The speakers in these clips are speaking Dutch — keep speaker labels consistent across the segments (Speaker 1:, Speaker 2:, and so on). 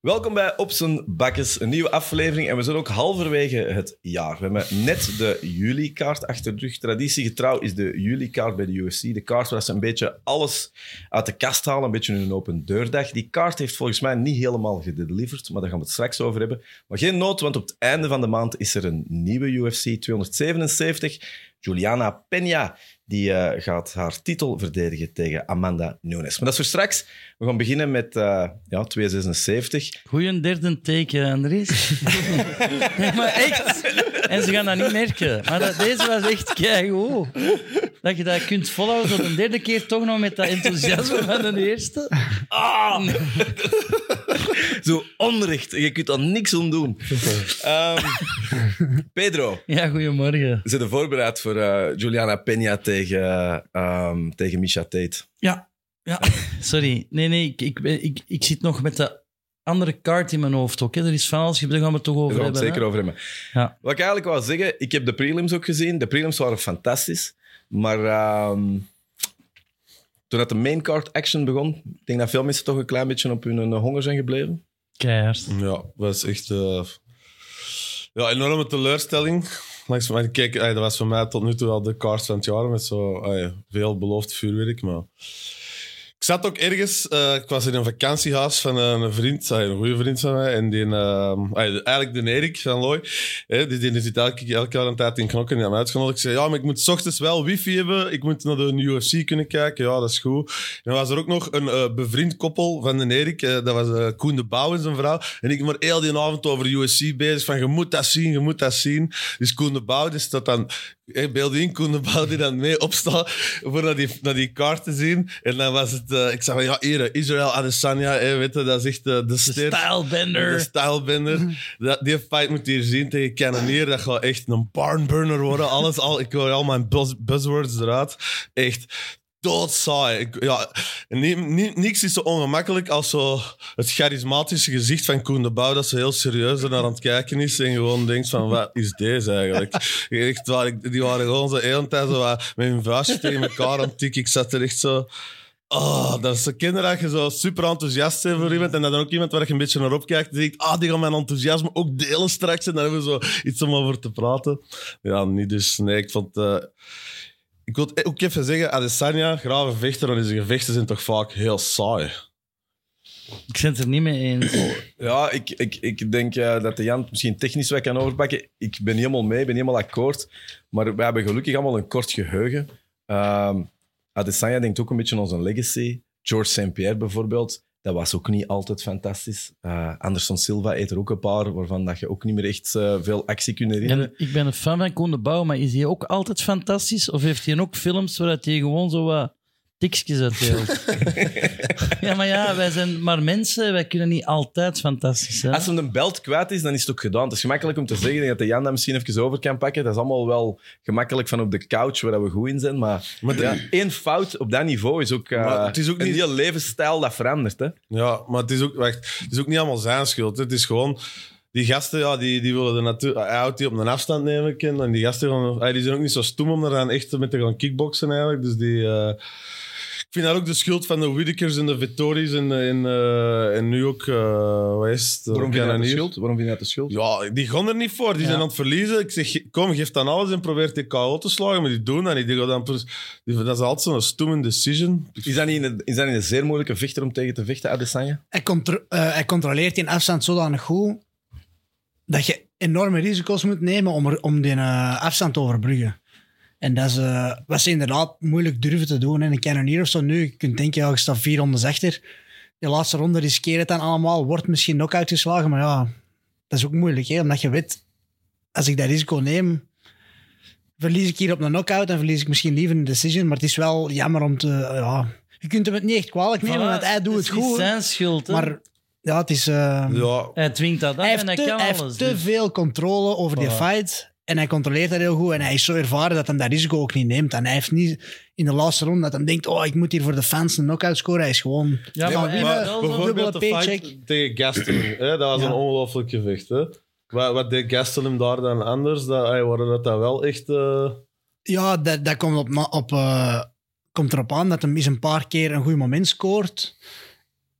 Speaker 1: Welkom bij Op zijn Bakkes, een nieuwe aflevering. En we zijn ook halverwege het jaar. We hebben net de juli-kaart achter de rug. Traditiegetrouw is de juli-kaart bij de UFC. De kaart waar ze een beetje alles uit de kast halen, een beetje hun open deurdag. Die kaart heeft volgens mij niet helemaal gedeliverd, maar daar gaan we het straks over hebben. Maar geen nood, want op het einde van de maand is er een nieuwe UFC 277. Juliana Peña die, eh, gaat haar titel verdedigen tegen Amanda Nunes. Maar dat is voor straks. We gaan beginnen met eh, ja, 276.
Speaker 2: Goeie een derde teken, Andries. nee, maar echt. En ze gaan dat niet merken. Maar dat, deze was echt keigoed. Dat je dat kunt volhouden tot een derde keer toch nog met dat enthousiasme van de eerste. Ah!
Speaker 1: Zo onrecht. Je kunt daar niks om doen. Ehm, Pedro,
Speaker 2: Ja, goedemorgen.
Speaker 1: zit er voorbereid voor eh, Juliana Peña tegen, ehm, tegen Misha Tate?
Speaker 2: Ja. ja. Sorry. Nee, nee, ik, ik, ben- ik, ik zit nog met de andere kaart in mijn hoofd ook. Hè. Er is van alles, daar gaan we het toch
Speaker 1: Daar
Speaker 2: over
Speaker 1: gaan we het
Speaker 2: hebben.
Speaker 1: zeker
Speaker 2: hè.
Speaker 1: over hebben.
Speaker 2: Ja.
Speaker 1: Wat ik eigenlijk wou zeggen, ik heb de prelims ook gezien. De prelims waren fantastisch. Maar ehm, toen dat de maincard action begon, ik denk dat veel mensen toch een klein beetje op hun eh, honger zijn gebleven.
Speaker 2: Keihard.
Speaker 3: Ja, was echt. eh, ja, enorme teleurstelling. Langs mij, kijk, ey, dat was voor mij tot nu toe wel de kaart van het jaar. Met zo ey, veel beloofd vuurwerk. Maar... Ik zat ook ergens. eh, ik was in een vakantiehuis van een vriend. ey, een goede vriend van mij. En die, eh, ey, eigenlijk de Erik van Looy. hè, die, die zit elke, elk jaar een tijd in knokken. En die had mij uitgenodigd. Ik zei: Ja, maar ik moet 's ochtends wel wifi hebben. Ik moet naar de UFC kunnen kijken. Ja, dat is goed. En dan was er ook nog een eh, bevriend koppel van de Erik. eh, dat was eh, Koen de Bouw en zijn vrouw. En ik maar heel die avond over USC bezig. Van je moet dat zien, je moet dat zien. Dus Koen de Bouw, dus dat dan. Hey, beeld in, Koen de Bouw die dan mee opstaat. Voor naar die, naar die kaart te zien. En dan was het. eh, ik zei van ja, hier, Israël Adesanya. eh, weet je, dat is echt eh, de
Speaker 2: De
Speaker 3: ster. De
Speaker 2: stylebender.
Speaker 3: stylebender. Dat, die fight moet je hier zien tegen Cannonier. Dat gaat echt een barnburner worden. Alles, al, ik hoor al mijn buzz- buzzwords eruit. Echt doodsaai. Ik, ja, ni- ni- niks is zo ongemakkelijk als zo het charismatische gezicht van Koen de Bouw dat ze heel serieus er naar aan het kijken is en gewoon denkt van, wat is deze eigenlijk? Echt waar, ik- die waren gewoon zo heel een tijd zo wat met hun vuistje tegen elkaar aan het tikken. Ik zat er echt zo... Oh, dat is zo kinderen dat je zo super enthousiast bent voor iemand. En dat dan ook iemand waar je een beetje naar opkijkt. Die denkt, ah, die gaan mijn enthousiasme ook delen straks. En daar hebben we zo iets om over te praten. Ja, niet dus. Nee, ik vond... eh, ik wil ook even zeggen, Adesanya, grave vechter, dan is de gevechten zijn toch vaak heel saai.
Speaker 2: Ik ben het er niet mee eens.
Speaker 1: Ja, ik, ik, ik denk eh, dat de Jan het misschien technisch wat kan overpakken. Ik ben helemaal mee, ik ben helemaal akkoord. Maar we hebben gelukkig allemaal een kort geheugen. Ehm Adesanya denkt ook een beetje aan zijn legacy. George St. Pierre bijvoorbeeld, dat was ook niet altijd fantastisch. Eh, Anderson Silva eet er ook een paar, waarvan dat je ook niet meer echt eh, veel actie kunt
Speaker 2: Ik ben-
Speaker 1: herinneren.
Speaker 2: ik ben een fan van Koen de Bouw, maar is hij ook altijd fantastisch? Of heeft hij ook films waar hij gewoon zo wat tikjes uitdeelt? ja, maar ja, wij zijn maar mensen. Wij kunnen niet altijd fantastisch zijn.
Speaker 1: Als hem een belt kwijt is, dan is het ook gedaan. Het is gemakkelijk om te zeggen Ik denk dat de Jan dat misschien even over kan pakken. Dat is allemaal wel gemakkelijk van op de couch waar dat we goed in zijn. Maar,
Speaker 3: Maar de-
Speaker 1: ja, één fout op dat niveau is ook, eh,
Speaker 3: Maar het is ook
Speaker 1: een
Speaker 3: niet-
Speaker 1: heel levensstijl dat verandert. Hè?
Speaker 3: Ja, maar het is ook, wacht, het is ook niet allemaal zijn schuld. hè. Het is gewoon... Die gasten, ja, die, die willen de natuur... Hij houdt die op een afstand nemen, kind. En die gasten gaan, ah, die zijn ook niet zo stoem om eraan echt met te gaan kickboksen, eigenlijk. Dus die... eh, ik vind dat ook de schuld van de Whitakers en de Vittoris en, en, eh, en nu ook... eh wat is het?
Speaker 1: Waarom vind je dat de
Speaker 3: Cannonier.
Speaker 1: schuld? Waarom vind je dat de schuld?
Speaker 3: Ja, die gaan er niet voor. Die
Speaker 2: Ja.
Speaker 3: zijn aan het verliezen. Ik zeg, kom, geef dan alles en probeer die KO te slagen. Maar die doen dat niet. Die gaan dan, pers- die- dat is altijd zo'n stoeme decision.
Speaker 1: Is dat, niet een, is dat niet een zeer moeilijke vechter om tegen te vechten, Adesanya?
Speaker 4: hij, contro- eh, hij controleert die afstand zodanig goed dat je enorme risico's moet nemen om, er- om die eh, afstand te overbruggen. En dat is, eh, wat ze inderdaad moeilijk durven te doen. En een canonier of zo nu, je kunt denken, ja, je staat vier rondes achter. De laatste ronde riskeert het dan allemaal, wordt misschien ook uitgeslagen. Maar ja, dat is ook moeilijk, hè? omdat je weet, als ik dat risico neem, verlies ik hier op een knockout en verlies ik misschien liever een decision. Maar het is wel jammer om te... ja, je kunt hem het niet echt kwalijk nemen,
Speaker 2: Voilà,
Speaker 4: want hij doet het
Speaker 2: is
Speaker 4: goed. hè.
Speaker 2: zijn schuld, hè.
Speaker 4: Maar ja, het is. eh,
Speaker 1: Mhm.
Speaker 3: Ja,
Speaker 2: hij dwingt dat af en
Speaker 4: hij heeft,
Speaker 2: hij
Speaker 4: te,
Speaker 2: kan
Speaker 4: hij
Speaker 2: alles.
Speaker 4: heeft te
Speaker 2: dus-
Speaker 4: veel controle over die
Speaker 2: Voilà.
Speaker 4: fight. En hij controleert dat heel goed. En hij is zo ervaren dat hij dat risico ook niet neemt. En hij heeft niet in de laatste ronde dat hij denkt: oh, ik moet hier voor de fans een knockout scoren. Hij is gewoon.
Speaker 2: Ja,
Speaker 3: Nee,
Speaker 2: maar, hij
Speaker 4: maar-
Speaker 2: heeft wel zo'n-
Speaker 3: bijvoorbeeld de
Speaker 4: dubbele
Speaker 3: fight
Speaker 4: paycheck.
Speaker 3: tegen Gastelum. hè, dat was
Speaker 4: Ja.
Speaker 3: een ongelooflijk gevecht. Hè? Wat, wat deed Gastelum daar dan anders? Dat, ey, waren dat dat wel echt... eh,
Speaker 4: Ja, dat, dat komt, op, na- op, eh, komt erop aan dat hij eens een paar keer een goed moment scoort.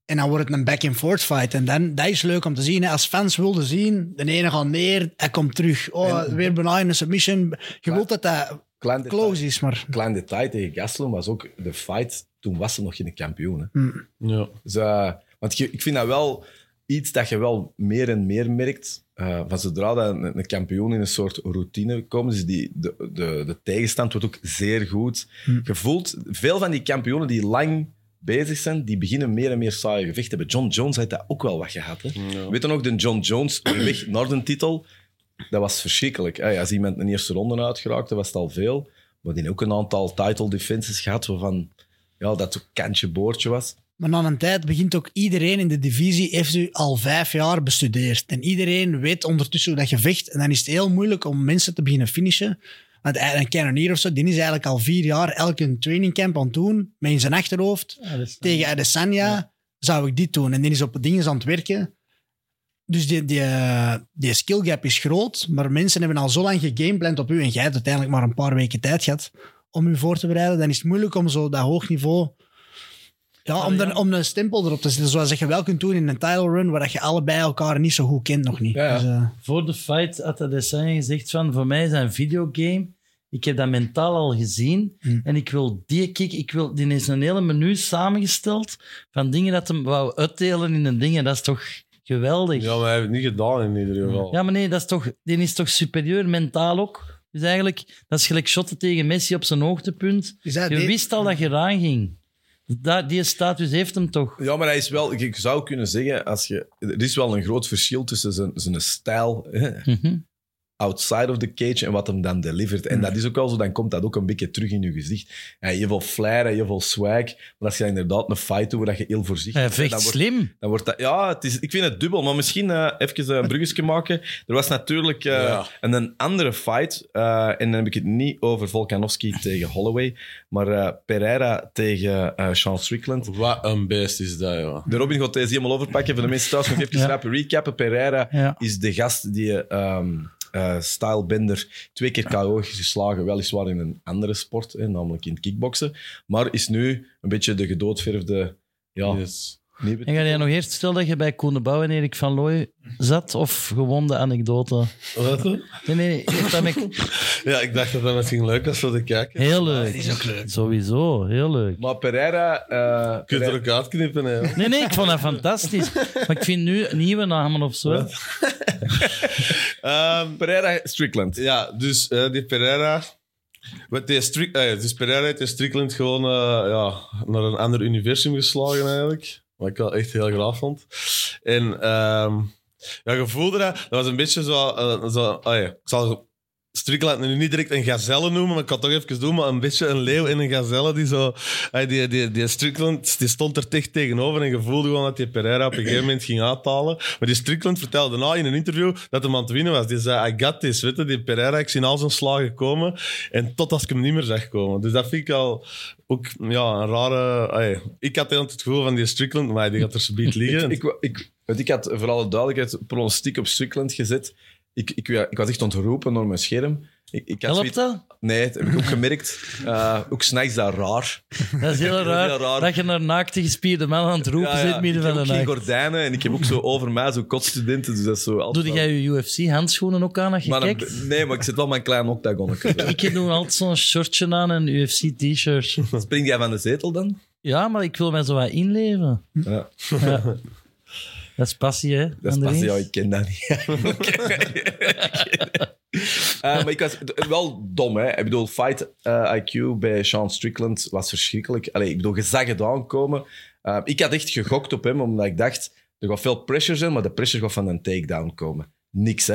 Speaker 4: En dan wordt het een back-and-forth fight. En dan, dat is leuk om te zien. Hè. Als fans wilden zien, de ene gaat neer, hij komt terug. Oh, weer bijna in een submission. Je wilt dat dat
Speaker 5: Klein detail,
Speaker 4: close is, maar...
Speaker 5: klein detail tegen Gastelum was ook de fight. Toen was ze nog geen kampioen. Hè.
Speaker 3: Ja.
Speaker 5: Dus, eh, want je- ik vind dat wel iets dat je wel meer en meer merkt. eh, van zodra dat een, een kampioen in een soort routine komt, dus die, de, de, de tegenstand wordt ook zeer goed. Je voelt, veel van die kampioenen die lang bezig zijn, die beginnen meer en meer saaie gevechten hebben. John Jones had dat ook wel wat gehad. Hè? Weet je nog, de John Jones, de weg naar de titel, dat was verschrikkelijk. Hey, als iemand een eerste ronde uitgeraakte, was het al veel. Maar die had ook een aantal title defenses gehad, waarvan ja, dat ook kantje boordje was.
Speaker 4: Maar na een tijd begint ook iedereen in de divisie, heeft u al vijf jaar bestudeerd. En iedereen weet ondertussen hoe dat je vecht. En dan is het heel moeilijk om mensen te beginnen finishen. Want een Cannoneer of zo, die is eigenlijk al vier jaar elke trainingcamp aan het doen. Met in zijn achterhoofd. Tegen Adesanya zou ik dit doen. En die is op dingen aan het werken. Dus die, die, eh, die skill gap is groot. Maar mensen hebben al zo lang gegamepland op u. En jij hebt uiteindelijk maar een paar weken tijd gehad om u voor te bereiden. Dan is het moeilijk om zo dat hoog niveau... Ja, om, dan, om een stempel erop te zetten. Zoals dat je wel kunt doen in een title run, waar dat je allebei elkaar niet zo goed kent nog niet.
Speaker 5: Ja, ja.
Speaker 4: Dus, eh,
Speaker 2: Voor de fight had Adesanya gezegd van, voor mij is dat een videogame. Ik heb dat mentaal al gezien. En ik wil die kick, ik wil, die is een hele menu samengesteld van dingen dat hem wou uitdelen in een ding. En dat is toch geweldig.
Speaker 3: ja, maar hij heeft het niet gedaan in ieder geval.
Speaker 2: Ja, maar nee, dat is toch, die is toch superieur mentaal ook. Dus eigenlijk, dat is gelijk shotten tegen Messi op zijn hoogtepunt.
Speaker 4: Is dat
Speaker 2: je
Speaker 4: dit-
Speaker 2: wist al dat je eraan ging. Da- die status heeft hem toch.
Speaker 1: Ja, maar hij is wel, ik zou kunnen zeggen, als je, er is wel een groot verschil tussen zijn, zijn stijl hè,
Speaker 2: Mhm.
Speaker 1: outside of the cage en wat hem dan delivert.
Speaker 2: Mm.
Speaker 1: En dat is ook wel zo, dan komt dat ook een beetje terug in je gezicht. En je wil flair en je wil swag, maar als je inderdaad een fight doet waar je heel voorzichtig
Speaker 2: Hij
Speaker 1: bent,
Speaker 2: vecht
Speaker 1: dan wordt-
Speaker 2: slim.
Speaker 1: Dan wordt dat, ja, het is, ik vind het dubbel, maar misschien eh, even een bruggetje maken. Er was natuurlijk eh,
Speaker 3: Ja.
Speaker 1: een, een andere fight, eh, en dan heb ik het niet over Volkanovski tegen Holloway, maar eh, Pereira tegen eh, Sean Strickland.
Speaker 3: Wat een beest is dat, joh.
Speaker 1: De Robin gaat deze helemaal overpakken. Voor de mensen thuis nog even
Speaker 2: Ja.
Speaker 1: rap recappen. Pereira
Speaker 2: Ja.
Speaker 1: is de gast die ehm eh Stylebender twee keer KO is geslagen. Weliswaar in een andere sport, hè, namelijk in het kickboksen. Maar is nu een beetje de gedoodverfde ja,
Speaker 3: Yes.
Speaker 1: nieuwe
Speaker 2: En ga jij nog eerst stellen dat je bij Koen de Bouw en Erik van Looy zat? Of gewoon de anekdote?
Speaker 3: Wat dan?
Speaker 2: Nee, nee, nee, dat heb ik
Speaker 3: Ja, ik dacht dat dat misschien leuk was voor de kijker.
Speaker 2: heel leuk. Ah, is ook leuk. Sowieso, heel leuk.
Speaker 1: Maar Pereira... eh,
Speaker 3: Je kunt er
Speaker 1: Pereira-
Speaker 3: ook uitknippen, hè. joh.
Speaker 2: Nee, nee, ik vond dat fantastisch. Maar ik vind nu nieuwe namen of zo.
Speaker 3: Ehm,
Speaker 1: Pereira Strickland.
Speaker 3: ja, dus eh, die Pereira... Wat die Strick, eh, dus Pereira heeft die Strickland gewoon eh, ja, naar een ander universum geslagen, eigenlijk. Wat ik wel echt heel graaf vond. En ehm, ja, je voelde dat. Dat was een beetje zo... eh, zo ah ja, ik zal Strickland nu niet direct een gazelle noemen, maar ik kan het toch even doen. Maar een beetje een leeuw en een gazelle die zo... ah, die, die, die Strickland die stond er dicht tegenover en je voelde gewoon dat die Pereira op een gegeven moment ging uithalen. Maar die Strickland vertelde na in een interview dat hem aan het winnen was. Die zei, I got this. Weet je, die Pereira, ik zie al zijn slagen komen. En tot als ik hem niet meer zag komen. Dus dat vind ik al ook ja, een rare... ah ja, ik had heel het gevoel van die Strickland, maar die gaat er zo liggen.
Speaker 1: Ik, ik, ik, want ik had voor alle duidelijkheid pronostiek op Strickland gezet. Ik, ik, ik was echt ontroepen door mijn scherm. Ik, ik had
Speaker 2: Helpt
Speaker 1: zoiets-
Speaker 2: dat?
Speaker 1: Nee, dat heb ik ook gemerkt. Eh, ook s'nachts dat raar.
Speaker 2: Dat is heel raar,
Speaker 1: heel raar.
Speaker 2: dat je naar naakte gespierde man aan het roepen
Speaker 1: Ja, ja.
Speaker 2: zit midden
Speaker 1: ik
Speaker 2: van
Speaker 1: heb
Speaker 2: de
Speaker 1: ook geen
Speaker 2: nacht.
Speaker 1: gordijnen en ik heb ook zo over mij zo kotstudenten, dus dat is zo altijd...
Speaker 2: Doe jij je UFC-handschoenen ook aan als je
Speaker 1: maar dan-
Speaker 2: kijkt?
Speaker 1: nee, maar ik zit wel mijn klein octagonnetje. zo.
Speaker 2: Ik doe altijd zo'n shortje aan en UFC-t-shirt.
Speaker 1: Spring jij van de zetel dan?
Speaker 2: Ja, maar ik wil mij zo wat inleven.
Speaker 1: Ja.
Speaker 2: Ja. Dat is passie, hè?
Speaker 1: Dat is pas,
Speaker 2: Andries?
Speaker 1: ja, ik ken dat niet. Eh, maar ik was d- wel dom, hè. Ik bedoel, fight eh, IQ bij Sean Strickland was verschrikkelijk. Allee, ik bedoel, je zag het aankomen. Eh, ik had echt gegokt op hem, omdat ik dacht, er gaat veel pressure zijn, maar de pressure gaat van een takedown komen. Niks, hè.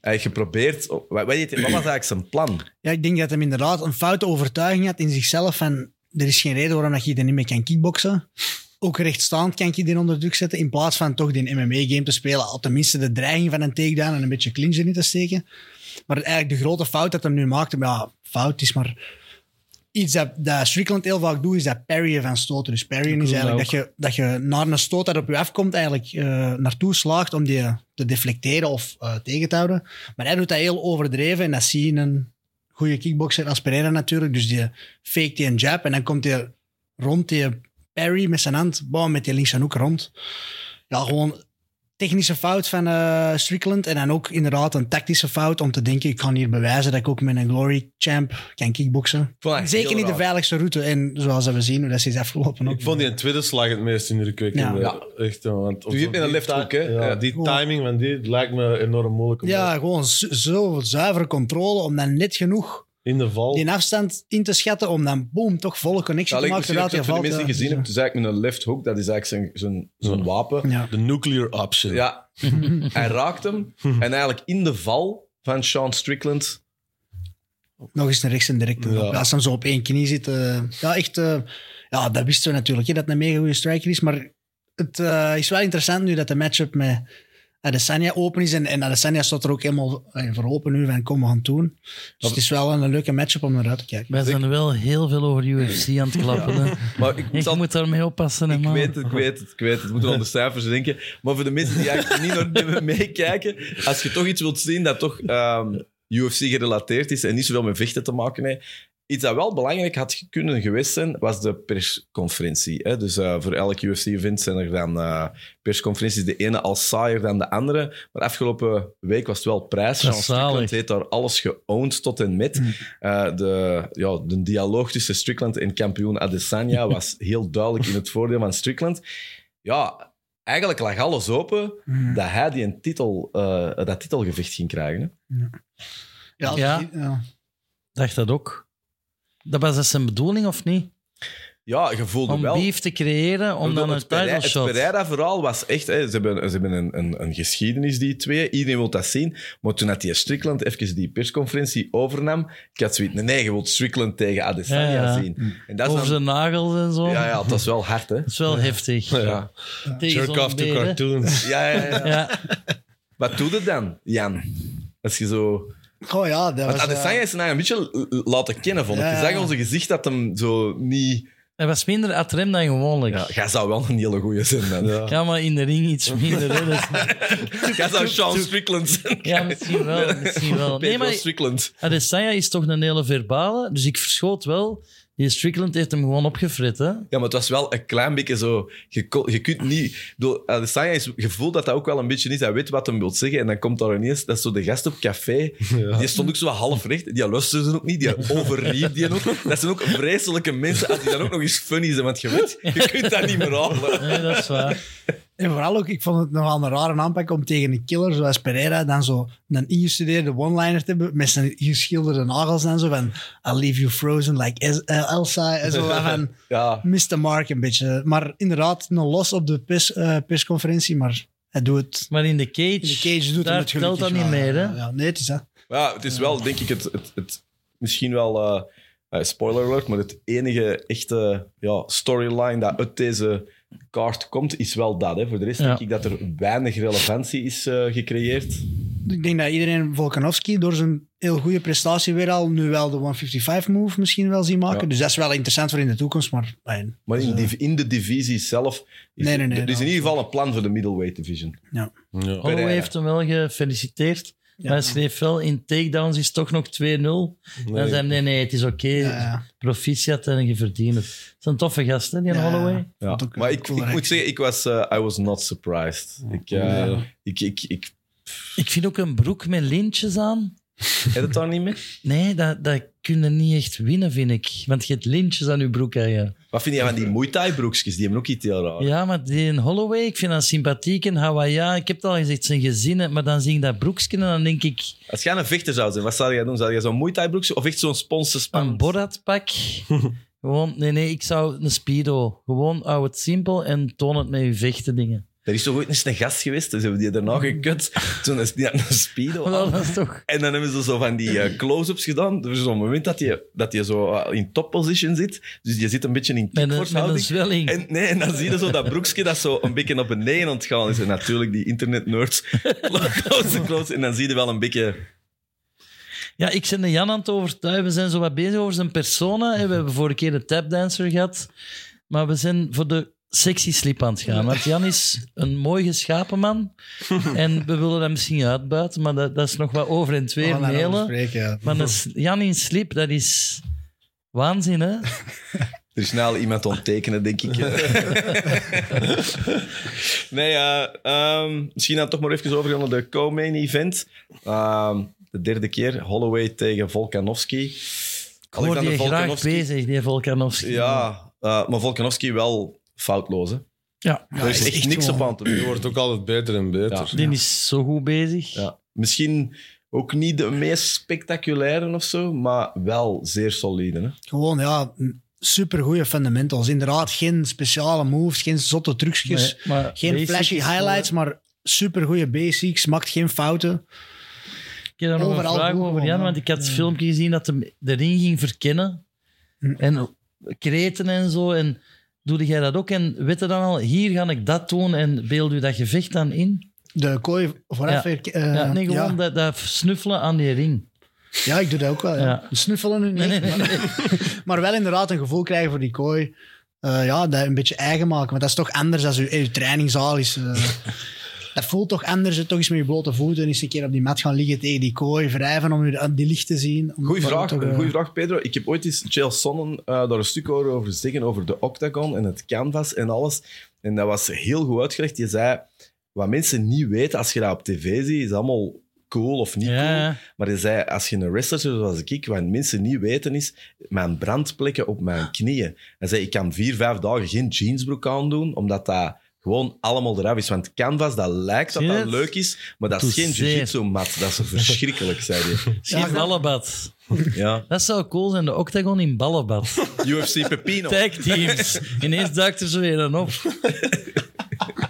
Speaker 1: Hij heeft geprobeerd... oh, Wat, wat deed hij- wat was eigenlijk zijn plan?
Speaker 4: ja, ik denk dat hem inderdaad een foute overtuiging had in zichzelf. Van, er is geen reden waarom dat je er niet mee kan kickboksen. Ook rechtstaand kan je die onder druk zetten. In plaats van toch die MMA-game te spelen. Al tenminste de dreiging van een takedown en een beetje clinch erin te steken. Maar eigenlijk de grote fout dat hem nu maakte. Ja, fout is maar... Iets dat, dat Strickland heel vaak doet, is dat parryen van stoten. Dus parryen is eigenlijk dat je, dat je naar een stoot dat op je afkomt, eigenlijk eh, naartoe slaagt om die te deflecteren of eh, tegen te houden. Maar hij doet dat heel overdreven en dat zie je in een goede kickboxer als Pereira natuurlijk. Dus die fake die een jab en dan komt hij rond die Perry met zijn hand, bam, met die linkse hoek rond. Ja, gewoon technische fout van eh, Strickland. En dan ook inderdaad een tactische fout om te denken, ik kan hier bewijzen dat ik ook met een Glory Champ kan kickboksen.
Speaker 1: vond dat echt
Speaker 4: Zeker
Speaker 1: Ah, heel
Speaker 4: niet de
Speaker 1: raar.
Speaker 4: veiligste route. En zoals dat we zien, hoe dat is afgelopen. ook.
Speaker 3: Ik vond die tweede slag het meest indrukwekkende.
Speaker 4: Ja.
Speaker 3: Echt, ja, want
Speaker 1: Doe je het met een
Speaker 3: die-
Speaker 1: left hook, hè?
Speaker 3: Ja,
Speaker 1: Ja.
Speaker 3: die
Speaker 4: Wow.
Speaker 3: timing van die lijkt me enorm moeilijk. om
Speaker 4: Ja,
Speaker 3: dat
Speaker 4: gewoon zo, zo zuivere controle om dan net genoeg
Speaker 3: In de val.
Speaker 4: die afstand in te schatten om dan boom, toch volle
Speaker 1: Dat
Speaker 4: connection te
Speaker 1: ligt
Speaker 4: maken.
Speaker 1: misschien ook
Speaker 4: terwijl
Speaker 1: zo, voor
Speaker 4: je
Speaker 1: de
Speaker 4: valt. eh,
Speaker 1: mensen die
Speaker 4: ja.
Speaker 1: gezien hebben, het is eigenlijk met een left hook, dat is eigenlijk zijn, zijn, zijn
Speaker 3: Ja.
Speaker 1: wapen.
Speaker 4: eh, Ja.
Speaker 3: De nuclear option.
Speaker 1: Ja, hij raakt hem. En eigenlijk in de val van Sean Strickland.
Speaker 4: Nog eens een rechts en direct.
Speaker 3: Ja.
Speaker 4: Als ze hem zo op één knie zit. eh, ja, echt. eh, ja, dat wisten we natuurlijk. Hè, dat het een mega goede striker is. Maar het eh, is wel interessant nu dat de matchup met Adesanya open is. En, en Adesanya staat er ook helemaal eh, voor open nu. Van kom, we gaan het doen. Dus het is wel een leuke matchup om naar uit te kijken.
Speaker 2: Wij zijn wel heel veel over UFC aan het klappen. hè.
Speaker 1: Maar ik,
Speaker 2: Ik
Speaker 1: zal,
Speaker 2: moet eh, daarmee oppassen, hè,
Speaker 1: ik
Speaker 2: man.
Speaker 1: weet het, ik weet het, ik weet het. Ik moet wel aan de cijfers denken. Maar voor de mensen die eigenlijk niet naar- niet meer meekijken, als je toch iets wilt zien dat toch ehm, UFC gerelateerd is en niet zoveel met vechten te maken heeft, iets dat wel belangrijk had kunnen geweest zijn, was de persconferentie. Hè? Dus eh, voor elk UFC-event zijn er dan eh, persconferenties, de ene al saaier dan de andere. Maar afgelopen week was het wel prijs.
Speaker 2: Dat
Speaker 1: Sean
Speaker 2: is zalig.
Speaker 1: Strickland heeft daar alles geowned tot en met. Eh, de, ja, de dialoog tussen Strickland en kampioen Adesanya was heel duidelijk in het voordeel van Strickland. Ja, eigenlijk lag alles open dat hij die een titel, eh, dat titelgevecht ging krijgen. hè.
Speaker 4: Ja, als-
Speaker 2: Ja.
Speaker 4: ja.
Speaker 2: dacht dat ook. Dat was dat zijn bedoeling, of niet?
Speaker 1: Ja, je voelde
Speaker 2: Om
Speaker 1: wel...
Speaker 2: beef te creëren, om dan een
Speaker 1: het Pereira-
Speaker 2: title shot...
Speaker 1: Het Pereira-verhaal was echt... Hè, ze hebben, ze hebben een, een, een geschiedenis, die twee. Iedereen wil dat zien. Maar toen had die Strickland even die persconferentie overnam, ik had zoiets... Nee, nee, je wilt Strickland tegen Adesanya
Speaker 2: Ja, ja.
Speaker 1: zien. En dat is
Speaker 2: Over
Speaker 1: dan-
Speaker 2: zijn nagels en zo.
Speaker 1: Ja, ja, het was wel hard, hè.
Speaker 2: Dat is wel heftig.
Speaker 1: Ja.
Speaker 2: Tegen
Speaker 3: Jerk
Speaker 2: zo'n
Speaker 3: off to
Speaker 2: beer, hè.
Speaker 3: cartoons.
Speaker 1: Ja, ja, ja.
Speaker 2: Ja,
Speaker 1: Wat doe je dan, Jan? Als je zo...
Speaker 4: Oh ja, dat
Speaker 1: Want
Speaker 4: was... eh,
Speaker 1: Adesanya is nou een beetje l- l- laten kennen, vond ik.
Speaker 4: Ja,
Speaker 1: Je
Speaker 4: ja.
Speaker 1: zag onze gezicht dat hem zo niet...
Speaker 2: hij was minder atrem dan gewoonlijk.
Speaker 1: Ja,
Speaker 2: Ja.
Speaker 1: jij zou wel een hele goeie zijn, man.
Speaker 3: Ja.
Speaker 2: maar in de ring iets minder. Hè. Dat is-
Speaker 1: Jij zou Sean Strickland zijn.
Speaker 2: ja, misschien wel. Misschien wel. Nee,
Speaker 1: Pedro
Speaker 2: maar
Speaker 1: Strickland.
Speaker 2: Adesanya is toch een hele verbale, dus ik verschoot wel. Die Strickland heeft hem gewoon opgefrit, hè.
Speaker 1: Ja, maar het was wel een klein beetje zo. Je, kon- je kunt niet. ik bedoel, Adesanya is gevoel dat dat ook wel een beetje is. Hij weet wat hem wil zeggen. En dan komt daar ineens. Dat is zo de gast op café. Die stond ook zo half recht. Die luisterde ook niet. Die overliep die ook. Dat zijn ook vreselijke mensen. Als die dan ook nog eens funny zijn. Want je weet, je kunt dat niet meer halen.
Speaker 2: Nee, dat is waar.
Speaker 4: En vooral ook, ik vond het nogal een rare aanpak om tegen een killer zoals Pereira dan zo een ingestudeerde one-liner te hebben met zijn geschilderde nagels en zo van I'll leave you frozen like Es- eh, Elsa en zo wat van
Speaker 1: Ja.
Speaker 4: missed the mark een beetje. Maar inderdaad, nog los op de pers, eh, persconferentie, maar hij doet het.
Speaker 2: Maar in de cage,
Speaker 4: In de cage doet
Speaker 2: daar
Speaker 4: hem het
Speaker 2: telt
Speaker 4: gelukkig
Speaker 2: dat niet
Speaker 4: wel.
Speaker 2: meer, hè.
Speaker 4: Ja, nee, het is dat.
Speaker 1: Ja, het is wel, denk ik, het, het, het misschien wel, eh, eh, spoiler alert, maar het enige echte ja, storyline dat uit deze kaart komt, is wel dat. Hè. Voor de rest
Speaker 2: Ja.
Speaker 1: denk ik dat er weinig relevantie is eh, gecreëerd.
Speaker 4: Ik denk dat iedereen Volkanovski door zijn heel goede prestatie weer al nu wel de 155-move misschien wel zien maken.
Speaker 1: Ja.
Speaker 4: Dus dat is wel interessant voor in de toekomst, maar... nee.
Speaker 1: Maar in, div- in de divisie zelf is,
Speaker 4: Dus, Nee, nee, nee,
Speaker 1: er is in
Speaker 4: nou,
Speaker 1: ieder geval een plan voor de middleweight division.
Speaker 3: Ja.
Speaker 2: Holloway
Speaker 1: Pereira.
Speaker 2: heeft hem wel gefeliciteerd. Maar hij schreef wel, in takedowns is toch nog 2-0. Dan zei hij, nee, nee, het is oké.
Speaker 4: Ja.
Speaker 2: Proficiat en je verdient het. Het is een toffe gast, hè, die
Speaker 4: Ja.
Speaker 2: Holloway.
Speaker 1: Ja.
Speaker 4: Vond ook een
Speaker 1: Maar ik,
Speaker 4: coole
Speaker 1: ik moet
Speaker 4: reactie.
Speaker 1: zeggen, ik was, eh, I was not surprised. Ik, eh, ik, ik, ik,
Speaker 2: Ik vind ook een broek met lintjes aan.
Speaker 1: heb het daar niet mee.
Speaker 2: Nee, dat, dat kun je niet echt winnen, vind ik. Want je hebt lintjes aan je broek. Hè, ja.
Speaker 1: Wat vind jij van die Muay Thai broekjes? Die hebben ook iets heel raar.
Speaker 2: ja, maar die in Holloway, ik vind dat sympathiek. En Hawaia, ik heb het al gezegd, zijn gezinnen. Maar dan zie ik dat broekje en dan denk ik...
Speaker 1: Als jij een vechter zou zijn, wat zou jij doen? Zou jij zo'n Muay Thai broekje of echt zo'n sponsorspan?
Speaker 2: Een Borat-pak. Gewoon, nee, nee, ik zou een Speedo. Gewoon, hou het simpel en toon het met je vechten dingen.
Speaker 1: Er is toch ooit eens een gast geweest, dus hebben die
Speaker 2: Mm.
Speaker 1: daarna gekut. Toen is die had een speedo aan.
Speaker 2: Maar dat is toch...
Speaker 1: En dan hebben ze zo van die eh, close-ups gedaan. Er is zo'n moment dat je, dat je zo eh, in topposition zit. Dus je zit een beetje in
Speaker 2: Met een, met een
Speaker 1: kickboxhouding.
Speaker 2: zwelling.
Speaker 1: En, nee, en dan zie je zo dat broekje dat zo een beetje op beneden aan het gaan is. En natuurlijk die internet-nerds. Close, close. En dan zie je wel een beetje...
Speaker 2: Ja, ik ben de Jan aan het overtuigen. We zijn zo wat bezig over zijn persona. hè. We hebben vorige keer de tapdancer gehad. Maar we zijn voor de sexy slip aan het gaan. Want Jan is een mooi geschapen man. En we willen dat misschien uitbuiten. Maar dat, dat is nog wat over en
Speaker 4: We
Speaker 2: twee
Speaker 4: gaan daarover
Speaker 2: mailen.
Speaker 4: spreken, ja.
Speaker 2: Maar een s- Jan in slip, dat is waanzin, hè?
Speaker 1: Er is snel iemand onttekenen, denk ik. nee, ja, ehm, misschien dan toch maar even overgaan naar de co-main event. Ehm, de derde keer, Holloway tegen Volkanovski.
Speaker 2: Ik hoor die graag
Speaker 1: Volkanovski-
Speaker 2: bezig, die Volkanovski.
Speaker 1: Ja, eh, maar Volkanovski wel foutloos, hè?
Speaker 2: ja.
Speaker 1: er is echt, niks op aan te
Speaker 3: Je
Speaker 1: doen.
Speaker 3: wordt ook altijd beter en beter.
Speaker 2: Die is zo goed bezig.
Speaker 1: Ja. Misschien ook niet de meest spectaculaire of zo, maar wel zeer solide. Hè?
Speaker 4: Gewoon, ja, supergoeie fundamentals. Inderdaad, geen speciale moves, geen zotte trucjes.
Speaker 2: Nee, eh, maar
Speaker 4: Geen
Speaker 2: basic
Speaker 4: flashy
Speaker 2: is wel-
Speaker 4: highlights, maar supergoeie basics. Maakt geen fouten.
Speaker 2: Ik heb daar nog een
Speaker 4: Overal
Speaker 2: vraag
Speaker 4: goed
Speaker 2: over,
Speaker 4: gewoon,
Speaker 2: Jan,
Speaker 4: hè.
Speaker 2: want ik had het filmpje gezien dat hij de ring ging verkennen.
Speaker 4: Hm.
Speaker 2: En kreten en zo. En doe jij dat ook? En weet je dan al, hier ga ik dat doen en beeld u dat gevecht dan in?
Speaker 4: De kooi vooraf.
Speaker 2: Ja.
Speaker 4: Ja,
Speaker 2: ja, nee, gewoon
Speaker 4: eh, ja.
Speaker 2: Dat, dat snuffelen aan die ring.
Speaker 4: Ja, ik doe dat ook wel. Ja.
Speaker 2: Ja.
Speaker 4: Snuffelen nu niet. Maar, maar wel inderdaad een gevoel krijgen voor die kooi. Eh, ja, dat een beetje eigen maken. Want dat is toch anders als je, je trainingzaal is. eh. dat voelt toch anders. hè. Toch eens met je blote voeten eens een keer op die mat gaan liggen tegen die kooi. Wrijven om je, eh, die licht te zien. Om-
Speaker 1: Goeie
Speaker 4: maar
Speaker 1: vraag,
Speaker 4: toch, eh,
Speaker 1: goeie vraag, Pedro. Ik heb ooit eens Chael Sonnen eh, daar een stuk horen over zeggen, over de octagon en het canvas en alles. En dat was heel goed uitgelegd. Je zei, wat mensen niet weten als je dat op tv ziet, is allemaal cool of niet cool.
Speaker 2: Ja,
Speaker 1: Maar je zei, als je een wrestler bent zoals ik, wat mensen niet weten is, mijn brandplekken op mijn knieën. Hij zei, ik kan vier, vijf dagen geen jeansbroek aandoen, omdat dat gewoon allemaal eraf is. Want canvas, dat lijkt dat
Speaker 2: Zie je
Speaker 1: dat
Speaker 2: het?
Speaker 1: leuk is, maar dat is
Speaker 2: Doet
Speaker 1: geen
Speaker 2: zeer.
Speaker 1: jiu-jitsu-mat. Dat is verschrikkelijk, zei hij.
Speaker 2: schiet ballenbad.
Speaker 1: Ja.
Speaker 2: Dat zou cool zijn, de octagon in ballenbad.
Speaker 1: UFC Pepino.
Speaker 2: Tag teams. Ineens duikt er zo weer een op.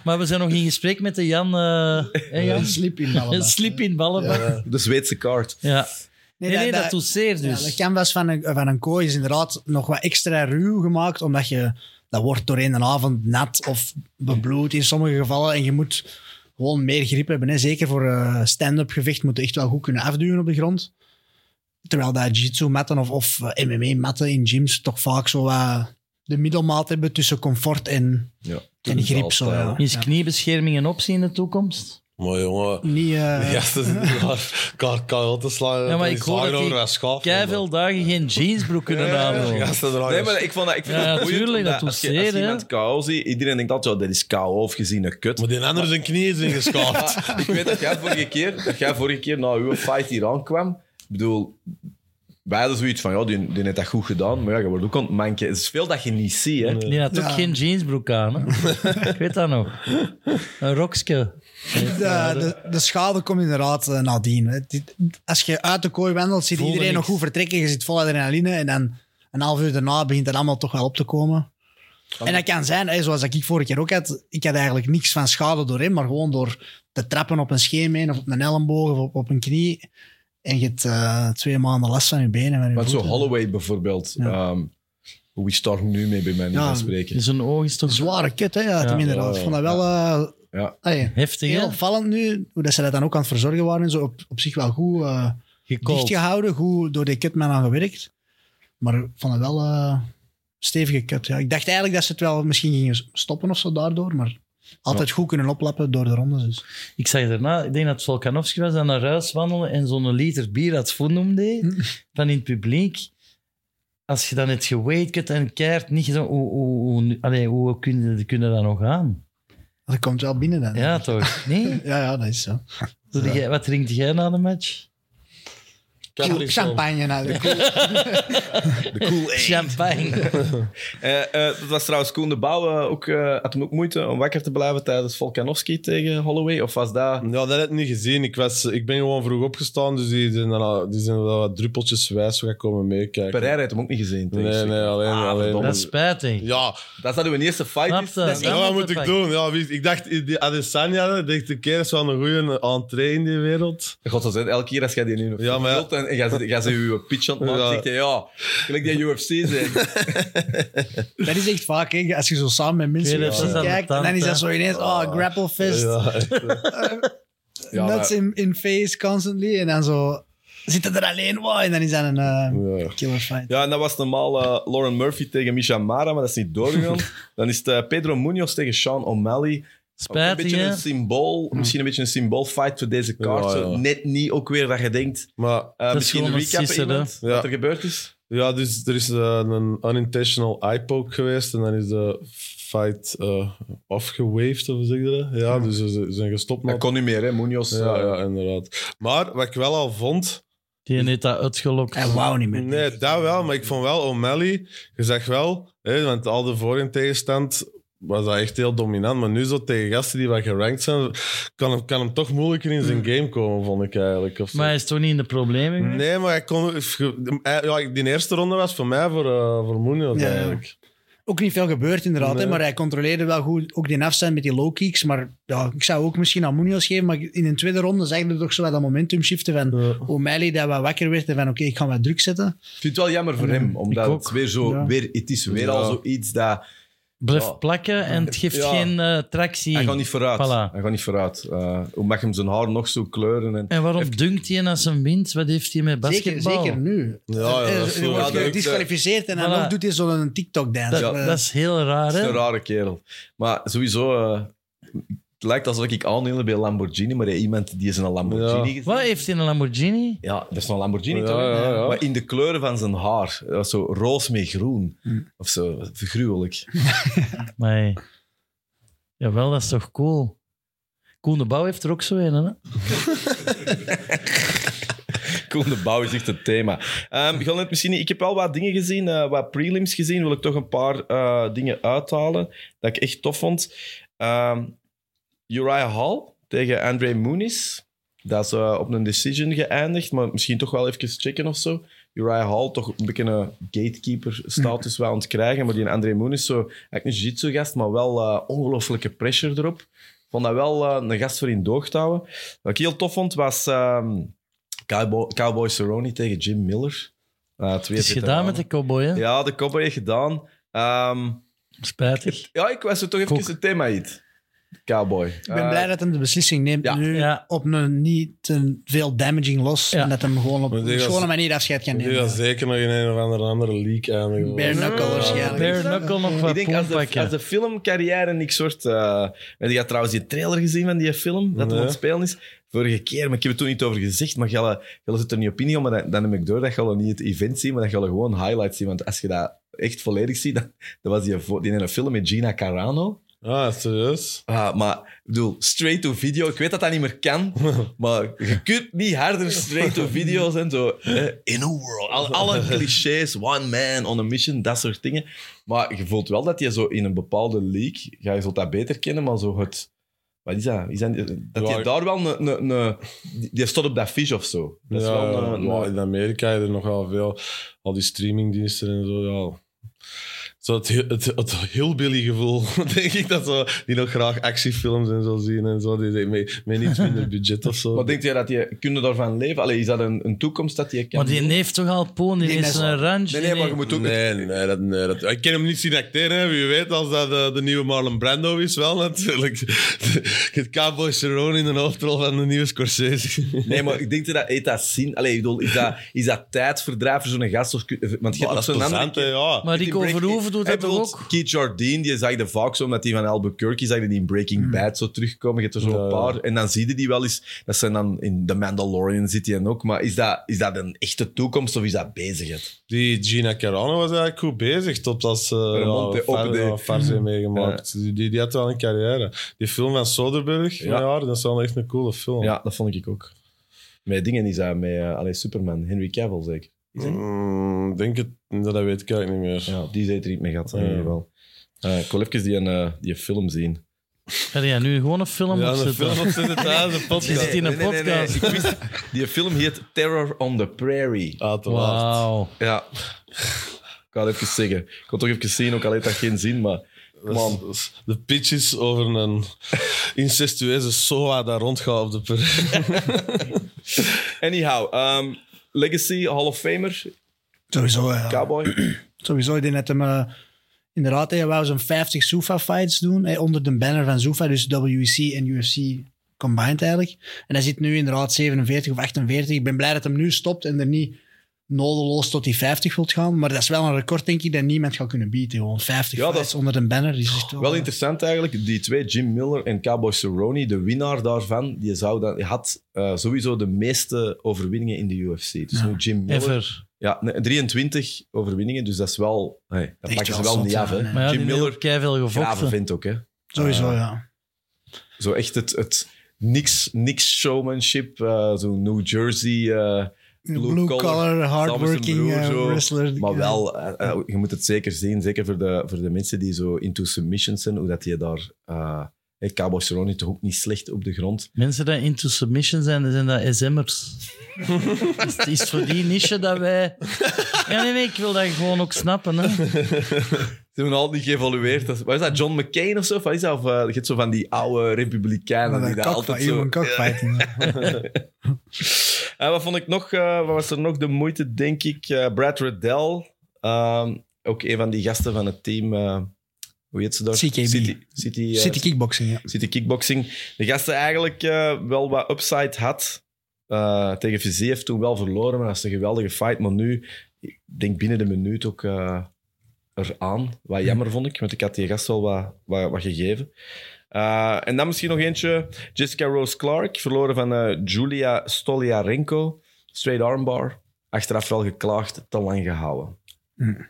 Speaker 2: Maar we zijn nog in gesprek met de Jan. eh hè, Jan?
Speaker 4: een slip in
Speaker 2: Een
Speaker 4: ballen.
Speaker 2: slip in ballenbak. Ja.
Speaker 1: De Zweedse kaart.
Speaker 2: Nee, nee, dat, doet zeer
Speaker 4: Ja,
Speaker 2: dus.
Speaker 4: de canvas van een, van een kooi is inderdaad nog wat extra ruw gemaakt, omdat je, dat wordt doorheen de avond nat of bebloed in sommige gevallen. En je moet gewoon meer grip hebben. Hè. Zeker voor eh, stand-up gevecht moet je echt wel goed kunnen afduwen op de grond. Terwijl dat jiu-jitsu-matten of, of eh, MMA-matten in gyms toch vaak zo wat de middelmaat hebben tussen comfort en,
Speaker 1: Ja.
Speaker 4: en grip. Zo, ja.
Speaker 1: Oh,
Speaker 2: Is kniebescherming een optie in de toekomst?
Speaker 3: Maar jongen,
Speaker 4: Niet, eh,
Speaker 3: ja, dat is niet waar. KL te slaan.
Speaker 2: Ja, maar ik hoor dat
Speaker 3: over
Speaker 2: die
Speaker 3: een schaaf.
Speaker 2: Kei veel dagen geen jeansbroek kunnen aandoen.
Speaker 3: Ja, ze draaien.
Speaker 1: Nee, maar ik, vond dat, ik vind
Speaker 2: Ja,
Speaker 1: dat boeiend.
Speaker 2: tuurlijk,
Speaker 1: omdat
Speaker 2: dat doet
Speaker 1: als je, als
Speaker 2: zeer,
Speaker 1: je
Speaker 2: hè.
Speaker 1: iemand KO ziet, iedereen denkt altijd, ja, dat is KO of gezien een kut.
Speaker 3: Maar die andere zijn knieën zijn geschaafd.
Speaker 1: ik weet dat jij vorige keer, dat jij vorige keer na uw fight hier aankwam. Ik bedoel, wij hadden zoiets van, ja, die, die heeft dat goed gedaan. Maar ja, je wordt ook aan het manken. Het is veel dat je niet ziet, hè.
Speaker 2: Die had ook
Speaker 4: Ja.
Speaker 2: geen jeansbroek aan. Hè? ik weet dat nog. Een rokske.
Speaker 4: De, de, de schade komt inderdaad eh, nadien. hè. Dit- Als je uit de kooi wandelt, ziet
Speaker 2: Voelde
Speaker 4: iedereen nog
Speaker 2: niks.
Speaker 4: goed vertrekken. Je zit vol adrenaline en dan een half uur daarna begint dat allemaal toch wel op te komen. En dat kan zijn, hè, zoals dat ik vorige keer ook had, ik had eigenlijk niks van schade doorheen, maar gewoon door te trappen op een scheen heen of op een elleboog of op, op een knie. En je hebt eh, twee maanden last van je benen. en Van
Speaker 1: Want
Speaker 4: je
Speaker 1: zo
Speaker 4: voeten.
Speaker 1: Holloway bijvoorbeeld,
Speaker 4: Ja.
Speaker 1: ehm, hoe is daar nu mee bij mij niet
Speaker 4: Ja.
Speaker 1: van spreken?
Speaker 2: Zijn oog is toch
Speaker 4: Zware kut, hè? Ja,
Speaker 2: Ja.
Speaker 4: inderdaad. Ik vond dat wel... eh,
Speaker 1: Ja.
Speaker 4: allee,
Speaker 2: heftig,
Speaker 4: heel
Speaker 2: hè?
Speaker 4: opvallend nu, hoe dat ze dat dan ook aan het verzorgen waren en zo. Op, op zich wel goed... eh,
Speaker 2: Gekookt.
Speaker 4: dichtgehouden, goed door die cutman aan gewerkt. Maar van een wel eh, stevige cut. Ja. Ik dacht eigenlijk dat ze het wel misschien gingen stoppen of zo daardoor, maar altijd goed kunnen oplappen door de rondes. Dus.
Speaker 2: Ik zag daarna, ik denk dat het Volkanovski was, aan naar huis wandelen en zo'n liter bier uit Voendum
Speaker 1: Hm.
Speaker 2: deed, van in het publiek. Als je dan het geweight cut en keert, niet zo, hoe, hoe, hoe, allee, hoe kun je, kun je dat nog aan?
Speaker 4: Dat komt wel binnen dan.
Speaker 2: Ja, toch? Nee?
Speaker 4: ja, ja, dat is zo.
Speaker 2: Doe jij- wat drinkt jij na de match?
Speaker 4: Champagne. nou, de koe.
Speaker 1: De cool
Speaker 2: Champagne.
Speaker 1: Eh, eh, dat was trouwens Koen de Bouw. eh, ook, eh, had hem ook moeite om wakker te blijven tijdens Volkanovski tegen Holloway? Of was dat...
Speaker 3: Ja, dat heb ik niet gezien. Ik, was, ik ben gewoon vroeg opgestaan, dus die zijn, dan al- die zijn wel wat druppeltjes wijs gaan komen meekijken.
Speaker 1: Pereira heeft hem ook niet gezien. tegen
Speaker 3: Nee,
Speaker 1: zich.
Speaker 3: nee, alleen.
Speaker 1: Ah,
Speaker 3: alleen.
Speaker 1: verdomme.
Speaker 2: Dat is spijtig.
Speaker 3: Ja,
Speaker 1: Dat is dat uw eerste fight is.
Speaker 2: Snap je?
Speaker 1: Dat is
Speaker 3: ja,
Speaker 2: Ja,
Speaker 3: wat
Speaker 2: dat
Speaker 3: moet ik
Speaker 2: pak.
Speaker 3: doen? Ja, wie- ik dacht, eh, die Adesanya, dacht ik, keer is wel een goede entree in die wereld.
Speaker 1: God, zo zijn elke keer als jij die nu nog
Speaker 3: Ja, maar ja.
Speaker 1: vertelt en en jij zit- jij ze je pitch aan het maken,
Speaker 3: Ja.
Speaker 1: zegt hij, ja, gelijk die UFC zijn.
Speaker 4: dat is echt vaak, hè. als je zo samen met mensen
Speaker 2: Ik weet
Speaker 4: UFC
Speaker 2: het, dat is aan de
Speaker 4: kijkt, en dan
Speaker 2: tand,
Speaker 4: is dat
Speaker 2: hè. Ah.
Speaker 4: zo ineens, oh, grapple fist,
Speaker 3: Ja, echt, eh.
Speaker 1: Ja,
Speaker 4: nuts
Speaker 1: maar-
Speaker 4: in, in face constantly, en dan zo zit het er alleen, wow, en dan is dat een eh,
Speaker 3: Ja.
Speaker 4: killer fight.
Speaker 1: ja, en dat was normaal eh, Lauren Murphy tegen Misha Mara, maar dat is niet doorgegaan. Dan is het eh, Pedro Munoz tegen Sean O'Malley. Ook een
Speaker 2: Spijtig,
Speaker 1: beetje
Speaker 2: hè?
Speaker 1: een symbool, misschien een beetje een symboolfight voor deze kaart.
Speaker 3: Ja,
Speaker 1: Zo
Speaker 3: ja.
Speaker 1: Net niet ook weer dat je denkt,
Speaker 3: Maar
Speaker 1: eh,
Speaker 2: is
Speaker 1: misschien
Speaker 2: gewoon een
Speaker 1: recappen
Speaker 2: sisser, hè?
Speaker 1: iemand,
Speaker 3: Ja.
Speaker 1: wat er gebeurd is.
Speaker 3: Ja, dus er is eh, een unintentional eye poke geweest en dan is de fight eh afgewaved, of hoe zeg je dat? Ja, dus ze ze zijn gestopt.
Speaker 1: Dat
Speaker 3: met-
Speaker 1: kon niet meer, hè, Munoz.
Speaker 3: ja, ja, inderdaad. Maar wat ik wel al vond,
Speaker 2: Die heeft dat uitgelokt.
Speaker 4: Hij wou Eh, niet meer.
Speaker 3: Nee, dat wel, maar ik vond wel O'Malley, je zegt wel, hè, want al de voor- en tegenstand was dat echt heel dominant. Maar nu zo tegen gasten die wat gerankt zijn, kan hem, kan hem toch moeilijker in
Speaker 4: Mm.
Speaker 3: zijn game komen, vond ik eigenlijk. Of zo.
Speaker 2: Maar hij is toch niet in de problemen? geweest?
Speaker 3: Nee, maar hij kon, hij- ja, die eerste ronde was voor mij voor, eh voor Munoz
Speaker 4: Ja, ja.
Speaker 3: eigenlijk.
Speaker 4: Ook niet veel gebeurd inderdaad,
Speaker 3: Nee.
Speaker 4: hè, maar hij controleerde wel goed. Ook die afstand met die low kicks. Maar ja, ik zou ook misschien aan Munoz geven, maar in een tweede ronde zag je toch zo wat dat momentum shiften van
Speaker 3: Ja.
Speaker 4: O'Malley dat wat wakker werd en van oké, ik ga wat druk zetten.
Speaker 1: Ik vind het wel jammer voor hem, omdat
Speaker 2: ook.
Speaker 1: het weer zo...
Speaker 4: Ja.
Speaker 1: Weer, het is weer
Speaker 3: Ja.
Speaker 1: al zoiets dat...
Speaker 2: Blijft
Speaker 1: Ja.
Speaker 2: plakken en het geeft
Speaker 1: Ja.
Speaker 2: geen eh, tractie.
Speaker 1: Hij gaat niet vooruit.
Speaker 2: Voilà.
Speaker 1: Hij gaat niet vooruit. Eh, hoe mag hem zijn haar nog zo kleuren? En...
Speaker 2: En waarom dunkt hij als een wind? Wat heeft hij met
Speaker 4: Zeker,
Speaker 2: basketbal?
Speaker 4: zeker nu.
Speaker 3: Ja, ja,
Speaker 4: Eh,
Speaker 3: dat is
Speaker 4: eh,
Speaker 3: zo-
Speaker 4: wordt
Speaker 1: ja, dat-
Speaker 4: gedisqualificeerd en dan
Speaker 2: Voilà.
Speaker 4: nog doet hij zo'n Eh, TikTok-dance.
Speaker 2: Dat,
Speaker 1: Ja.
Speaker 2: dat is heel raar,
Speaker 1: Het is
Speaker 2: hè?
Speaker 1: een rare kerel. Maar sowieso... eh, het lijkt alsof ik aanhielde bij Lamborghini, maar hij iemand die is in een Lamborghini gezien.
Speaker 2: Wat heeft hij een Lamborghini?
Speaker 1: Ja, dat is een Lamborghini
Speaker 3: Ja,
Speaker 1: toch?
Speaker 3: ja, ja.
Speaker 1: Maar in de kleuren van zijn haar. Dat was zo roos met groen.
Speaker 3: Hm.
Speaker 1: Of zo, gruwelijk.
Speaker 2: Maar jawel, dat is toch cool? Koen de Bouw heeft er ook zo een, hè?
Speaker 1: Koen de Bouw is echt het thema. Ehm, Gaan we het misschien, niet- ik heb wel wat dingen gezien, eh, wat prelims gezien. Wil ik toch een paar eh, dingen uithalen dat ik echt tof vond. Ehm, Uriah Hall tegen Andre Muniz. Dat is eh, op een decision geëindigd, maar misschien toch wel even checken of zo. Uriah Hall toch een beetje een gatekeeper-status wel aan het krijgen. Maar die André Moon is zo, eigenlijk een jiu-jitsu-gast, maar wel eh, ongelooflijke pressure erop. Ik vond dat wel eh, een gast voor in doog te houden. Wat ik heel tof vond, was ehm, Cowboy, Cowboy Cerrone tegen Jim Miller. Eh, twee
Speaker 2: Het is gedaan met de cowboy, hè?
Speaker 1: Ja, de cowboy heeft gedaan. Ehm,
Speaker 2: Spijtig.
Speaker 1: ja, ik was er toch even
Speaker 2: Kok.
Speaker 1: het thema uit. Cowboy. Eh,
Speaker 4: Ik ben blij dat hij de beslissing neemt
Speaker 1: ja.
Speaker 4: nu
Speaker 2: Ja.
Speaker 4: op een niet te veel damaging los.
Speaker 2: Ja.
Speaker 4: En dat hem gewoon op
Speaker 3: Maar die
Speaker 4: een
Speaker 3: was-
Speaker 4: schone manier afscheid kan
Speaker 3: Ik denk
Speaker 4: nemen.
Speaker 3: dat zeker nog in een of andere, andere league eindigen.
Speaker 4: Bare knuckle
Speaker 2: Eh,
Speaker 1: Ja.
Speaker 4: waarschijnlijk.
Speaker 2: Bare knuckle nog
Speaker 1: Ik
Speaker 2: wat
Speaker 1: denk als de, als
Speaker 2: poenpakken.
Speaker 1: de filmcarrière niks wordt. eh en je had trouwens die trailer gezien van die film dat er
Speaker 3: Nee.
Speaker 1: aan het spelen is. Vorige keer, maar ik heb het toen niet over gezegd. Maar Gelle, Gelle zit er niet op ingaan, maar dan, dan neem ik door dat Gelle niet het event zien, maar dat Gelle gewoon highlights zien. Want als je dat echt volledig ziet, dan, dan was die, vo- die in een film met Gina Carano.
Speaker 3: Ah, serieus?
Speaker 1: Ah, maar ik bedoel, straight to video. Ik weet dat dat niet meer kan, maar je kunt niet harder straight to video's en zo. hè. In a world. Al- alle clichés, one man on a mission, dat soort dingen. Maar je voelt wel dat je zo in een bepaalde league, ja, je zult dat beter kennen, maar zo het. Wat is dat? Is dat dat
Speaker 3: Ja,
Speaker 1: je
Speaker 3: ik-
Speaker 1: daar wel een. een, een- die- die stond op dat fish of zo. Dat is
Speaker 3: ja,
Speaker 1: wel
Speaker 3: ja,
Speaker 1: een-
Speaker 3: maar
Speaker 1: een-
Speaker 3: in Amerika heb je er nogal veel. Al die streamingdiensten en zo, ja. Zo het, het, het hillbilly gevoel, denk ik, dat zo, die nog graag actiefilms en zo zien en zo, die, die, met, met iets minder budget of zo.
Speaker 1: Maar denk je dat je kunnen daarvan leven? Allee, is dat een, een toekomst dat je kan?
Speaker 2: Maar die heeft toch al poen, die
Speaker 4: Die
Speaker 2: is
Speaker 4: is-
Speaker 2: een ranch.
Speaker 1: nee, nee, maar je moet ook.
Speaker 3: nee, nee, dat, nee dat, ik ken hem niet zien acteren, hè. wie weet als dat eh, de nieuwe Marlon Brando is, wel natuurlijk. Het cowboy Cerrone in de hoofdrol van de nieuwe Scorsese.
Speaker 1: Nee, maar ik denk dat dat, heeft dat zin. Allee, ik bedoel, is dat, is dat tijdverdrijf voor zo'n gast? Of, kun- eh, want je
Speaker 3: Maar
Speaker 1: hebt
Speaker 3: dat is
Speaker 1: ook zo'n andere
Speaker 3: plezant, hè, ja.
Speaker 2: Maar Rico
Speaker 1: Breaking-
Speaker 2: Verhoeven doet
Speaker 1: Hey,
Speaker 2: dat toch
Speaker 1: bijvoorbeeld
Speaker 2: ook?
Speaker 1: Keith Jardine, die zag de vaak zo, omdat die van Albuquerque zag je die in Breaking Bad zo terugkomen. Je hebt er zo een
Speaker 3: Ja, ja.
Speaker 1: paar. En dan zie je die wel eens. Dat zijn dan in The Mandalorian zit die en ook. Maar is dat, is dat een echte toekomst of is dat bezigheid?
Speaker 3: Die Gina Carano was eigenlijk goed bezig, totdat ze eh,
Speaker 1: Vermont,
Speaker 3: ja,
Speaker 1: hè,
Speaker 3: Far-
Speaker 1: op de-
Speaker 3: ja, Farsi meegemaakt. Die, die, die had wel een carrière. Die film van Soderbergh,
Speaker 1: Ja.
Speaker 3: ja. ja, dat is wel echt een coole film.
Speaker 1: Ja, dat vond ik ook. Met dingen is dat, met eh, allee, Superman, Henry Cavill zeker. Is hij?
Speaker 3: Mm, denk het, dat weet ik eigenlijk niet meer.
Speaker 1: Ja, die zit er niet mee gehad. in
Speaker 3: Ja.
Speaker 1: ieder geval. Eh, ik wil even die, eh, die film zien.
Speaker 2: Ga jij nu gewoon een film
Speaker 3: Ja,
Speaker 2: opzetten?
Speaker 3: de film op zit het aan, de
Speaker 2: Je
Speaker 3: podcast.
Speaker 2: zit in een
Speaker 1: Nee, nee, nee, nee.
Speaker 2: podcast.
Speaker 1: Ik wist- die film heet Terror on the Prairie.
Speaker 3: Uiteraard.
Speaker 2: Wauw.
Speaker 1: Ja. Ik ga het even zeggen. Ik kon toch even zien, ook al heeft dat geen zin, maar...
Speaker 3: Dat is-
Speaker 1: Man.
Speaker 3: dat is- De pitch is over een incestueuze soa daar rondgaat op de per-
Speaker 1: Anyhow, ehm, Legacy, Hall of Famer,
Speaker 4: Sowieso, ja.
Speaker 1: Cowboy.
Speaker 4: Sowieso, ik denk dat hem... eh, inderdaad, hij wou zo'n 50 Sofa-fights doen, eh, onder de banner van Sofa, dus WEC en UFC combined eigenlijk. En hij zit nu inderdaad 47 of 48. Ik ben blij dat hem nu stopt en er niet nodeloos tot die 50 wilt gaan. Maar dat is wel een record, denk ik, dat niemand gaat kunnen bieden. Gewoon 50
Speaker 1: Ja, dat-
Speaker 4: fights onder de banner. dus Is eh, echt wel,
Speaker 1: Wel interessant eigenlijk, die twee, Jim Miller en Cowboy Cerrone, de winnaar daarvan, die zou dan, die had eh, sowieso de meeste overwinningen in de UFC. Dus nu Jim Miller...
Speaker 2: Ever.
Speaker 1: Ja, nee, 23 overwinningen, dus dat is wel... hey, dat
Speaker 4: Echt
Speaker 1: pakken ze
Speaker 4: wel
Speaker 1: wel niet
Speaker 4: zot,
Speaker 1: af, hè.
Speaker 4: ja, nee.
Speaker 2: Maar ja,
Speaker 1: Jim
Speaker 2: die
Speaker 1: Miller,
Speaker 2: Miller, keiveel
Speaker 1: graven
Speaker 2: gevochten.
Speaker 1: vindt ook, hè. Ah,
Speaker 4: Sowieso, ja.
Speaker 1: Zo echt het, het niks, niks showmanship, eh, zo New Jersey... eh,
Speaker 4: Blue, collar, hardworking
Speaker 1: Broer,
Speaker 4: eh,
Speaker 1: zo.
Speaker 4: wrestler.
Speaker 1: Maar wel, eh, eh, je moet het zeker zien, zeker voor de, voor de mensen die zo into submissions zijn, hoe dat je daar... eh hey, Cabo Cerrone toch ook niet slecht op de grond.
Speaker 2: Mensen die into submission zijn, dan zijn dat SM'ers. dus het is voor die niche dat wij... Ja, nee, nee, ik wil dat gewoon ook snappen. Hè.
Speaker 1: Ze hebben al niet geëvolueerd. Dat is- Wat is dat, John McCain of zo? Of Wat is dat? Of, eh, je hebt zo van die oude republikeinen
Speaker 4: Maar
Speaker 1: die
Speaker 4: dat
Speaker 1: daar altijd
Speaker 4: eh, cockfight,
Speaker 1: zo...
Speaker 4: human cockfighting.
Speaker 1: Eh, wat vond ik nog? eh, wat was er nog de moeite, denk ik? Eh, Brad Riddell. ehm, ook een van die gasten van het team. eh, hoe heet ze daar?
Speaker 4: CKB.
Speaker 1: City, City, eh,
Speaker 4: City kickboxing, ja.
Speaker 1: City Kickboxing. De gasten eigenlijk eh, wel wat upside had. Eh, tegen Viziev toen wel verloren, maar dat is een geweldige fight. Maar nu, ik denk binnen de minuut ook eh eraan. Wat jammer vond ik, want ik had die gast wel wat, wat, wat gegeven. Eh, en dan misschien nog eentje. Jessica Rose Clark, verloren van eh, Julia Stolyarenko. Straight armbar. Achteraf wel geklaagd, te lang gehouden.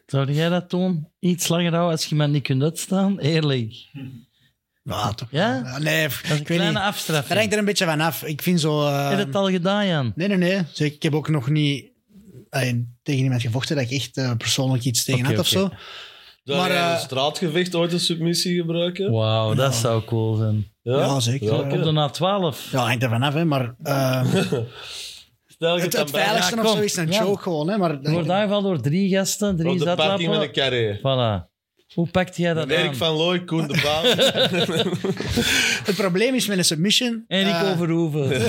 Speaker 2: Zou jij dat doen? Iets langer houden als je iemand niet kunt uitstaan? Eerlijk.
Speaker 4: Ja, toch.
Speaker 2: Ja?
Speaker 4: Ja, Nee,
Speaker 2: Dat is een
Speaker 4: ik weet niet.
Speaker 2: kleine
Speaker 4: Dat
Speaker 2: afstraffing.
Speaker 4: hangt er een beetje van af. Ik vind zo... eh,
Speaker 2: Heb je dat al gedaan, Jan?
Speaker 4: Nee, nee, nee. Dus ik heb ook nog niet ay, tegen iemand gevochten dat ik echt eh, persoonlijk iets tegen
Speaker 2: Oké,
Speaker 4: had of
Speaker 2: oké.
Speaker 4: zo.
Speaker 3: Zou
Speaker 4: Maar,
Speaker 3: jij in
Speaker 4: eh,
Speaker 3: een straatgevecht ooit een submissie gebruiken?
Speaker 2: Wauw, dat zou cool zijn.
Speaker 4: Ja, zeker.
Speaker 3: Welke?
Speaker 2: Op de A12.
Speaker 4: Ja, hangt er van af, hè. Maar eh,
Speaker 3: Stel je
Speaker 4: het,
Speaker 3: het
Speaker 4: het
Speaker 3: bij
Speaker 4: veiligste
Speaker 2: Ja,
Speaker 4: of
Speaker 2: kom.
Speaker 4: zo is een
Speaker 2: Ja.
Speaker 4: choke gewoon, hè. Maar,
Speaker 2: Wordt aangevallen door drie gasten, drie
Speaker 3: op de parking met
Speaker 2: zatlappen.
Speaker 3: een carré.
Speaker 2: Voilà. Hoe pakt jij dat
Speaker 3: Erik
Speaker 2: aan?
Speaker 3: van Looy, Koen de Baan.
Speaker 4: het probleem is met een submission...
Speaker 2: Erik
Speaker 4: eh,
Speaker 2: Overhoeven.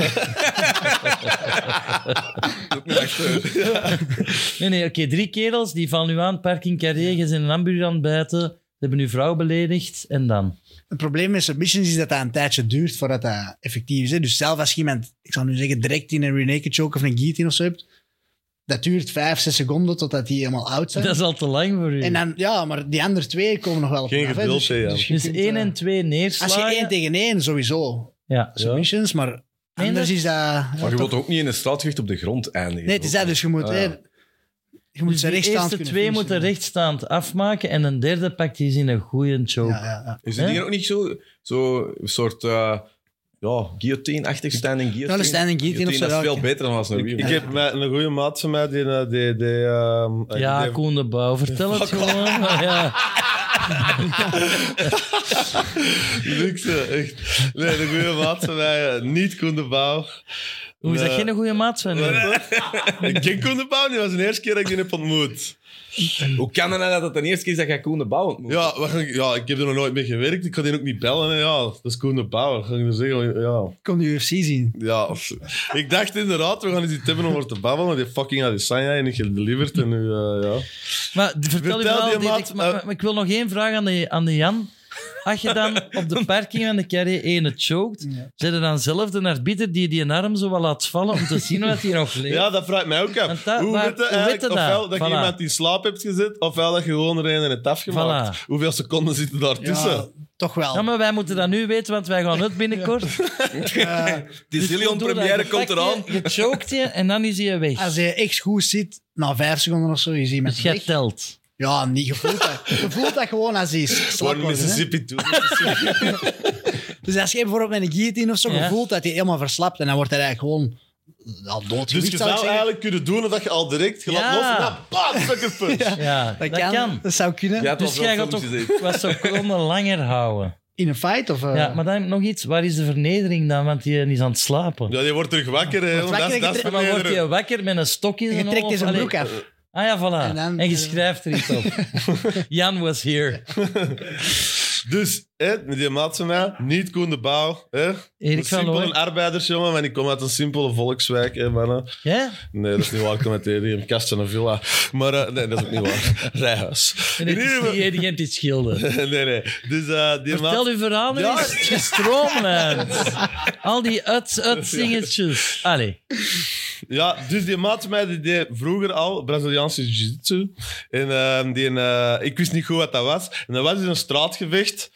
Speaker 2: nee, nee, oké. Drie kerels die van u aan, parking carré, je zijn een ambulant aan het bijten, ze hebben uw vrouw beledigd, en dan?
Speaker 4: Het probleem met submissions is dat dat een tijdje duurt voordat dat effectief is. Hè. Dus zelf als je iemand, ik zal nu zeggen, direct in een renaked choke of een guillotine of zo hebt, dat duurt vijf, zes seconden totdat die helemaal oud zijn.
Speaker 2: Dat is al te lang voor u.
Speaker 4: En dan, ja, maar die andere twee komen nog wel op
Speaker 3: Geen
Speaker 4: af, hè.
Speaker 3: geduld,
Speaker 4: Dus-
Speaker 3: hè, Jan.
Speaker 4: dus je
Speaker 2: dus
Speaker 4: kunt,
Speaker 2: één
Speaker 4: eh,
Speaker 2: en twee
Speaker 4: Als
Speaker 2: neerslagen.
Speaker 4: je één tegen één, sowieso.
Speaker 2: Ja.
Speaker 4: Submissions, maar anders
Speaker 2: dat-
Speaker 4: is dat... ja,
Speaker 1: Maar je
Speaker 4: toch-
Speaker 1: wilt ook niet in een straatgevecht op de grond eindigen.
Speaker 4: nee, het is dat, dus je moet...
Speaker 1: Ah,
Speaker 4: hè,
Speaker 1: ja.
Speaker 4: je moet
Speaker 2: Dus
Speaker 4: ze
Speaker 2: de
Speaker 4: rechtstaand
Speaker 2: eerste
Speaker 4: kunnen
Speaker 2: twee
Speaker 4: finishen.
Speaker 2: moeten rechtstaand afmaken en een derde pakt hij in een goede choke.
Speaker 4: Ja, ja, ja.
Speaker 1: Is het
Speaker 2: Hè?
Speaker 1: hier ook niet zo, zo een soort eh ja, guillotine-achtig standing guillotine?
Speaker 4: Ja, een standing guillotine of zo,
Speaker 1: Dat is
Speaker 4: ja,
Speaker 1: veel
Speaker 4: oké.
Speaker 1: beter dan als een
Speaker 3: Ik, ik
Speaker 1: wheel.
Speaker 3: heb met een goede maat van mij die... eh, die, die ehm, eh,
Speaker 2: Ja,
Speaker 3: die-
Speaker 2: Koen de Bouw, vertel het gewoon. Maar ja.
Speaker 3: Luxe, echt. Nee, de goede maat van mij, eh, niet Koen de Bouw.
Speaker 2: Hoe is dat
Speaker 3: Nee.
Speaker 2: geen goede maat zijn? hè?
Speaker 3: Ik ken Koen de Bouw niet, dat was de eerste keer dat ik die heb ontmoet.
Speaker 1: Hoe kan het nou dat het de eerste keer is dat je Koen de Bouw ontmoet?
Speaker 3: Ja, wat ga ik- ja, ik heb er nog nooit mee gewerkt, ik kan die ook niet bellen. hè. Ja, dat is Koen de Bouw, wat ga ik er zeggen? Ja,
Speaker 4: Ik kon de UFC zien.
Speaker 3: ja. of- Ik dacht inderdaad, we gaan eens iets hebben om over te babbelen, maar die fucking Adesanya en ik gedeliverd en nu, eh, ja.
Speaker 2: Maar d- vertel,
Speaker 3: Vertel
Speaker 2: je wel,
Speaker 3: die
Speaker 2: Dirk,
Speaker 3: maat,
Speaker 2: maar,
Speaker 3: eh.
Speaker 2: maar- maar ik wil nog één vraag aan de, aan de Jan. Als je dan op de parking van de carré ene choked,
Speaker 4: Ja.
Speaker 2: zet er dan zelf de arbiter die die arm zo wel laat vallen om te zien wat hij nog leeft?
Speaker 3: Ja, dat vraagt mij ook
Speaker 2: Want
Speaker 3: af.
Speaker 2: dat-
Speaker 3: hoe
Speaker 2: maar
Speaker 3: weet je
Speaker 2: hoe
Speaker 3: eigenlijk
Speaker 2: weet je dat?
Speaker 3: ofwel dat je
Speaker 2: Voilà.
Speaker 3: iemand in slaap hebt gezet, ofwel dat je gewoon er een en het afgemaakt.
Speaker 2: Voilà.
Speaker 3: Hoeveel seconden zitten daartussen?
Speaker 4: Ja, toch wel.
Speaker 2: Ja, maar wij moeten dat nu weten, want wij gaan het binnenkort. Dus
Speaker 4: Eh,
Speaker 1: die Zillion première komt eraan.
Speaker 2: Je choked je en dan is hij weg.
Speaker 4: als hij echt goed zit, na vijf seconden of zo, je ziet met
Speaker 2: Dus jij telt.
Speaker 4: Ja, niet gevoeld. Dat. Je voelt dat gewoon als hij slap
Speaker 3: One
Speaker 4: wordt. hè.
Speaker 3: Mississippi, two Mississippi.
Speaker 4: Dus als je bijvoorbeeld met een guillotine of zo,
Speaker 2: Ja.
Speaker 4: je voelt dat hij helemaal verslapt en dan wordt hij eigenlijk gewoon al dood.
Speaker 3: dus je zou eigenlijk kunnen doen dat je al direct je
Speaker 2: Ja.
Speaker 3: laat los en dan bam, sucker punch.
Speaker 2: Ja, dat,
Speaker 4: Dat
Speaker 2: kan.
Speaker 4: kan, dat zou kunnen.
Speaker 1: Ja, het
Speaker 2: Dus
Speaker 1: was wel
Speaker 2: jij gaat
Speaker 1: filmpjes,
Speaker 2: toch
Speaker 1: hè.
Speaker 2: wat seconden langer houden.
Speaker 4: In een fight of... eh,
Speaker 2: Ja, maar dan nog iets. Waar is de vernedering dan? Want die is aan het slapen.
Speaker 3: Ja, die wordt terug wakker. hè, want
Speaker 4: wakker
Speaker 3: dat is-
Speaker 4: en
Speaker 3: dat is
Speaker 2: Ja, maar wordt
Speaker 3: vernederen.
Speaker 2: je wakker met een stok in
Speaker 4: Je
Speaker 2: zijn
Speaker 4: trekt
Speaker 2: hol?
Speaker 4: eens een
Speaker 2: Allee.
Speaker 4: broek af.
Speaker 2: Ah ja, voilà. En,
Speaker 4: En dan- eh,
Speaker 2: je schrijft er iets op. Jan was here.
Speaker 3: Dus, hè, met die maat van mij, niet Koen de Bouw. Hè.
Speaker 2: Erik van
Speaker 3: simpel een
Speaker 2: Looy.
Speaker 3: arbeidersjongen, maar ik kom uit een simpele volkswijk, hè, mannen.
Speaker 2: Ja?
Speaker 3: Nee, dat is niet waar. Ik kom uit Edegem, Kasten een villa. Maar eh, nee, dat is ook niet waar. Rijhuis.
Speaker 2: En het
Speaker 3: In
Speaker 2: is
Speaker 3: ieder
Speaker 2: niet
Speaker 3: geval-
Speaker 2: Erik Gent iets schilder.
Speaker 3: Nee, nee. Dus eh die
Speaker 2: Vertel
Speaker 3: maat...
Speaker 2: uw verhaal maar
Speaker 3: Ja.
Speaker 2: eens. Het is gestroomlijnd. Al die uts, uts dingetjes. Allee.
Speaker 3: Ja, dus die maat van mij die deed vroeger al Braziliaanse ehm, jiu-jitsu. En eh, die, eh, ik wist niet goed wat dat was. En dat was dus een straatgevecht.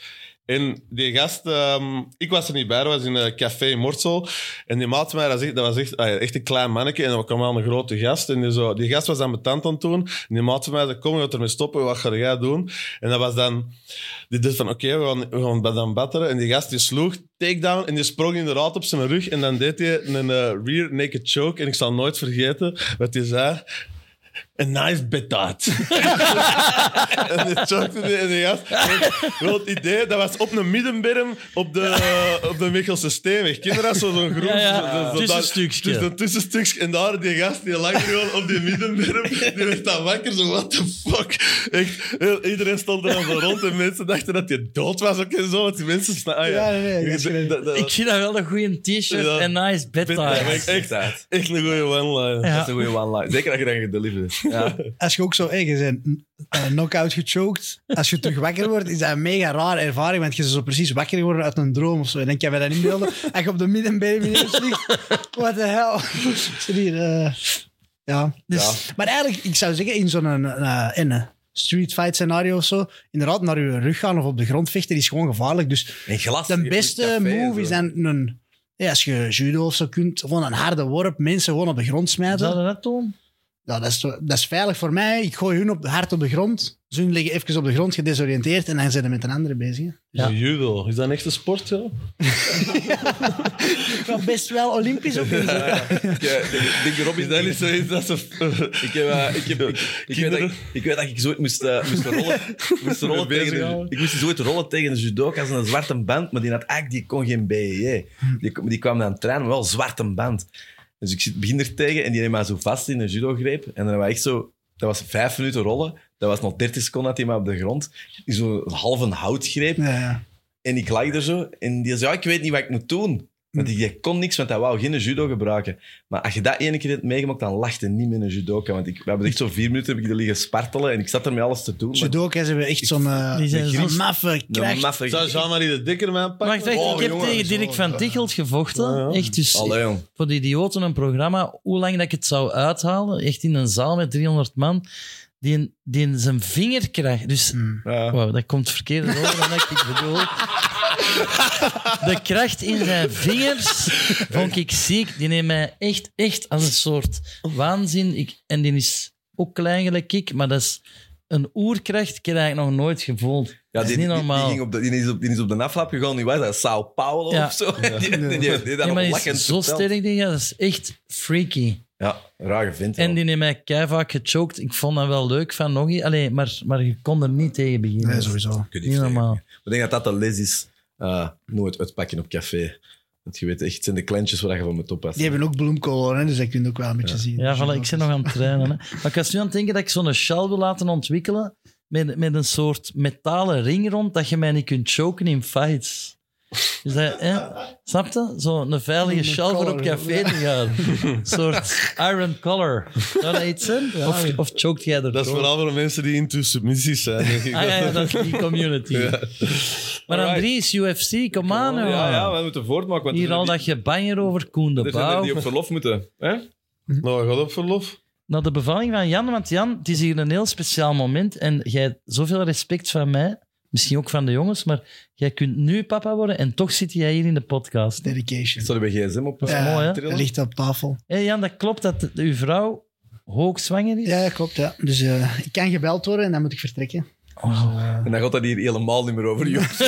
Speaker 3: En die gast, ehm, ik was er niet bij, dat was in een café in Mortsel. En die maat van mij, dat was echt, dat was echt, ah ja, echt een klein manneke. En dan kwam aan een grote gast. En die, zo, die gast was aan mijn tand aan het doen. En die maat van mij zei, kom, je gaat ermee stoppen. Wat ga jij doen? En dat was dan... Die dacht van, oké, we gaan, we gaan ba- dan batteren. En die gast die sloeg, takedown. En die sprong inderdaad op zijn rug. En dan deed hij een eh, rear naked choke. En ik zal nooit vergeten wat hij zei. Een knife betaat. en die chokte die, en die gast. Groot idee, dat was op een middenberm op de, op de Michelse Steenweg. Kinderen, dat is zo- zo'n groen.
Speaker 2: Ja, ja.
Speaker 3: zo- dus zo- zo-
Speaker 2: Tussenstukje.
Speaker 3: daar- tussen- een tussenstukje. En daar, die gast, die lag gewoon op die middenberm. Die werd dan wakker, zo, what the fuck. Echt, heel- iedereen stond er dan zo rond en mensen dachten dat hij dood was ook en zo. Want die mensen... sna- Ah, ja,
Speaker 4: Ja, nee, nee, dat is gelijk.
Speaker 3: Dat- dat-
Speaker 2: Ik vind dat wel een goede t-shirt
Speaker 3: Ja.
Speaker 2: en nice
Speaker 3: Ja,
Speaker 2: bedtime.
Speaker 3: maar ik- echt,
Speaker 1: uit.
Speaker 3: echt een goede one-liner.
Speaker 1: Dat is een goede one-line. Zeker dat je dan gedeliverd hebt. Ja.
Speaker 4: Als je ook zo hey, je bent eh, knock-out gechoked, als je terug wakker wordt, is dat een mega rare ervaring, want je is zo precies wakker geworden uit een droom of zo. En dan kan je dat inbeelden. Als je op de middenbeen beneden ligt, what the hell. Zit hier, eh, ja. Dus, Maar eigenlijk, ik zou zeggen, in zo'n eh, in een street fight scenario of zo, inderdaad naar je rug gaan of op de grond vechten, is gewoon gevaarlijk. Dus
Speaker 1: En glas. eh,
Speaker 4: de beste
Speaker 1: café en
Speaker 4: move is
Speaker 1: zo.
Speaker 4: dan een... Ja, als je judo of zo kunt, gewoon een harde worp, mensen gewoon op de grond smijten.
Speaker 2: Zou dat doen?
Speaker 4: Ja, dat is, dat is veilig voor mij. Ik gooi hun op, hard op de grond. Ze hun liggen even op de grond, gedesoriënteerd. En dan zijn ze met een andere bezig. hè.
Speaker 2: Ja.
Speaker 3: Judo, is dat echt een sport, joh?
Speaker 4: Ik wil best wel Olympisch op in.
Speaker 1: Ja, ik eh, denk- ik denk erop is
Speaker 3: Is dat niet zoiets dat ze...
Speaker 1: Ik, heb, eh, ik, heb, ik, ik weet dat, ik- ik weet dat ik zoiets moest, eh, moest rollen, moest rollen
Speaker 3: Mee
Speaker 1: tegen de,
Speaker 3: bezighouden.
Speaker 1: ik moest zoiets rollen tegen een judoka als een zwarte band, maar die had eigenlijk die kon geen BEJ. Die, die kwam dan trainen, maar wel zwarte band. Dus ik zit- begin er tegen en die neemt mij zo vast in een judo-greep. En dan was echt zo... Dat was vijf minuten rollen. Dat was nog 30 seconden dat hij mij op de grond. In zo'n halve houtgreep.
Speaker 4: Ja, ja.
Speaker 1: En ik lag er zo. En die zei, ja, ik weet niet wat ik moet doen. Want ik ik kon niks, want hij wou geen judo gebruiken. Maar als je dat ene keer hebt meegemaakt, dan lachte niet met een judoka. Want ik, we hebben echt zo vier minuten heb ik er liggen spartelen en ik zat er met alles te doen. maar
Speaker 4: Judoka's hebben echt zo'n eh,
Speaker 2: Die zijn
Speaker 4: zo'n
Speaker 2: zo-
Speaker 4: maffe
Speaker 1: de
Speaker 4: kracht.
Speaker 1: maffe-
Speaker 3: Zou Jean-Marie de Dikker mij pakken?
Speaker 2: Wacht, wacht,
Speaker 1: Oh,
Speaker 2: ik heb
Speaker 1: jongen,
Speaker 2: tegen Dirk van Tichelt gevochten.
Speaker 3: Ja, ja.
Speaker 2: Echt dus
Speaker 1: Allee, jong.
Speaker 2: voor de idioten een programma. Hoe lang dat ik het zou uithalen, echt in een zaal met 300 man, die, die zijn vinger krijgt. Dus
Speaker 1: Ja.
Speaker 2: Wauw, dat komt verkeerd over dan dat ik bedoel. De kracht in zijn vingers vond ik ziek. Die neemt mij echt, echt als een soort waanzin. Ik, en die is ook klein gelijk ik, maar dat is een oerkracht. Ik heb dat eigenlijk nog nooit gevoeld. dat is
Speaker 1: die,
Speaker 2: niet
Speaker 1: die-
Speaker 2: normaal.
Speaker 1: Die, ging op de, die, is op, die is op de aflap gegaan. Die was dat Sao Paulo
Speaker 2: Ja.
Speaker 1: of zo. Die, die, die, die, die
Speaker 2: Ja,
Speaker 1: dat
Speaker 2: maar die
Speaker 1: lachend
Speaker 2: is zo
Speaker 1: verteld.
Speaker 2: sterk, die gast. dat is echt freaky.
Speaker 1: Ja, raar gevind.
Speaker 2: En die heeft mij kei vaak gechoked. Ik vond dat wel leuk van nog iets. Allee, maar, maar je kon er niet tegen beginnen.
Speaker 4: Nee, sowieso.
Speaker 1: Kun je
Speaker 2: Niet
Speaker 1: zeggen.
Speaker 2: normaal.
Speaker 1: Ik denk dat dat de les is. eh, nooit uitpakken op café. Want je weet echt, het zijn de klantjes waar je van moet oppassen.
Speaker 4: Die hebben ook bloemkool, hè, dus dat kun je ook wel een beetje zien.
Speaker 2: Ja, voilà, ik zit nog aan het trainen. Hè. Maar ik was nu aan het denken dat ik zo'n shell wil laten ontwikkelen met, met een soort metalen ring rond, dat je mij niet kunt choken in fights. Dus dat, hè, snap je? Zo'n veilige shell voor op
Speaker 4: collar,
Speaker 2: café te gaan. Een soort iron collar. Zou dat iets zijn? Of, of choked jij er
Speaker 3: Dat is
Speaker 2: door?
Speaker 3: vooral voor de mensen die into submissies zijn, denk ik.
Speaker 2: Ah ja, ja, dat is die community. Maar Andries, UFC, kom aan.
Speaker 1: ja,
Speaker 2: jongen.
Speaker 1: ja, we moeten voortmaken. Want
Speaker 2: Hier
Speaker 1: er
Speaker 2: al
Speaker 1: zijn
Speaker 2: dat je banjer over Koen de
Speaker 1: er zijn er
Speaker 2: Bouw.
Speaker 1: die op verlof moeten. Hè?
Speaker 3: Nou, gaat op verlof.
Speaker 2: naar de bevalling van Jan. Want Jan, het is hier een heel speciaal moment. En jij hebt zoveel respect van mij, misschien ook van de jongens, maar jij kunt nu papa worden en toch zit jij hier in de podcast. Hé
Speaker 4: Dedication.
Speaker 1: Sorry, bij gsm op.
Speaker 4: Ja,
Speaker 2: mooi, hè?
Speaker 4: dat ligt op tafel.
Speaker 2: Jan, dat klopt dat de- uw vrouw hoogzwanger is?
Speaker 4: Ja, klopt, ja. Dus eh, ik kan gebeld worden en dan moet ik vertrekken.
Speaker 1: En dan gaat dat hier helemaal niet meer over UFC.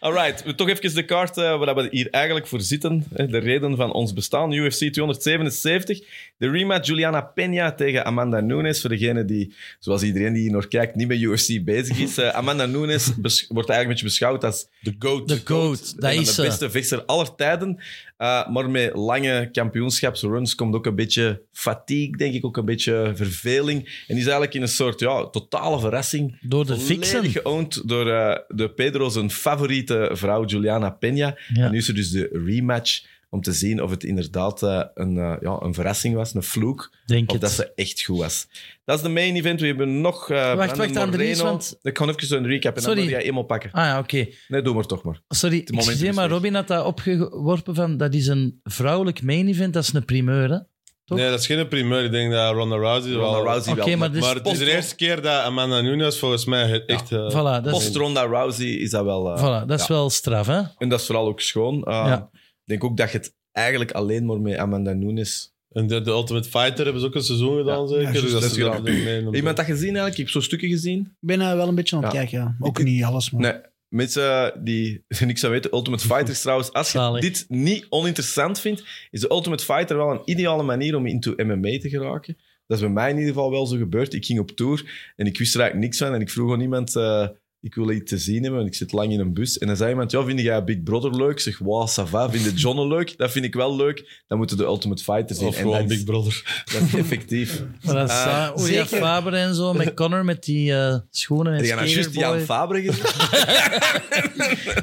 Speaker 1: Alright, we toch even de kaart eh, waar we hier eigenlijk voor zitten. hè, De reden van ons bestaan. UFC 277. De rematch Juliana Peña tegen Amanda Nunes. Voor degene die, zoals iedereen die hier nog kijkt, niet met UFC bezig is. Eh, Amanda Nunes bes- wordt eigenlijk een beetje beschouwd als
Speaker 3: De goat.
Speaker 2: De goat, dat
Speaker 1: een
Speaker 2: is
Speaker 1: van de
Speaker 2: ze.
Speaker 1: beste vechter aller tijden. Eh, maar met lange kampioenschapsruns komt ook een beetje fatigue, denk ik, ook een beetje verveling. En die is eigenlijk in een soort ja, totale verrassing.
Speaker 2: Door de
Speaker 1: Volledig
Speaker 2: fixen.
Speaker 1: geowned door eh, de Pedro zijn favoriete vrouw, Juliana Peña.
Speaker 2: Ja.
Speaker 1: En nu is er dus de rematch om te zien of het inderdaad eh, een, eh, ja, een verrassing was, een vloek.
Speaker 2: Denk
Speaker 1: Of
Speaker 2: het.
Speaker 1: dat ze echt goed was. Dat is de main event. We hebben nog eh Brandon
Speaker 2: wacht, Andries,
Speaker 1: Moreno.
Speaker 2: want-
Speaker 1: Ik ga even een recap en
Speaker 2: Sorry.
Speaker 1: dan wil jij eenmaal pakken.
Speaker 2: Ah ja, oké.
Speaker 1: Nee, doe maar toch maar.
Speaker 2: Sorry,
Speaker 1: moment
Speaker 2: excuseer,
Speaker 1: is
Speaker 2: maar
Speaker 1: weg.
Speaker 2: Robin had dat opgeworpen van dat is een vrouwelijk main event, dat is een primeur, hè? Toch?
Speaker 3: Nee, dat is geen primeur. Ik denk dat Ronda Rousey
Speaker 1: Ronda
Speaker 3: wel...
Speaker 1: Rousey
Speaker 2: Oké,
Speaker 1: wel.
Speaker 2: maar dus- dit
Speaker 3: Maar het is de eerste keer dat Amanda Nunes volgens mij het echt... eh,
Speaker 2: Voilà, dat is,
Speaker 1: Post Ronda Rousey is dat wel... eh,
Speaker 2: voilà, dat is
Speaker 1: ja.
Speaker 2: wel straf, hè?
Speaker 1: En dat is vooral ook schoon. Eh,
Speaker 2: Ja.
Speaker 1: Ik denk ook dat je het eigenlijk alleen maar met Amanda Nunes...
Speaker 3: En de, de Ultimate Fighter hebben ze ook een seizoen gedaan, zeker?
Speaker 4: Ja,
Speaker 3: dus
Speaker 4: juist,
Speaker 3: dat
Speaker 1: dat
Speaker 3: ze
Speaker 1: is
Speaker 3: dat
Speaker 1: gedaan.
Speaker 3: doen. Nee, dan-
Speaker 1: Iemand dat gezien eigenlijk? Ik heb zo stukken gezien.
Speaker 4: Ik ben eh, wel een beetje aan het
Speaker 1: Ja.
Speaker 4: kijken. Ja. Ook niet alles, maar...
Speaker 1: Nee. Mensen die er niks aan weten, Ultimate Fighter is trouwens, als je
Speaker 2: Zalig.
Speaker 1: dit niet oninteressant vindt, is de Ultimate Fighter wel een ideale manier om into MMA te geraken. Dat is bij mij in ieder geval wel zo gebeurd. Ik ging op tour en ik wist er eigenlijk niks van. En ik vroeg aan iemand, eh, ik wil iets te zien hebben, want ik zit lang in een bus. En dan zei iemand, ja, vind jij Big Brother leuk? Ik Zeg, wow, ça va. Vind je John leuk? Dat vind ik wel leuk. Dan moeten we de Ultimate Fighter zien.
Speaker 3: Of
Speaker 1: en dat
Speaker 3: gewoon
Speaker 1: is-
Speaker 3: Big Brother.
Speaker 1: dat is effectief.
Speaker 2: Maar dat is
Speaker 1: Eh,
Speaker 2: saai. Oeh, ja,
Speaker 4: zeker.
Speaker 2: Faber en zo, met Connor met die eh, schoenen en
Speaker 1: Heb je nou juist Jan
Speaker 2: skaterboy.
Speaker 1: Fabre gezien?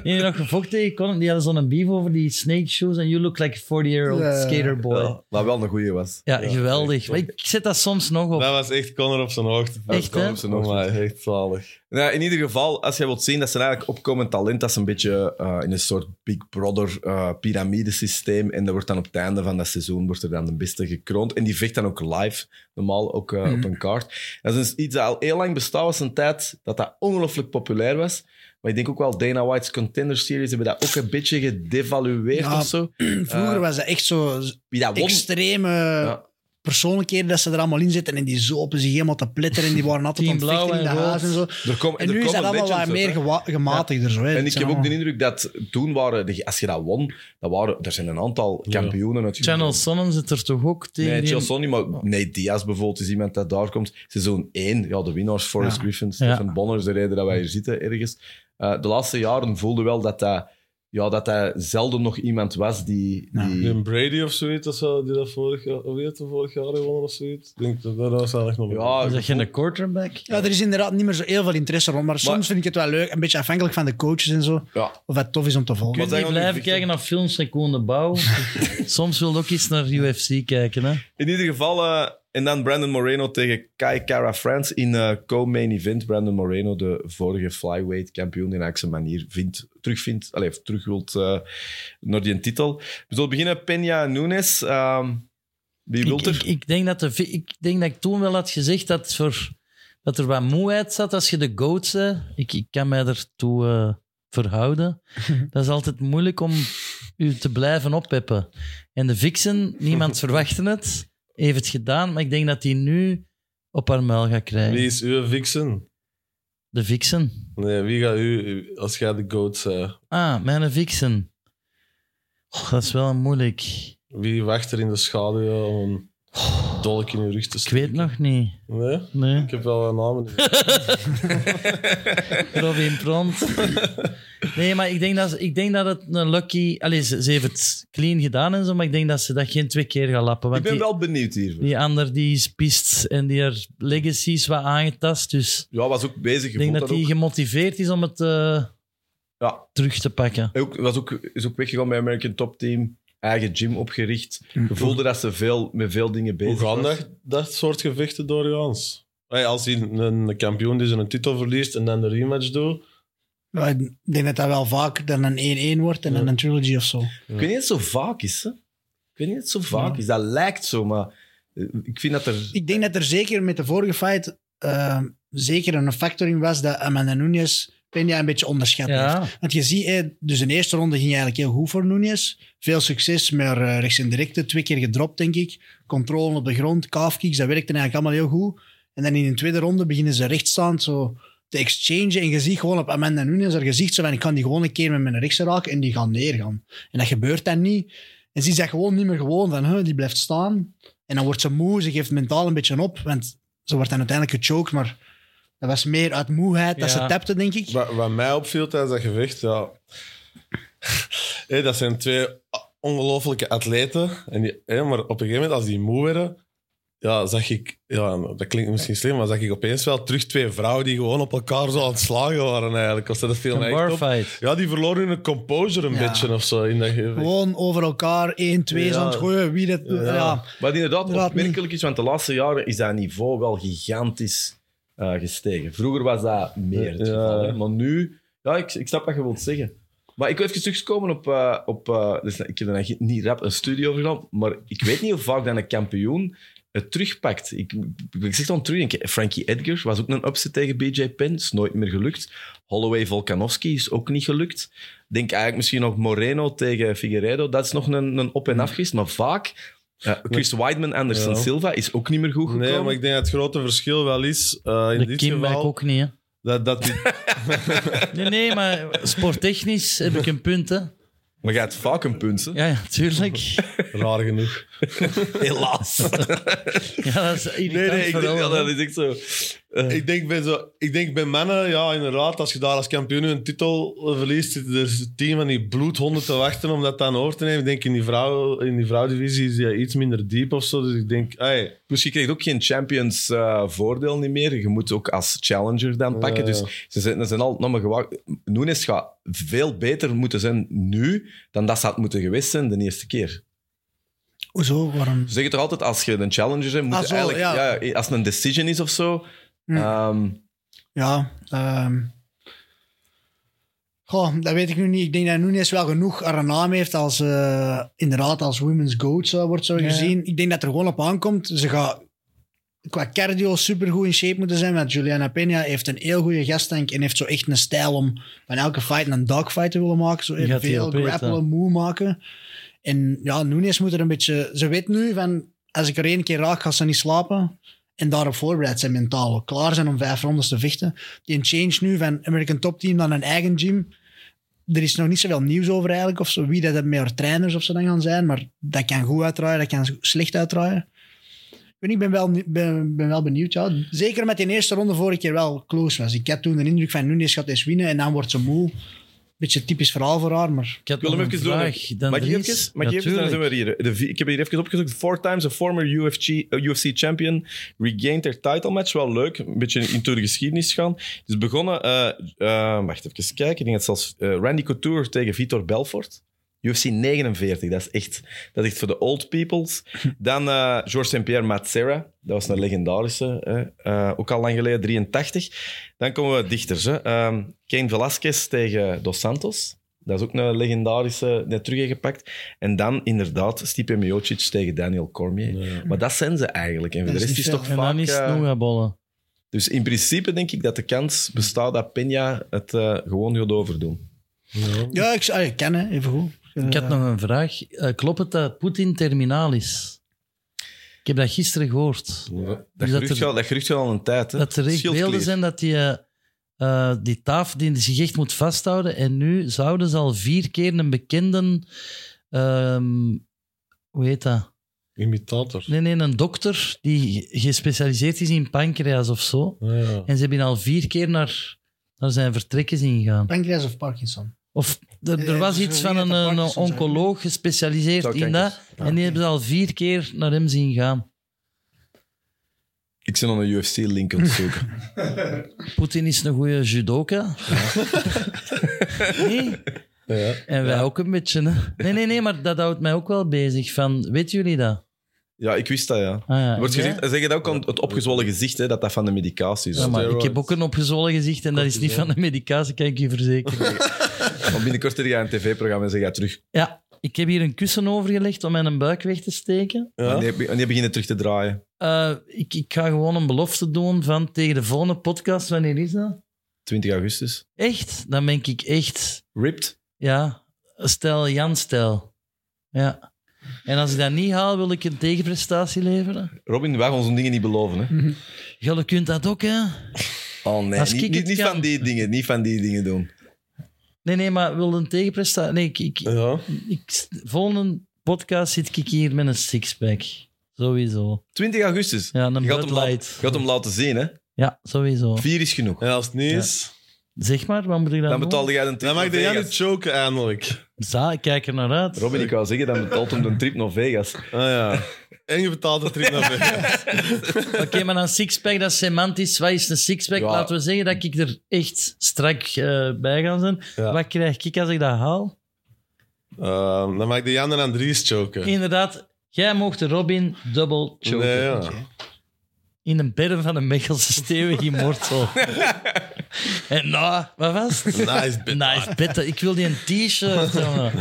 Speaker 2: Die heeft nog gevochten tegen Connor. Die hadden zo'n beef over die snake shoes. En you look like a 40-year-old
Speaker 4: Ja.
Speaker 2: skaterboy.
Speaker 1: Ja,
Speaker 2: Ja,
Speaker 1: wat wel een goeie was.
Speaker 2: geweldig. Maar ik zet dat soms nog op.
Speaker 3: Dat was echt Connor op zijn hoogte.
Speaker 2: Echt, hè?
Speaker 1: Kom, ze nog.
Speaker 3: maar echt zalig.
Speaker 1: Nou, in ieder geval, als je wilt zien, dat zijn eigenlijk opkomend talent. Dat is een beetje eh, in een soort Big Brother eh piramidesysteem. En dat wordt dan op het einde van dat seizoen wordt er dan de beste gekroond. En die vecht dan ook live, normaal ook eh,
Speaker 4: Mhm.
Speaker 1: op een kaart. Dat is dus iets dat al heel lang bestaat, was een tijd dat dat ongelooflijk populair was. Maar ik denk ook wel, Dana White's Contender Series hebben dat ook een beetje gedevalueerd
Speaker 4: Ja.
Speaker 1: of zo.
Speaker 4: Vroeger
Speaker 1: Eh,
Speaker 4: was dat echt zo
Speaker 1: Wie dat won,
Speaker 4: extreme
Speaker 1: Ja.
Speaker 4: persoonlijkheden dat ze er allemaal in zitten. En die zopen zich helemaal te pletteren. En die waren altijd
Speaker 2: Team
Speaker 4: aan het
Speaker 2: blauw
Speaker 4: vechten in de
Speaker 2: en rood.
Speaker 4: haas en zo.
Speaker 1: er kom,
Speaker 4: En
Speaker 1: er
Speaker 4: nu is
Speaker 1: komen
Speaker 4: dat allemaal
Speaker 1: legends
Speaker 4: wat
Speaker 1: uit,
Speaker 4: meer
Speaker 1: hè.
Speaker 4: gewa- gematigder. Zo, hè.
Speaker 1: En
Speaker 4: Dat
Speaker 1: ik
Speaker 4: zijn
Speaker 1: heb ook de
Speaker 4: allemaal-
Speaker 1: indruk dat toen waren, de- als je dat won, dat waren, er zijn een aantal kampioenen uit.
Speaker 2: Channel Sonnen zit er toch ook tegen?
Speaker 1: Nee,
Speaker 2: die-
Speaker 1: Chael Sonny, maar nee, Diaz bijvoorbeeld is iemand dat daar komt. Seizoen 1, ja, de winnaars, Forrest
Speaker 4: Ja.
Speaker 1: Griffin, Stephen Bonner, is de reden dat wij hier zitten ergens. Eh, de laatste jaren voelde wel dat dat, ja, dat dat zelden nog iemand was die...
Speaker 4: Ja.
Speaker 1: die
Speaker 3: Jim Brady of zoiets, of zo, die dat vorig jaar, of wie had er vorig jaar gewonnen of zoiets. Ik denk dat dat was eigenlijk nog
Speaker 1: ja,
Speaker 2: Is dat geen quarterback?
Speaker 4: Ja, er is inderdaad niet meer zo heel veel interesse rond. Maar soms
Speaker 1: Maar-
Speaker 4: vind ik het wel leuk. Een beetje afhankelijk van de coaches en zo.
Speaker 1: ja.
Speaker 4: Of het tof is om te
Speaker 2: Je
Speaker 4: volgen.
Speaker 1: Wat
Speaker 2: kunt
Speaker 1: zijn
Speaker 2: niet
Speaker 1: dan die vechten?
Speaker 2: blijven kijken naar films van Koen de Bouw. Soms wil je ook eens naar UFC kijken. Hè?
Speaker 1: In ieder geval, eh, en dan Brandon Moreno tegen Kai Kara France in eh, co-main event. Brandon Moreno, de vorige flyweight kampioen, die eigenlijk zijn manier vindt, terugvindt, allee, of terug wilt eh, naar die titel. We zullen beginnen, Peña Nunes. ehm, wie
Speaker 2: Ik,
Speaker 1: wilt er?
Speaker 2: ik, ik denk dat de, vi- ik denk dat ik toen wel had gezegd dat, voor, dat er wat moeheid zat als je de GOAT bent. Ik, ik kan mij ertoe eh, verhouden. Dat is altijd moeilijk om u te blijven oppeppen. En de Vixen, niemand verwachtte het, heeft het gedaan. Maar ik denk dat hij nu op haar muil gaat krijgen.
Speaker 3: Wie is uw vixen?
Speaker 2: De Vixen.
Speaker 3: Nee, wie gaat u, als jij de goat eh, bent,
Speaker 2: Ah, mijn Vixen. Och, dat is wel moeilijk.
Speaker 3: wie wacht er in de schaduw eh, om een dolk in uw rug te
Speaker 2: Ik
Speaker 3: steken?
Speaker 2: weet nog niet.
Speaker 3: Nee?
Speaker 2: Nee.
Speaker 3: Ik heb wel een naam. in.
Speaker 2: Robin Pront. Nee, maar ik denk dat, ik denk dat het een lucky... Allee, ze, ze heeft het clean gedaan en zo, maar ik denk dat ze dat geen twee keer gaat lappen. Want
Speaker 1: Ik ben
Speaker 2: die,
Speaker 1: wel benieuwd hier.
Speaker 2: die ander die is pist en die haar legacy is wat aangetast. Dus
Speaker 1: Ja, was ook bezig.
Speaker 2: ik denk dat hij
Speaker 1: ook.
Speaker 2: gemotiveerd is om het eh,
Speaker 1: Ja.
Speaker 2: terug te pakken.
Speaker 1: Hij ook, was ook, is ook weggegaan bij American Top Team. Eigen gym opgericht.
Speaker 2: Mm.
Speaker 1: Je voelde dat ze veel, met veel dingen bezig
Speaker 3: Hoe gaan
Speaker 1: was.
Speaker 3: dat, dat soort gevechten doorgaans? Hey, als hij een, een kampioen die zijn titel verliest en dan de rematch doet.
Speaker 4: Ja, ik denk dat dat wel vaak dan een 1-1 wordt en dan een trilogy of zo.
Speaker 1: Ik weet niet of het zo vaak is. Hè? Ik weet niet of het zo vaak is. Dat lijkt zo, maar eh, ik vind dat er...
Speaker 4: Ik denk dat er zeker met de vorige fight eh, zeker een factor in was dat Amanda Nunes Peña een beetje onderschat heeft.
Speaker 2: Ja,
Speaker 4: Want je ziet, hè, dus in de eerste ronde ging eigenlijk heel goed voor Nunes. Veel succes, maar eh, rechts en directe, twee keer gedropt, denk ik. Controle op de grond, calf kicks, dat werkte eigenlijk allemaal heel goed. En dan in de tweede ronde beginnen ze rechtstaand zo te exchangen. En je ziet gewoon op Amanda Nunes haar gezicht zo van, ik kan die gewoon een keer met mijn rechts raken en die gaan neergaan. En dat gebeurt dan niet. En ze is dat gewoon niet meer gewoon van, huh, die blijft staan. En dan wordt ze moe, ze geeft mentaal een beetje op, want ze wordt dan uiteindelijk gechoked, maar dat was meer uit moeheid dat
Speaker 2: Ja.
Speaker 4: ze tapte, denk ik.
Speaker 3: Wat, wat mij opviel tijdens dat gevecht, ja. Hey, dat zijn twee ongelofelijke atleten. En die, hey, maar op een gegeven moment, als die moe werden, ja, zag ik, ja, dat klinkt misschien slim, maar zag ik opeens wel terug twee vrouwen die gewoon op elkaar zo aan het slagen waren eigenlijk. Als dat viel mij
Speaker 2: een
Speaker 3: echt op.
Speaker 2: barfight.
Speaker 3: Ja, die verloren hun composure een
Speaker 4: Ja.
Speaker 3: beetje of zo in dat gevecht.
Speaker 4: Gewoon over elkaar, 1, 2
Speaker 3: Ja.
Speaker 4: aan het gooien, wie dat...
Speaker 3: Ja.
Speaker 4: Ja.
Speaker 1: Wat inderdaad
Speaker 4: Inderdaad
Speaker 1: opmerkelijk is, want de laatste jaren is dat niveau wel gigantisch eh, gestegen. Vroeger was dat meer het
Speaker 3: Ja.
Speaker 1: geval. hè. Maar nu... Ja, ik, ik snap wat je wilt zeggen. Maar ik wil even terugkomen op... eh, op eh, dus ik heb er eigenlijk niet rap een studie over gedaan, maar ik weet niet hoe vaak dat een kampioen het terugpakt. Ik, ik, ik zeg dan terugdenken. Frankie Edgar was ook een upset tegen BJ Penn. Is nooit meer gelukt. Holloway Volkanovski is ook niet gelukt. Ik denk eigenlijk misschien nog Moreno tegen Figueiredo. Dat is nog een, een op- en af geweest. Maar vaak... eh, Chris Weidman, Anderson
Speaker 3: Ja.
Speaker 1: Silva is ook niet meer goed gekomen.
Speaker 3: Nee, maar ik denk dat het grote verschil wel is eh, in
Speaker 2: Oh, De
Speaker 3: dit
Speaker 2: Kim werkt
Speaker 3: geval
Speaker 2: ook niet, hè.
Speaker 3: dat, dat die-
Speaker 2: Nee, nee, maar sporttechnisch heb ik een punt, hè.
Speaker 1: Maar gaat vaak een punt, hè?
Speaker 2: Ja, ja, tuurlijk.
Speaker 3: raar genoeg.
Speaker 1: Helaas.
Speaker 2: Ja, dat is
Speaker 1: Nee,
Speaker 2: irritant
Speaker 1: nee, ik denk,
Speaker 2: vooral,
Speaker 1: ja,
Speaker 2: hè.
Speaker 1: dat is echt zo.
Speaker 3: Ik denk, bij zo, ik denk bij mannen, ja, inderdaad, als je daar als kampioen een titel eh, verliest, zitten er tien van die bloedhonden te wachten om dat dan over te nemen. Ik denk, in die, vrouw, in die vrouwdivisie is die iets minder diep of zo. Dus ik denk, hey,
Speaker 1: Dus je krijgt ook geen champions eh, voordeel niet meer. Je moet ook als challenger dan pakken.
Speaker 3: ja.
Speaker 1: Dus ze zijn, ze zijn al nog maar gewacht. Nunes gaat veel beter moeten zijn nu dan dat ze had moeten geweest zijn de eerste keer.
Speaker 4: Hoezo? Waarom?
Speaker 1: Ze zeggen toch altijd, als je een challenger bent, moet
Speaker 4: Ah,
Speaker 1: je
Speaker 4: zo,
Speaker 1: eigenlijk... Ja.
Speaker 4: ja.
Speaker 1: als het een decision is of zo...
Speaker 4: Hm.
Speaker 1: ehm,
Speaker 4: Ja, ehm. goh, dat weet ik nu niet. Ik denk dat Nunes wel genoeg aan haar naam heeft als, eh, inderdaad, als women's goat eh, wordt zo gezien. Ik denk dat er gewoon op aankomt. Ze gaat qua cardio supergoed in shape moeten zijn, want Juliana Peña heeft een heel goede gasttank en heeft zo echt een stijl om van elke fight een dogfight te willen maken. Zo
Speaker 2: Die gaat
Speaker 4: veel
Speaker 2: die op eten.
Speaker 4: grappelen, moe maken. En ja, Nunes moet er een beetje... Ze weet nu van, als ik er één keer raak, gaat ze niet slapen en daarop voorbereid zijn mentaal. Klaar zijn om vijf rondes te vechten. Die change nu van American Top Team naar een eigen gym. Er is nog niet zoveel nieuws over eigenlijk. Of zo, wie dat het met haar trainers of zo dan gaan zijn. Maar dat kan goed uitdraaien, dat kan slecht uitdraaien. Ik weet niet, Ik ben wel, ben, ben wel benieuwd. Ja. Zeker met die eerste ronde vorige keer wel close was. Ik had toen de indruk van Nunes gaat eens winnen en dan wordt ze moe. Beetje typisch verhaal voor haar, maar...
Speaker 2: Ik had
Speaker 1: Ik wil
Speaker 2: nog
Speaker 1: hem
Speaker 2: een
Speaker 1: even doen.
Speaker 2: vraag. Dan
Speaker 1: Mag ik
Speaker 2: Dries.
Speaker 1: even? Mag ik even? Dan
Speaker 2: Natuurlijk.
Speaker 1: zijn we hier. De, vi- ik heb hier even opgezocht. Four times a former UFC, eh, UFC champion regained their title match. Wel leuk. Een beetje into de geschiedenis gaan. Het is begonnen... eh, eh, wacht, even kijken. Ik denk dat zelfs eh, Randy Couture tegen Vitor Belfort. UFC 49, dat is echt, dat is echt voor de old peoples. Dan eh Georges St-Pierre Matsera, dat was een legendarische, hè. Eh, ook al lang geleden, 83. Dan komen we dichters. Hè. Ehm Cain Velasquez tegen Dos Santos, dat is ook een legendarische, net terug heeft gepakt. En dan inderdaad Stipe Miocic tegen Daniel Cormier. Maar dat zijn ze eigenlijk. En voor de
Speaker 4: Dat is
Speaker 1: rest is
Speaker 4: niet
Speaker 1: toch
Speaker 2: En
Speaker 1: vaak...
Speaker 2: dan is het
Speaker 1: eh,
Speaker 2: nog een bollen.
Speaker 1: dus in principe denk ik dat de kans bestaat dat Peña het eh, gewoon gaat overdoen.
Speaker 4: Ja, ik, ah, ik ken hè, even goed.
Speaker 2: Ik had nog een vraag. Eh, klopt het dat Poetin terminaal is? Ik heb dat gisteren gehoord.
Speaker 1: Dat
Speaker 2: Dus dat
Speaker 1: gerucht,
Speaker 2: er-
Speaker 1: gaat- dat gerucht gaat al een tijd. Hè.
Speaker 2: Dat er echt
Speaker 1: Schildklier.
Speaker 2: beelden zijn dat die, eh, eh, die tafel die zich echt moet vasthouden. En nu zouden ze al vier keer een bekende... ehm, hoe heet dat?
Speaker 3: imitator.
Speaker 2: Nee, nee, een dokter die gespecialiseerd is in pancreas of zo.
Speaker 3: Ja, ja.
Speaker 2: En ze hebben al vier keer naar, naar zijn vertrek is ingegaan.
Speaker 4: Pancreas of Parkinson?
Speaker 2: Of er, er
Speaker 4: Eh,
Speaker 2: was
Speaker 4: zo
Speaker 2: iets
Speaker 4: wie
Speaker 2: van
Speaker 4: dat
Speaker 2: een,
Speaker 4: dat
Speaker 2: een
Speaker 4: Parkinson zijn.
Speaker 2: oncoloog gespecialiseerd
Speaker 1: Zou
Speaker 2: in dat. En die hebben ze al vier keer naar hem zien gaan.
Speaker 1: Ik zit aan een UFC-link aan het zoeken.
Speaker 2: Poetin is een goede judoka. nee?
Speaker 3: Ja.
Speaker 2: En wij ook een beetje. Hè? Nee, nee, nee, maar dat houdt mij ook wel bezig. Van, weten jullie dat?
Speaker 1: ja, ik wist dat, ja.
Speaker 2: Ah, ja.
Speaker 1: Wordt
Speaker 2: Ja?
Speaker 1: gezegd, zeg je dat ook aan het opgezwollen gezicht, hè, dat dat van de medicatie is.
Speaker 2: Ja, maar ik
Speaker 3: steroids.
Speaker 2: heb ook een opgezwollen gezicht en dat is niet van de medicatie, kan ik je verzekeren.
Speaker 1: Want binnenkort heb je een tv-programma en ze gaat terug.
Speaker 2: Ja, ik heb hier een kussen overgelegd om mijn buik weg te steken.
Speaker 3: Ja.
Speaker 1: En, die, en die beginnen terug te draaien.
Speaker 2: Eh, ik, ik ga gewoon een belofte doen van tegen de volgende podcast. Wanneer is dat?
Speaker 1: 20 augustus.
Speaker 2: Echt? Dan ben ik echt
Speaker 1: Ripped.
Speaker 2: Ja, stel Jan stel. Ja. En als ik dat niet haal, wil ik een tegenprestatie leveren.
Speaker 1: Robin, wij gaan onze dingen niet beloven. Hè.
Speaker 2: Jullie kunt dat ook, hè?
Speaker 1: Oh nee,
Speaker 2: Mhm. Als
Speaker 1: niet,
Speaker 2: ik
Speaker 1: niet,
Speaker 2: het
Speaker 1: niet
Speaker 2: kan.
Speaker 1: van die dingen. Niet van die dingen doen.
Speaker 2: Nee, nee, maar wil een tegenprestatie... Nee, ik, ik,
Speaker 3: Ja.
Speaker 2: ik- volgende podcast zit ik hier met een sixpack. Sowieso.
Speaker 1: 20 augustus.
Speaker 2: Ja, een
Speaker 1: je gaat hem,
Speaker 2: Bud
Speaker 1: laten-
Speaker 2: Light.
Speaker 1: je gaat hem laten zien, hè.
Speaker 2: Ja, sowieso.
Speaker 1: Vier is genoeg.
Speaker 3: En als het niet is,
Speaker 2: Zeg maar, wat moet ik dan,
Speaker 1: Dan
Speaker 2: doen?
Speaker 1: betaalde jij een trip
Speaker 3: dan mag
Speaker 1: naar
Speaker 3: de Jan
Speaker 1: Vegas.
Speaker 3: niet choken eindelijk.
Speaker 2: Za, ik kijk er naar uit.
Speaker 1: Robin, ik wou zeggen, dan betaalt hem een trip naar Vegas.
Speaker 3: Ah, ja. En je betaalt de trip naar Vegas.
Speaker 2: Oké, maar een sixpack, dat is semantisch. Wat is een sixpack?
Speaker 1: Ja.
Speaker 2: Laten we zeggen dat ik er echt strak eh, bij ga zijn.
Speaker 3: Ja.
Speaker 2: Wat krijg ik als ik dat haal?
Speaker 3: Ehm, dan mag de Jan en Andries choken.
Speaker 2: Inderdaad, jij mocht de Robin dubbel choken.
Speaker 3: Nee, ja.
Speaker 2: In een bedden van een Mechelse stevig immortal. En nou, wat was het?
Speaker 3: Nice bit.
Speaker 2: Nice betta. Ik wil die een t-shirt. jongen.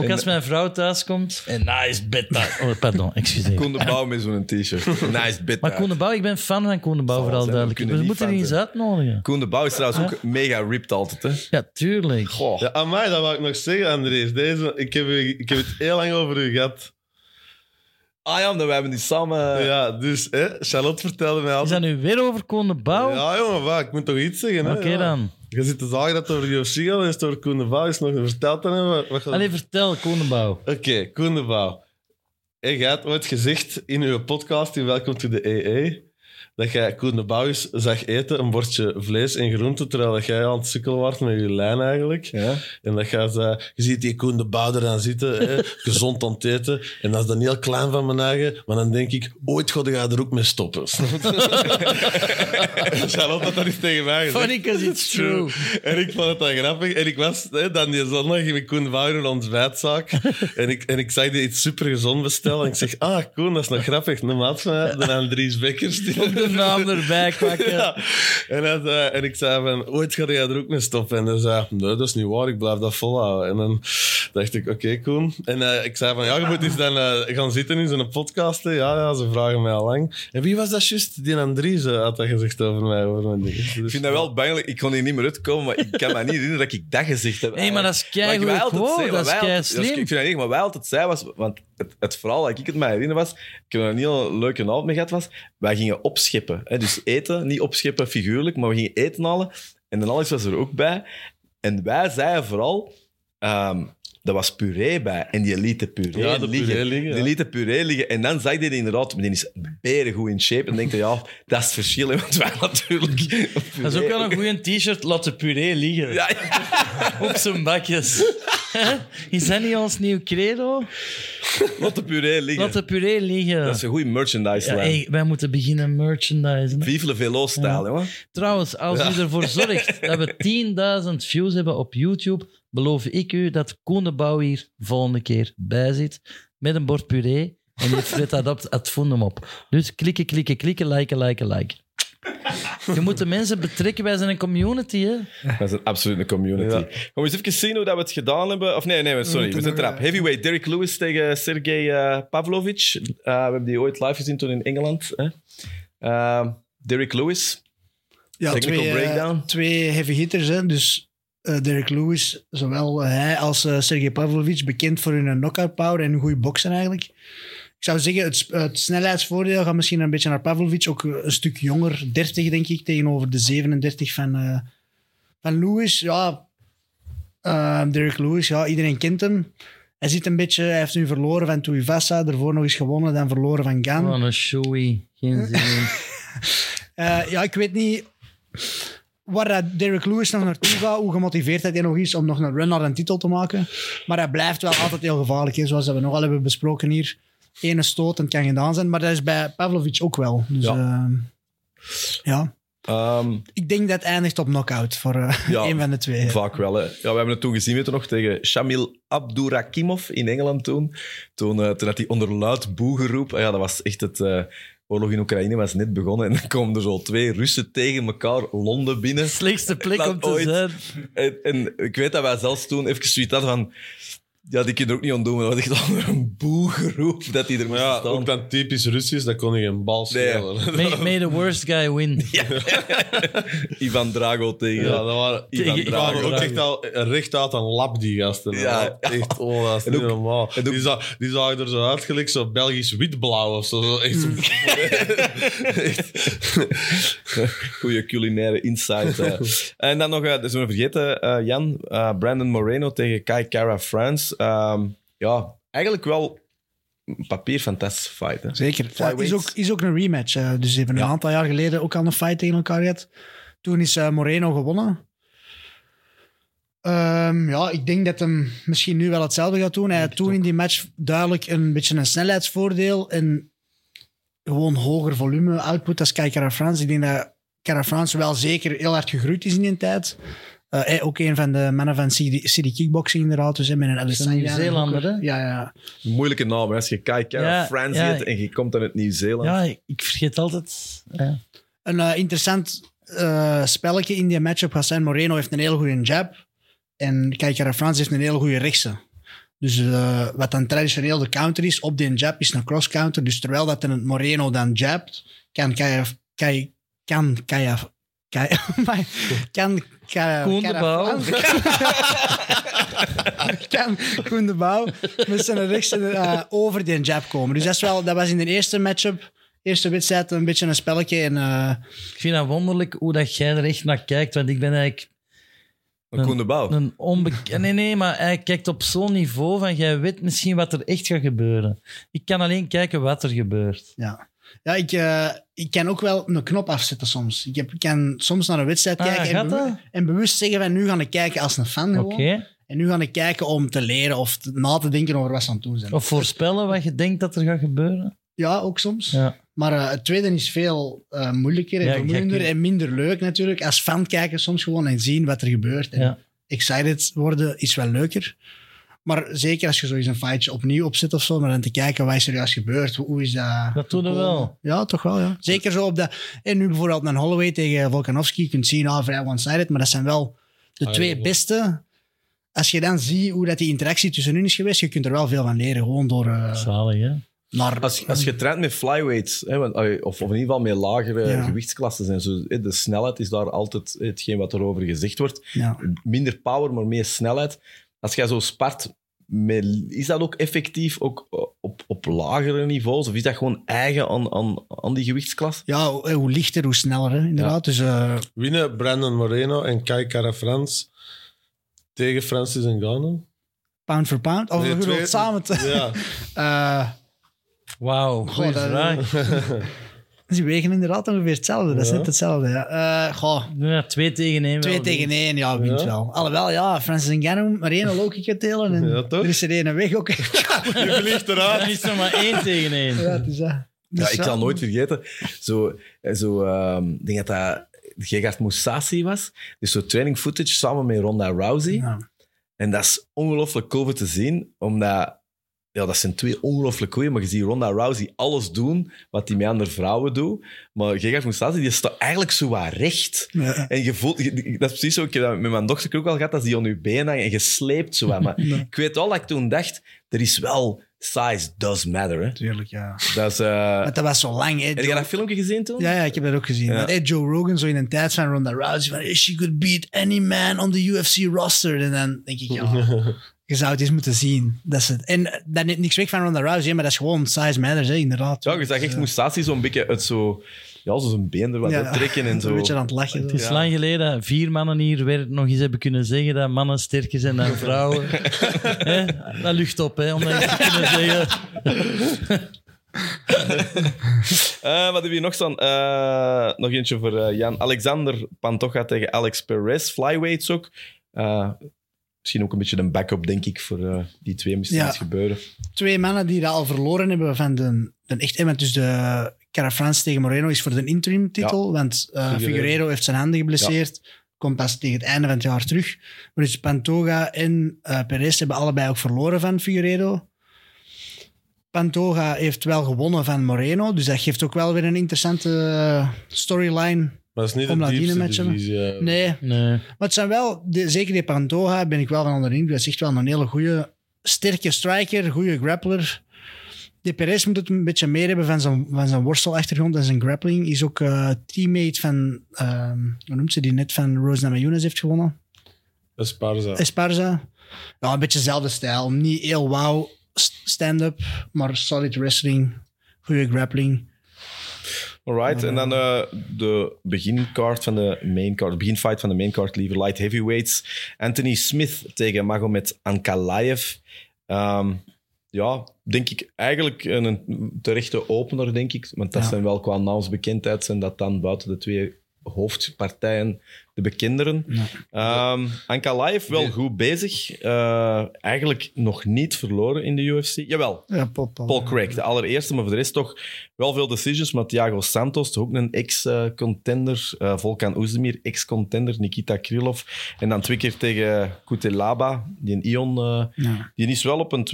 Speaker 2: Ook als mijn vrouw thuis komt. En nice betta. Oh, pardon, excuseer.
Speaker 1: Koen de Bouw met zo'n t-shirt. Nice bit.
Speaker 2: Maar Koen de Bouw, ik ben fan van Koen de Bouw, vooral
Speaker 1: zijn, we
Speaker 2: duidelijk.
Speaker 1: kunnen
Speaker 2: We
Speaker 1: niet
Speaker 2: moeten
Speaker 1: fan
Speaker 2: die eens uitnodigen.
Speaker 1: Koen de Bouw is trouwens ook mega ripped altijd. Hè?
Speaker 2: Ja, tuurlijk.
Speaker 1: Goh.
Speaker 3: Ja, amai, dat wou ik nog zeggen, Andries. Deze, ik, heb, u- ik heb het heel lang over u gehad.
Speaker 1: Ah ja, omdat we hebben die samen...
Speaker 3: Ja, dus hè, Charlotte vertelde mij
Speaker 2: Eh. Is
Speaker 3: altijd...
Speaker 2: dat nu weer over Koen de Bouw?
Speaker 3: Ja, jongen, wat, ik moet toch iets zeggen. hè?
Speaker 2: Oké
Speaker 3: Ja.
Speaker 2: dan.
Speaker 3: Je zit te zagen dat het over UFC gaat en is het over Koen de Bouw is nog niet verteld aan hem. Wat- wat gaat-
Speaker 2: Allee, vertel, Koen de Bouw.
Speaker 3: Oké, Koen de Bouw. Hey, jij had ooit gezegd in uw podcast in Welcome to the EE dat jij Koen de Bouw eens zag eten een bordje vlees en groente terwijl dat jij aan het sukkelen was met je lijn eigenlijk.
Speaker 1: Ja.
Speaker 3: En dat gaat, eh, je ziet die Koen de Bouw eraan zitten, hè, gezond aan het eten. En dat is dan heel klein van mijn eigen. Maar dan denk ik, ooit ga ik er ook mee stoppen. Charlotte had dat eens tegen mij gezegd.
Speaker 2: Funny 'cause it's true.
Speaker 3: En ik vond het dan grappig. En ik was hè, dan die zondag met Koen de Bouw in een ontbijtzaak. En ik, en ik zag die iets supergezond bestellen. En ik zeg, ah Koen, dat is nog grappig. De maat van mij, de Andries Bekkers. die-
Speaker 2: Ook de naam erbij kwakken.
Speaker 3: ja. en, hij zei- en ik zei van, ooit ga jij er ook mee stoppen. En hij zei, nee, dat is niet waar, ik blijf dat volhouden. En dan dacht ik, oké, Koen. En eh, ik zei van, ja, je moet eens dan eh, gaan zitten in zo'n podcast. hè. Ja, ja, ze vragen mij al lang. En wie was dat juist? Die Andries eh, had dat gezegd over mij. Over mijn dingen. Dus-
Speaker 1: Ik vind dat wel bangelijk. Ik kon hier niet meer uitkomen, maar ik kan me niet herinneren dat ik dat gezegd heb.
Speaker 2: Nee, maar dat is
Speaker 1: Wat ik
Speaker 2: keigoed
Speaker 1: wij altijd
Speaker 2: quote,
Speaker 1: zei, wat
Speaker 2: dat is
Speaker 1: wij altijd-
Speaker 2: keislim.
Speaker 1: dat Ik vind dat niet, erg, maar wij altijd zei was, want het, het verhaal dat ik het mij herinner was, ik heb er een heel leuke avond mee gehad, was, wij gingen opscheppen. Hè, dus eten, niet opscheppen figuurlijk, maar we gingen eten halen. En dan Alex was er ook bij. En wij zeiden vooral, ehm, dat was puree bij. En die liet de puree
Speaker 3: Ja, de
Speaker 1: liggen.
Speaker 3: puree liggen,
Speaker 1: die
Speaker 3: ja.
Speaker 1: liet de puree liggen. En dan zag je die inderdaad, die is berengoed in shape. En denk je, ja, dat is het verschil. hè, Want wij natuurlijk...
Speaker 2: Dat is ook wel een goede t-shirt. Laat de puree liggen.
Speaker 1: Ja, ja.
Speaker 2: Op zijn bakjes. Hè? Is dat niet ons nieuw credo?
Speaker 1: Laat de puree liggen.
Speaker 2: Laat de puree liggen.
Speaker 1: Dat is een goede merchandise
Speaker 2: Ja,
Speaker 1: lijn.
Speaker 2: hey, wij moeten beginnen merchandisen.
Speaker 1: Vive le vélo-stijl, jongen.
Speaker 2: Trouwens, als u ervoor zorgt dat we 10.000 views hebben op YouTube, beloof ik u dat Koen de Bouw hier volgende keer bij zit met een bord puree en die frit dat op het fundum op. Dus klikken, klikken, klikken, liken, liken, liken. Je moet de mensen betrekken, wij zijn een community. Hè?
Speaker 1: Dat is een absolute community.
Speaker 3: Ja.
Speaker 1: Gaan we eens even zien hoe dat we het gedaan hebben. Of nee, nee, sorry. We
Speaker 4: moeten
Speaker 1: zijn
Speaker 4: nog,
Speaker 1: trap.
Speaker 4: eh,
Speaker 1: Heavyweight, Derek Lewis tegen Sergey eh, Pavlovich. Eh, we hebben die ooit live gezien toen in Engeland. Hè? Eh, Derek Lewis.
Speaker 4: Ja,
Speaker 1: Technical
Speaker 4: twee, eh,
Speaker 1: breakdown.
Speaker 4: twee heavy hitters. Hè. Dus eh, Derek Lewis, zowel hij als eh, Sergej Pavlovic, bekend voor hun knockout power en hun goede boksen eigenlijk. Ik zou zeggen, het, sp- het snelheidsvoordeel gaat misschien een beetje naar Pavlovic. Ook eh, een stuk jonger, 30 denk ik, tegenover de 37 van, eh, van Lewis. Ja, eh, Derek Lewis, ja, iedereen kent hem. Hij zit een beetje, hij heeft nu verloren van Tuivasa, daarvoor nog eens gewonnen, dan verloren van Gan.
Speaker 2: Wat een showy. Geen zin in.
Speaker 4: Eh, ja, ik weet niet waar dat Derek Lewis nog naartoe gaat, hoe gemotiveerd hij nog is om nog een run naar een titel te maken. Maar hij blijft wel altijd heel gevaarlijk, hè, zoals dat we nogal hebben besproken hier. Ene stoot en het kan gedaan zijn, maar dat is bij Pavlovic ook wel. Dus
Speaker 1: Ja.
Speaker 4: ja, ja.
Speaker 3: Dus-
Speaker 1: Ehm,
Speaker 4: ik denk dat het eindigt op knockout voor eh
Speaker 1: Ja.
Speaker 4: een van de twee.
Speaker 1: Vaak wel, hè. Ja, we hebben het toen gezien, weet je nog, tegen Shamil Abdurakimov in Engeland toen. Toen, eh, toen had hij onder luid boe geroepen. Ah Ja, dat was echt het... eh, oorlog in Oekraïne was net begonnen en dan komen er zo twee Russen tegen elkaar Londen binnen.
Speaker 2: Slechtste plek
Speaker 1: Dat
Speaker 2: om te
Speaker 1: ooit.
Speaker 2: zijn.
Speaker 1: En, en ik weet dat wij zelfs toen even zoiets hadden van... Ja, die kunnen er ook niet ontdoen. maar Dat was echt onder een boegeroep dat die er moest
Speaker 3: Ja,
Speaker 1: staan.
Speaker 3: ook Dus dan typisch Russisch, dat kon ik een bal spelen.
Speaker 2: May, may the worst guy win.
Speaker 1: Ivan Drago tegen...
Speaker 3: Ja, dat waren, die
Speaker 2: Tegen-
Speaker 3: waren
Speaker 2: Ivan
Speaker 3: ook
Speaker 2: Drago.
Speaker 3: echt al recht uit een lab, die gasten.
Speaker 1: Ja.
Speaker 3: Echt, oh, dat is
Speaker 1: En
Speaker 3: niet
Speaker 1: ook-
Speaker 3: normaal.
Speaker 1: en ook-
Speaker 3: die, za die zagen er zo uit, gelijk zo Belgisch witblauw of zo. zo echt zo-
Speaker 1: Goede culinaire insight. eh. en dan nog, eh, dat zullen we vergeten, eh, Jan. eh, Brandon Moreno tegen Kai Kara France. Ehm, ja, eigenlijk wel een papier fantastische fight. Hè.
Speaker 4: Zeker. Het is ook,
Speaker 1: Flyweights.
Speaker 4: is ook een rematch. eh, dus ze hebben een aantal jaar geleden ook al een fight tegen elkaar gehad. Toen is eh, Moreno gewonnen. Ehm, ja, ik denk dat hem misschien nu wel hetzelfde gaat doen. Hij had toen in die match duidelijk een beetje een snelheidsvoordeel en gewoon hoger volume output als Kai Kara-France. Ik denk dat Kara-France wel zeker heel hard gegroeid is in die tijd. Eh, hij ook een van de mannen van City, City Kickboxing inderdaad. Dus hij met een
Speaker 2: een
Speaker 4: Adesanya.
Speaker 2: Nieuw-Zeelander, hè?
Speaker 4: Ja, ja.
Speaker 1: Moeilijke naam. Hè. Als je Kai Kara
Speaker 2: Ja,
Speaker 1: France
Speaker 2: ja.
Speaker 1: heet en je komt uit Nieuw-Zeeland.
Speaker 2: Ja, ik vergeet altijd. Ja.
Speaker 4: een eh, interessant eh, spelletje in die matchup gaat zijn. Moreno heeft een heel goede jab. En Kijkera Frans heeft een heel goede rechtse. Dus eh, wat dan traditioneel de counter is op die jab, is een cross-counter. Dus terwijl dat een Moreno dan jabt, kan Kaya... Kaya kan Kaya... Kaya... oh Kan Kaya...
Speaker 2: Koen de
Speaker 4: Kaya
Speaker 2: Bouw.
Speaker 4: Frans- Kan Koen de Bouw met zijn rechtse eh, over die jab komen. Dus dat, is wel, dat was in de eerste matchup, eerste wedstrijd, een beetje een spelletje. En, eh,
Speaker 2: Ik vind dat wonderlijk hoe dat jij er echt naar kijkt, want ik ben eigenlijk
Speaker 1: Een Koen de Bouw.
Speaker 2: Een onbekende. Nee, nee, maar hij kijkt op zo'n niveau van jij weet misschien wat er echt gaat gebeuren. Ik kan alleen kijken wat er gebeurt.
Speaker 4: Ja, ja ik, eh, ik kan ook wel een knop afzetten soms. Ik, heb, ik kan soms naar een wedstrijd
Speaker 2: Ah,
Speaker 4: kijken
Speaker 2: gaat
Speaker 4: en, bewu-
Speaker 2: dat?
Speaker 4: en bewust zeggen van nu ga ik kijken als een fan
Speaker 2: Oké?
Speaker 4: gewoon. En nu ga ik kijken om te leren of te- na te denken over wat ze aan het doen zijn.
Speaker 2: Of voorspellen wat je denkt dat er gaat gebeuren.
Speaker 4: Ja, ook soms.
Speaker 2: Ja.
Speaker 4: Maar eh, het tweede is veel eh, moeilijker en
Speaker 2: Ja,
Speaker 4: vermoeiender
Speaker 2: gek.
Speaker 4: en minder leuk natuurlijk. Als fan kijken soms gewoon en zien wat er gebeurt. En
Speaker 2: Ja.
Speaker 4: Excited worden is wel leuker. Maar zeker als je zoiets een fightje opnieuw opzet of zo, maar dan te kijken wat is er juist gebeurd, hoe hoe is dat...
Speaker 2: Dat doen we
Speaker 4: gekomen.
Speaker 2: wel.
Speaker 4: Ja, toch wel, ja. Zeker zo op dat... En nu bijvoorbeeld een Holloway tegen Volkanovski, je kunt zien, ah, vrij one-sided, maar dat zijn wel de
Speaker 3: Ah,
Speaker 4: twee
Speaker 3: ja.
Speaker 4: beste. Als je dan ziet hoe dat die interactie tussen hun is geweest, je kunt er wel veel van leren, gewoon door... eh,
Speaker 2: Zalig, hè?
Speaker 4: naar,
Speaker 1: Als, als je traint met flyweights, hè, want, eh, of, of in ieder geval met lagere
Speaker 4: Ja.
Speaker 1: gewichtsklassen, en zo, hè, de snelheid is daar altijd hetgeen wat erover gezegd wordt.
Speaker 4: ja.
Speaker 1: minder power, maar meer snelheid. Als jij zo spart, met- is dat ook effectief ook eh, op, op lagere niveaus? Of is dat gewoon eigen aan, aan, aan die gewichtsklas?
Speaker 4: Ja, hoe, hoe lichter, hoe sneller, hè, inderdaad. Dus, eh,
Speaker 3: Winnen Brandon Moreno en Kai Kara Frans tegen Francis Ngannou.
Speaker 4: pound for pound. Of
Speaker 3: Nee,
Speaker 4: we
Speaker 3: twee-
Speaker 4: het samen te...
Speaker 3: Ja.
Speaker 4: Eh,
Speaker 2: Wauw, goeie
Speaker 4: dat-
Speaker 2: vraag.
Speaker 4: die wegen inderdaad ongeveer hetzelfde. Dat is
Speaker 3: Ja.
Speaker 4: net hetzelfde, ja. Eh, goh,
Speaker 2: Ja, twee tegen één. wel.
Speaker 4: twee tegen één, ja, wint
Speaker 3: Ja.
Speaker 4: wel. Alhoewel, ja, Francis Ngannou, maar één low kick uitdelen. En
Speaker 3: Ja, toch?
Speaker 4: Er is er één weg ook.
Speaker 3: Je vliegt eruit.
Speaker 2: Dan is er maar één tegen één.
Speaker 4: ja, het is dat.
Speaker 1: Ja,
Speaker 4: Dus
Speaker 1: ik zal nooit vergeten. Zo, eh, zo, ehm, ik denk dat dat Gegard Moussassi was. Dus zo training footage samen met Ronda Rousey.
Speaker 4: Ja.
Speaker 1: En dat is ongelooflijk cool voor te zien, omdat... Ja, dat zijn twee ongelooflijk goeie, maar je ziet Ronda Rousey alles doen wat die met andere vrouwen doet. Maar Gegard Moussassi, die staat eigenlijk zo wat recht.
Speaker 4: Ja.
Speaker 1: En je voelt, je- dat is precies zo. Ik heb dat met mijn dochter ook al gehad, als die aan je been hangt en je sleept zo wat. Maar ik weet wel dat ik toen dacht, er is wel size does matter. Hè.
Speaker 4: Tuurlijk, ja.
Speaker 1: Dat is, eh,
Speaker 4: Maar dat was zo lang, hè.
Speaker 1: heb je dat filmpje gezien toen?
Speaker 4: Ja, ja, ik heb dat ook gezien.
Speaker 1: Ja.
Speaker 4: Dat, eh, Joe Rogan, zo in een tijd van Ronda Rousey, van eh, she could beat any man on the UFC roster. En dan denk ik, ja, je zou het eens moeten zien. Dat is het. En eh, dat neemt niks weg van Ronda Rousey, hè, maar dat is gewoon size matters, hè, inderdaad. Dus, eh,
Speaker 1: Ja, je zag echt Moussassi zo'n beetje het zo... Ja, zo zijn been er wat uit trekken en
Speaker 4: Een
Speaker 1: zo.
Speaker 4: beetje aan het lachen.
Speaker 2: Het is lang geleden dat vier mannen hier weer nog eens hebben kunnen zeggen dat mannen sterker zijn dan vrouwen. Hè? dat lucht op, hè, om dat eens te kunnen zeggen.
Speaker 1: Eh, wat hebben we hier nog staan? Eh, nog eentje voor eh, Jan. Alexander Pantoja tegen Alex Perez. Flyweights ook. Eh, misschien ook een beetje een backup, denk ik, voor eh, die twee. Misschien
Speaker 4: Ja.
Speaker 1: iets gebeuren.
Speaker 4: Twee mannen die dat al verloren hebben van de, de echt... eh, want Dus de Cara France tegen Moreno is voor de interim titel, want eh,
Speaker 3: Figueiredo.
Speaker 4: Figueiredo heeft zijn handen geblesseerd. Komt pas tegen het einde van het jaar terug. Maar dus Pantoga en eh, Perez hebben allebei ook verloren van Figueiredo. Pantoga heeft wel gewonnen van Moreno, dus dat geeft ook wel weer een interessante eh, storyline.
Speaker 3: Maar dat is niet
Speaker 4: Om
Speaker 3: de
Speaker 4: Ladine
Speaker 3: diepste
Speaker 4: matchen.
Speaker 3: divisie. eh.
Speaker 4: Nee,
Speaker 2: Nee.
Speaker 4: Maar het zijn wel, de- zeker die Pantoja ben ik wel van onder de indruk. Dat is echt wel een hele goede, sterke striker, goede grappler. De Perez moet het een beetje meer hebben van zijn, van zijn worstelachtergrond en zijn grappling. Is ook eh, teammate van, ehm, hoe noemt ze die net, van Rose Namajunas heeft gewonnen.
Speaker 3: Esparza.
Speaker 4: Esparza. Ja, een beetje dezelfde stijl. Niet heel wauw st- stand-up, maar solid wrestling, goede grappling.
Speaker 1: Alright, en dan eh, de beginkaart van de maincard, de beginfight van de maincard, liever light heavyweights. Anthony Smith tegen Magomed Ankalaev. Ehm, ja, denk ik eigenlijk een, een terechte opener, denk ik. Want dat
Speaker 4: Ja.
Speaker 1: zijn wel qua naamsbekendheid, zijn dat dan buiten de twee hoofdpartijen de bekenderen.
Speaker 4: Ja.
Speaker 1: Ehm Anka Laev wel goed bezig. Eh, eigenlijk nog niet verloren in de UFC. Jawel,
Speaker 4: Ja, Paul, Paul.
Speaker 1: Paul Craig, de allereerste, maar voor de rest toch wel veel decisions. Maar Thiago Santos, toch ook een ex-contender. eh, Volkan Oezdemir, ex-contender. Nikita Krylov. En dan twee keer tegen Kutelaba, die een Ion. eh,
Speaker 4: Ja.
Speaker 1: die is wel op een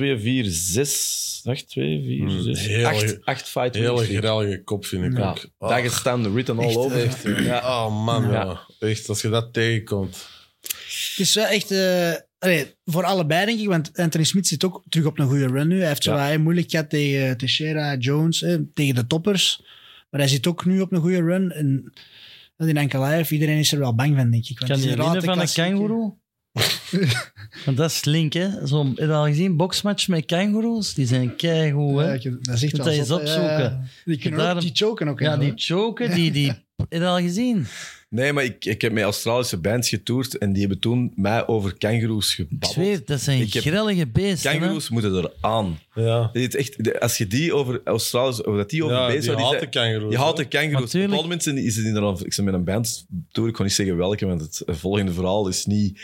Speaker 1: 2-4-6. Wacht, 2, 4, 6.
Speaker 3: Hmm, heel-
Speaker 1: 8, 8 fight win
Speaker 3: Hele
Speaker 1: streak.
Speaker 3: grellige kop vind ik
Speaker 1: Ja,
Speaker 3: ook. Ah,
Speaker 1: Dagestan, written all over.
Speaker 3: echt, eh, Oh man,
Speaker 1: Ja.
Speaker 3: ja. echt, als je dat tegenkomt.
Speaker 4: Het is wel echt... eh, allee, voor allebei, denk ik, want Anthony Smith zit ook terug op een goede run nu. Hij heeft zo
Speaker 1: Ja.
Speaker 4: wat hè, moeilijk gehad tegen Teixeira, Jones, hè, tegen de toppers. Maar hij zit ook nu op een goede run. En dat in Ankalaev, iedereen is er wel bang van, denk ik.
Speaker 2: Kan
Speaker 4: want het is
Speaker 2: je
Speaker 4: inderdaad
Speaker 2: winnen van een
Speaker 4: klassieke-
Speaker 2: kangoeroe? Want dat is slink, hè? Zo'n, heb je al gezien, boxmatch met kangoeroes? Die zijn keigoed, hè?
Speaker 4: Ja, ik- dat is echt
Speaker 2: Moet
Speaker 4: wel
Speaker 2: dat eens
Speaker 4: zot, hè. Ja,
Speaker 2: opzoeken.
Speaker 4: Die kunnen ook-
Speaker 2: Daarom-
Speaker 4: die choken ook.
Speaker 2: Ja,
Speaker 4: en zo,
Speaker 2: die
Speaker 4: hè.
Speaker 2: choken, die... die heb je dat al gezien?
Speaker 1: Nee, maar ik, ik heb met Australische bands getoerd en die hebben toen mij over kangaroes
Speaker 2: Ik
Speaker 1: gebabbeld.
Speaker 2: zweer, dat zijn
Speaker 1: Ik heb-
Speaker 2: grillige beesten. hè.
Speaker 1: Kangaroes moeten er aan.
Speaker 3: Ja.
Speaker 1: Dit is echt, de- als je die over Australiërs, over dat die over
Speaker 3: Ja,
Speaker 1: bezig
Speaker 3: die
Speaker 1: waren,
Speaker 3: haalt de
Speaker 1: zei-
Speaker 3: kangaroes.
Speaker 1: Je haalt de kangaroes. Op een
Speaker 2: Natuurlijk.
Speaker 1: bepaald moment zijn die- is het inderdaad, ik ben met een band door, ik kon niet zeggen welke, want het eh, volgende verhaal is niet...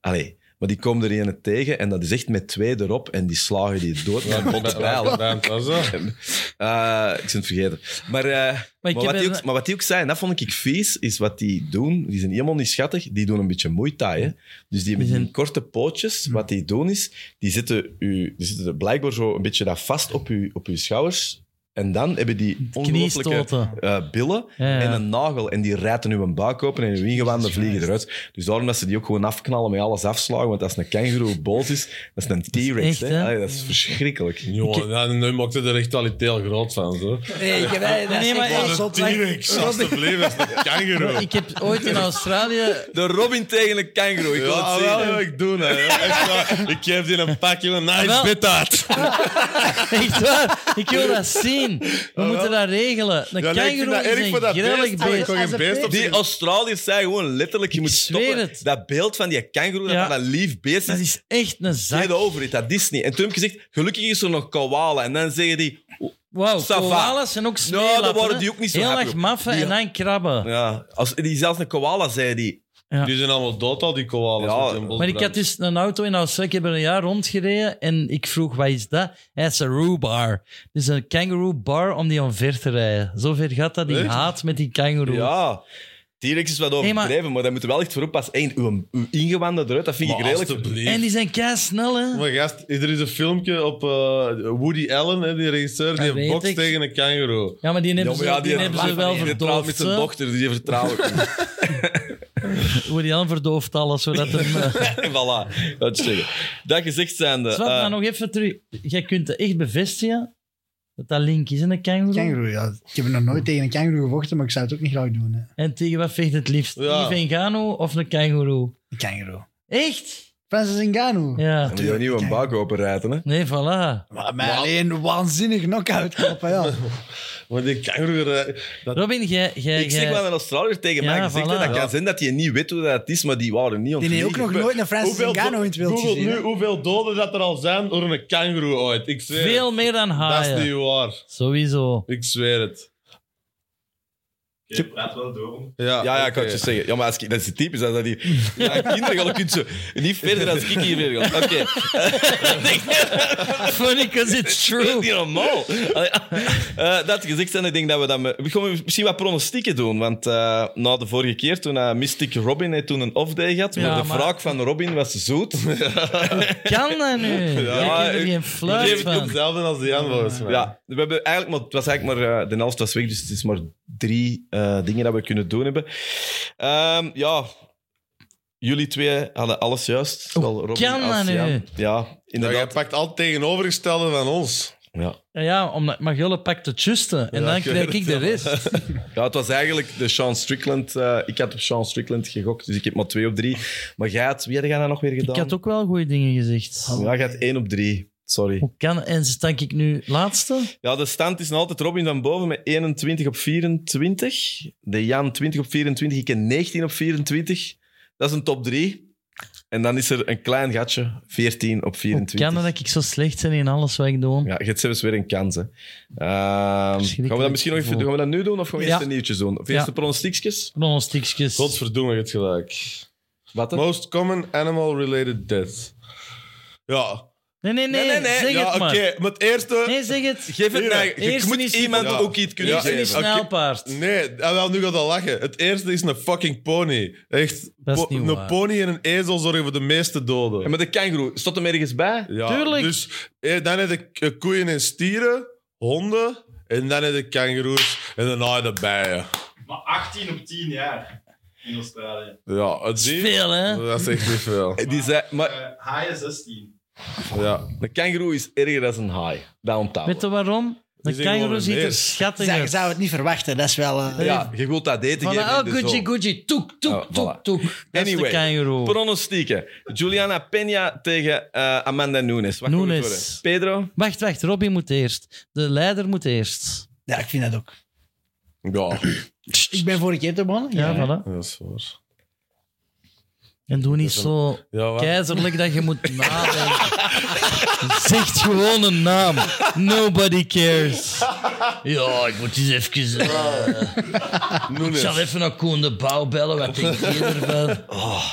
Speaker 1: Allee, maar die komen er een tegen en dat is echt met twee erop en die slagen die dood met een botte pijl.
Speaker 3: Ja, dat was dat.
Speaker 1: Eh, ik ben het vergeten. Maar, eh, maar,
Speaker 2: ik heb
Speaker 1: wat die
Speaker 2: een-
Speaker 1: ook, maar wat die ook zei, en dat vond ik vies, is wat die doen. Die zijn helemaal niet schattig. Die doen een beetje Muay Thai, hè. Dus die hebben
Speaker 2: Die zijn-
Speaker 1: die korte pootjes. Wat die doen is, die zitten, u, die zitten blijkbaar zo een beetje dat vast op uw, op uw schouders. En dan hebben die ongelooflijke
Speaker 2: Kniestoten.
Speaker 1: eh, billen
Speaker 2: Ja, ja.
Speaker 1: en een nagel. En die rijten uw buik open en uw ingewanden vliegen eruit. Dus daarom dat ze die ook gewoon afknallen met alles afslagen. Want als een kangaroo boos is, dat is een T-Rex.
Speaker 2: echt,
Speaker 1: hè.
Speaker 2: hè?
Speaker 1: Allee, Dat is verschrikkelijk.
Speaker 3: Jongen, nou, nu maakte er echt al iets heel groot van. Zo.
Speaker 4: Nee, ik heb, dat is
Speaker 2: Nee, maar
Speaker 4: echt wel
Speaker 2: ik-
Speaker 4: zot, hè.
Speaker 3: T-Rex, alsjeblieft, dat is een kangaroo.
Speaker 2: Ik heb ooit in Australië
Speaker 1: De Robin tegen een kangaroo. Ik wil het
Speaker 3: Ja,
Speaker 1: zien.
Speaker 3: wel, ja, ik doe het. hè. Echt waar. Ik geef die een pakje een nice
Speaker 2: Wel.
Speaker 3: bit uit.
Speaker 2: Echt waar? Ik wil dat zien. We moeten dat regelen. Een
Speaker 3: Ja, nee, ik vind
Speaker 2: kangaroo
Speaker 3: dat erg
Speaker 2: is
Speaker 3: voor
Speaker 2: een
Speaker 3: dat
Speaker 2: grillig
Speaker 3: beest. Ik
Speaker 2: beest.
Speaker 3: kon geen beest op
Speaker 1: Die Australiërs zijn gewoon letterlijk, je moet
Speaker 2: zweer
Speaker 1: stoppen.
Speaker 2: het.
Speaker 1: Dat beeld van die kangaroo, dat
Speaker 2: Ja.
Speaker 1: dat een lief beest
Speaker 2: Dat
Speaker 1: is.
Speaker 2: is echt een
Speaker 1: Get
Speaker 2: zak.
Speaker 1: over it, dat is niet. En toen heb ik gezegd, gelukkig is er nog koala. En dan zeggen die... oh,
Speaker 2: Wauw,
Speaker 1: Ça va.
Speaker 2: koalas zijn ook
Speaker 1: daar
Speaker 2: smeerlappen.
Speaker 1: worden
Speaker 2: hè.
Speaker 1: die ook niet zo
Speaker 2: Heel
Speaker 1: happy
Speaker 2: erg
Speaker 1: op.
Speaker 2: maffen
Speaker 1: Die-
Speaker 2: en dan krabben.
Speaker 1: Ja, als, die, zelfs een koala, zei die.
Speaker 3: Die zijn allemaal dood al, die koalas.
Speaker 1: Ja,
Speaker 3: met hun bosbrand.
Speaker 2: Maar ik had dus een auto in Australië. Ik heb er een jaar rondgereden en ik vroeg, wat is dat? Hij is een roobar. Dus een kangaroo bar om die omver te rijden. Zover gaat dat die
Speaker 3: Echt?
Speaker 2: haat met die kangaroo.
Speaker 1: Ja. T-Rex is wat overdreven, maar... daar moet je wel echt voor oppassen. Eén, uw, uw ingewanden eruit, dat vind
Speaker 3: Maar
Speaker 1: ik redelijk...
Speaker 3: alstublieft.
Speaker 2: En die zijn kei snel, hè?
Speaker 3: Maar gast, er is een filmpje op eh, Woody Allen, hè, die regisseur,
Speaker 2: Dat
Speaker 3: die
Speaker 2: weet
Speaker 3: bokst
Speaker 2: ik.
Speaker 3: tegen een kangaroo.
Speaker 2: Ja, maar die hebben
Speaker 1: Ja, maar
Speaker 2: ze,
Speaker 1: ja,
Speaker 2: die hebben ze wel
Speaker 1: die trouwt met
Speaker 2: verdoofd.
Speaker 1: zijn
Speaker 2: hè.
Speaker 1: dochter, dus die vertrouwen.
Speaker 2: Woody Allen verdooft alles, zodat hem... eh,
Speaker 1: voilà, dat is zeggen. Dat gezegd zijnde...
Speaker 2: Zwart,
Speaker 1: eh,
Speaker 2: maar nog even terug. Jij kunt het echt bevestigen dat dat link is in een kangaroo.
Speaker 4: Kangaroo, ja. Ik heb nog nooit tegen een kangaroo gevochten, maar ik zou het ook niet graag doen. Hè.
Speaker 2: En tegen wat vecht het liefst?
Speaker 3: Ja.
Speaker 2: Yves Ngannou of een kangaroo?
Speaker 4: Een kangaroo.
Speaker 2: Echt?
Speaker 4: Francis Ngannou.
Speaker 2: Ja.
Speaker 1: moet je niet een bak openrijden, hè?
Speaker 2: Nee, voilà.
Speaker 4: Maar mij alleen waanzinnig knock-out klappen, ja.
Speaker 3: Maar die kangaroo... eh, Dat,
Speaker 2: Robin, jij... jij
Speaker 1: Ik zeg
Speaker 2: jij-
Speaker 1: wel een Australiër tegen
Speaker 2: Ja,
Speaker 1: mij gezegd. hè.
Speaker 2: voilà.
Speaker 1: Dat
Speaker 2: Ja.
Speaker 1: kan zijn dat je niet weet hoe dat is, maar die waren niet
Speaker 4: Die
Speaker 1: ontvliegen.
Speaker 4: heeft ook nog nooit een Francis
Speaker 3: hoeveel do-
Speaker 4: Ngannou in het wild
Speaker 3: Google
Speaker 4: gezien.
Speaker 3: nu
Speaker 4: hè.
Speaker 3: hoeveel doden dat er al zijn door een kangaroo ooit. Ik zweer het.
Speaker 2: Veel meer dan
Speaker 3: Dat is
Speaker 2: haaien.
Speaker 3: niet waar.
Speaker 2: Sowieso.
Speaker 3: Ik zweer het.
Speaker 6: Je praat wel door.
Speaker 3: Ja,
Speaker 1: Ja, ja, ik
Speaker 3: oké.
Speaker 1: kan het je zeggen. Ja, maar als ik, dat is het typisch. Als dat die, ja, kinderen gaan, dan kun je niet verder als ik hier verder ga. Oké,
Speaker 2: Funny, because it's
Speaker 1: dat is
Speaker 2: true.
Speaker 1: niet normaal. Allee, eh, dat gezegd zijn, ik denk dat we dan... We gaan misschien wat pronostieken doen, want eh, na de vorige keer, toen eh, Mystic Robin heeft toen een off-day gehad, maar
Speaker 2: Ja,
Speaker 1: de
Speaker 2: maar-
Speaker 1: wraak van Robin was zoet.
Speaker 2: Kan dat nu?
Speaker 1: Ja,
Speaker 2: Jij kunt er
Speaker 1: ik-
Speaker 2: geen fluit
Speaker 3: Geef het
Speaker 2: van.
Speaker 3: hetzelfde als die Jan, volgens mij.
Speaker 1: Ja, we hebben eigenlijk maar, het was eigenlijk maar eh, de helft was weg, dus het is maar drie eh, dingen dat we kunnen doen hebben. Ehm, ja, jullie twee hadden alles juist. Zowel Robin
Speaker 2: kan
Speaker 1: als
Speaker 2: dat nu?
Speaker 1: Jan. Ja,
Speaker 3: Ja, jij
Speaker 1: inderdaad.
Speaker 3: pakt al het tegenovergestelde van ons.
Speaker 1: Ja.
Speaker 2: Ja, ja, omdat Magjolle pakt het juiste. En
Speaker 3: Ja,
Speaker 2: dan
Speaker 3: ik
Speaker 2: krijg
Speaker 3: weet
Speaker 2: ik de rest.
Speaker 1: ja, het was eigenlijk de Sean Strickland. eh, ik had op Sean Strickland gegokt, dus ik heb maar twee op drie. Maar jij had, wie had jij dan nog weer
Speaker 2: Ik
Speaker 1: gedaan?
Speaker 2: had ook wel goede dingen gezegd.
Speaker 1: Ja, jij had één op drie. Sorry.
Speaker 2: Hoe kan... En stank ik nu laatste?
Speaker 1: Ja, de stand is nog altijd Robin van boven met 21 op 24. De Jan 20 op 24. Ik ken 19 op 24. Dat is een top 3. En dan is er een klein gatje, 14 op
Speaker 2: Hoe
Speaker 1: 24.
Speaker 2: kan het dat ik zo slecht ben in alles wat ik doe?
Speaker 1: Ja, je hebt zelfs weer een kans. Hè. Ehm, gaan we dat misschien nog even
Speaker 2: gevoel.
Speaker 1: doen? Gaan we dat nu doen of gaan we
Speaker 2: Ja.
Speaker 1: eerst een nieuwtjes doen? Of eerst
Speaker 2: Ja.
Speaker 1: de pronostiekjes?
Speaker 2: Pronostiekjes.
Speaker 3: Godverdomme, het gelijk.
Speaker 1: Wat? dan?
Speaker 3: Most common animal-related death. Ja.
Speaker 2: Nee, nee, nee, zeg
Speaker 3: ja,
Speaker 2: het maar.
Speaker 3: Oké, maar het eerste...
Speaker 2: Nee, zeg het.
Speaker 1: Geef het
Speaker 3: Hier,
Speaker 1: mij.
Speaker 3: hè.
Speaker 1: Je
Speaker 2: Eerst
Speaker 1: moet
Speaker 2: niet-
Speaker 1: iemand
Speaker 3: Ja.
Speaker 1: ook iets kunnen
Speaker 3: Ja.
Speaker 2: Eerst een
Speaker 1: geven.
Speaker 3: Oké.
Speaker 2: snelpaard.
Speaker 3: Nee, ah, wel, nu gaat dat lachen. Het eerste is een fucking pony. Echt,
Speaker 2: Dat is
Speaker 3: po-
Speaker 2: niet waar.
Speaker 3: een pony en een ezel zorgen voor de meeste doden.
Speaker 1: En met de kangoeroe, stond hem ergens bij?
Speaker 3: Ja,
Speaker 2: Tuurlijk.
Speaker 3: Dus eh, dan heb ik eh, koeien en stieren, honden, en dan heb ik kangaroes en daarna de bijen.
Speaker 6: Maar 18 op 10 jaar in Australië.
Speaker 3: Ja, het zie je.
Speaker 2: Veel, hè?
Speaker 3: Dat is echt niet veel.
Speaker 1: Die zei, maar
Speaker 6: Eh haaien 16.
Speaker 3: Ja.
Speaker 1: een kangoeroe is erger dan een haai. Dat
Speaker 2: Weet
Speaker 1: onthouden.
Speaker 2: je waarom? De
Speaker 3: Die zeggen
Speaker 2: kangaroo
Speaker 3: gewoon
Speaker 2: ziet er
Speaker 3: nee.
Speaker 2: schattig
Speaker 4: Zou,
Speaker 2: uit.
Speaker 4: zou het niet verwachten, dat is wel... eh,
Speaker 1: Ja, je wilt dat eten
Speaker 2: Van,
Speaker 1: geven.
Speaker 2: oh,
Speaker 1: in de
Speaker 2: Gucci,
Speaker 1: zomer.
Speaker 2: Gucci, toek, toek,
Speaker 1: Oh,
Speaker 2: toek,
Speaker 1: voilà.
Speaker 2: toek. Dat is de
Speaker 1: Anyway,
Speaker 2: kangaroo.
Speaker 1: Pronostieken. Juliana Peña tegen eh, Amanda Nunes. Wat
Speaker 2: Nunes.
Speaker 1: gaat het worden? Pedro?
Speaker 2: Wacht, wacht, Robbie moet eerst. De leider moet eerst.
Speaker 4: ja, ik vind dat ook.
Speaker 3: ja,
Speaker 4: Ik ben vorige keer te begonnen.
Speaker 2: Ja,
Speaker 4: ja.
Speaker 2: voilà.
Speaker 3: dat is waar.
Speaker 2: En doe niet zo
Speaker 3: Ja, wat?
Speaker 2: keizerlijk dat je moet nadenken. Zeg gewoon een naam. Nobody cares. Ja, ik moet eens even... eh, ik
Speaker 3: Nunes.
Speaker 2: zal even naar Koen de Bouw bellen. Wat denk je ervan? Oh.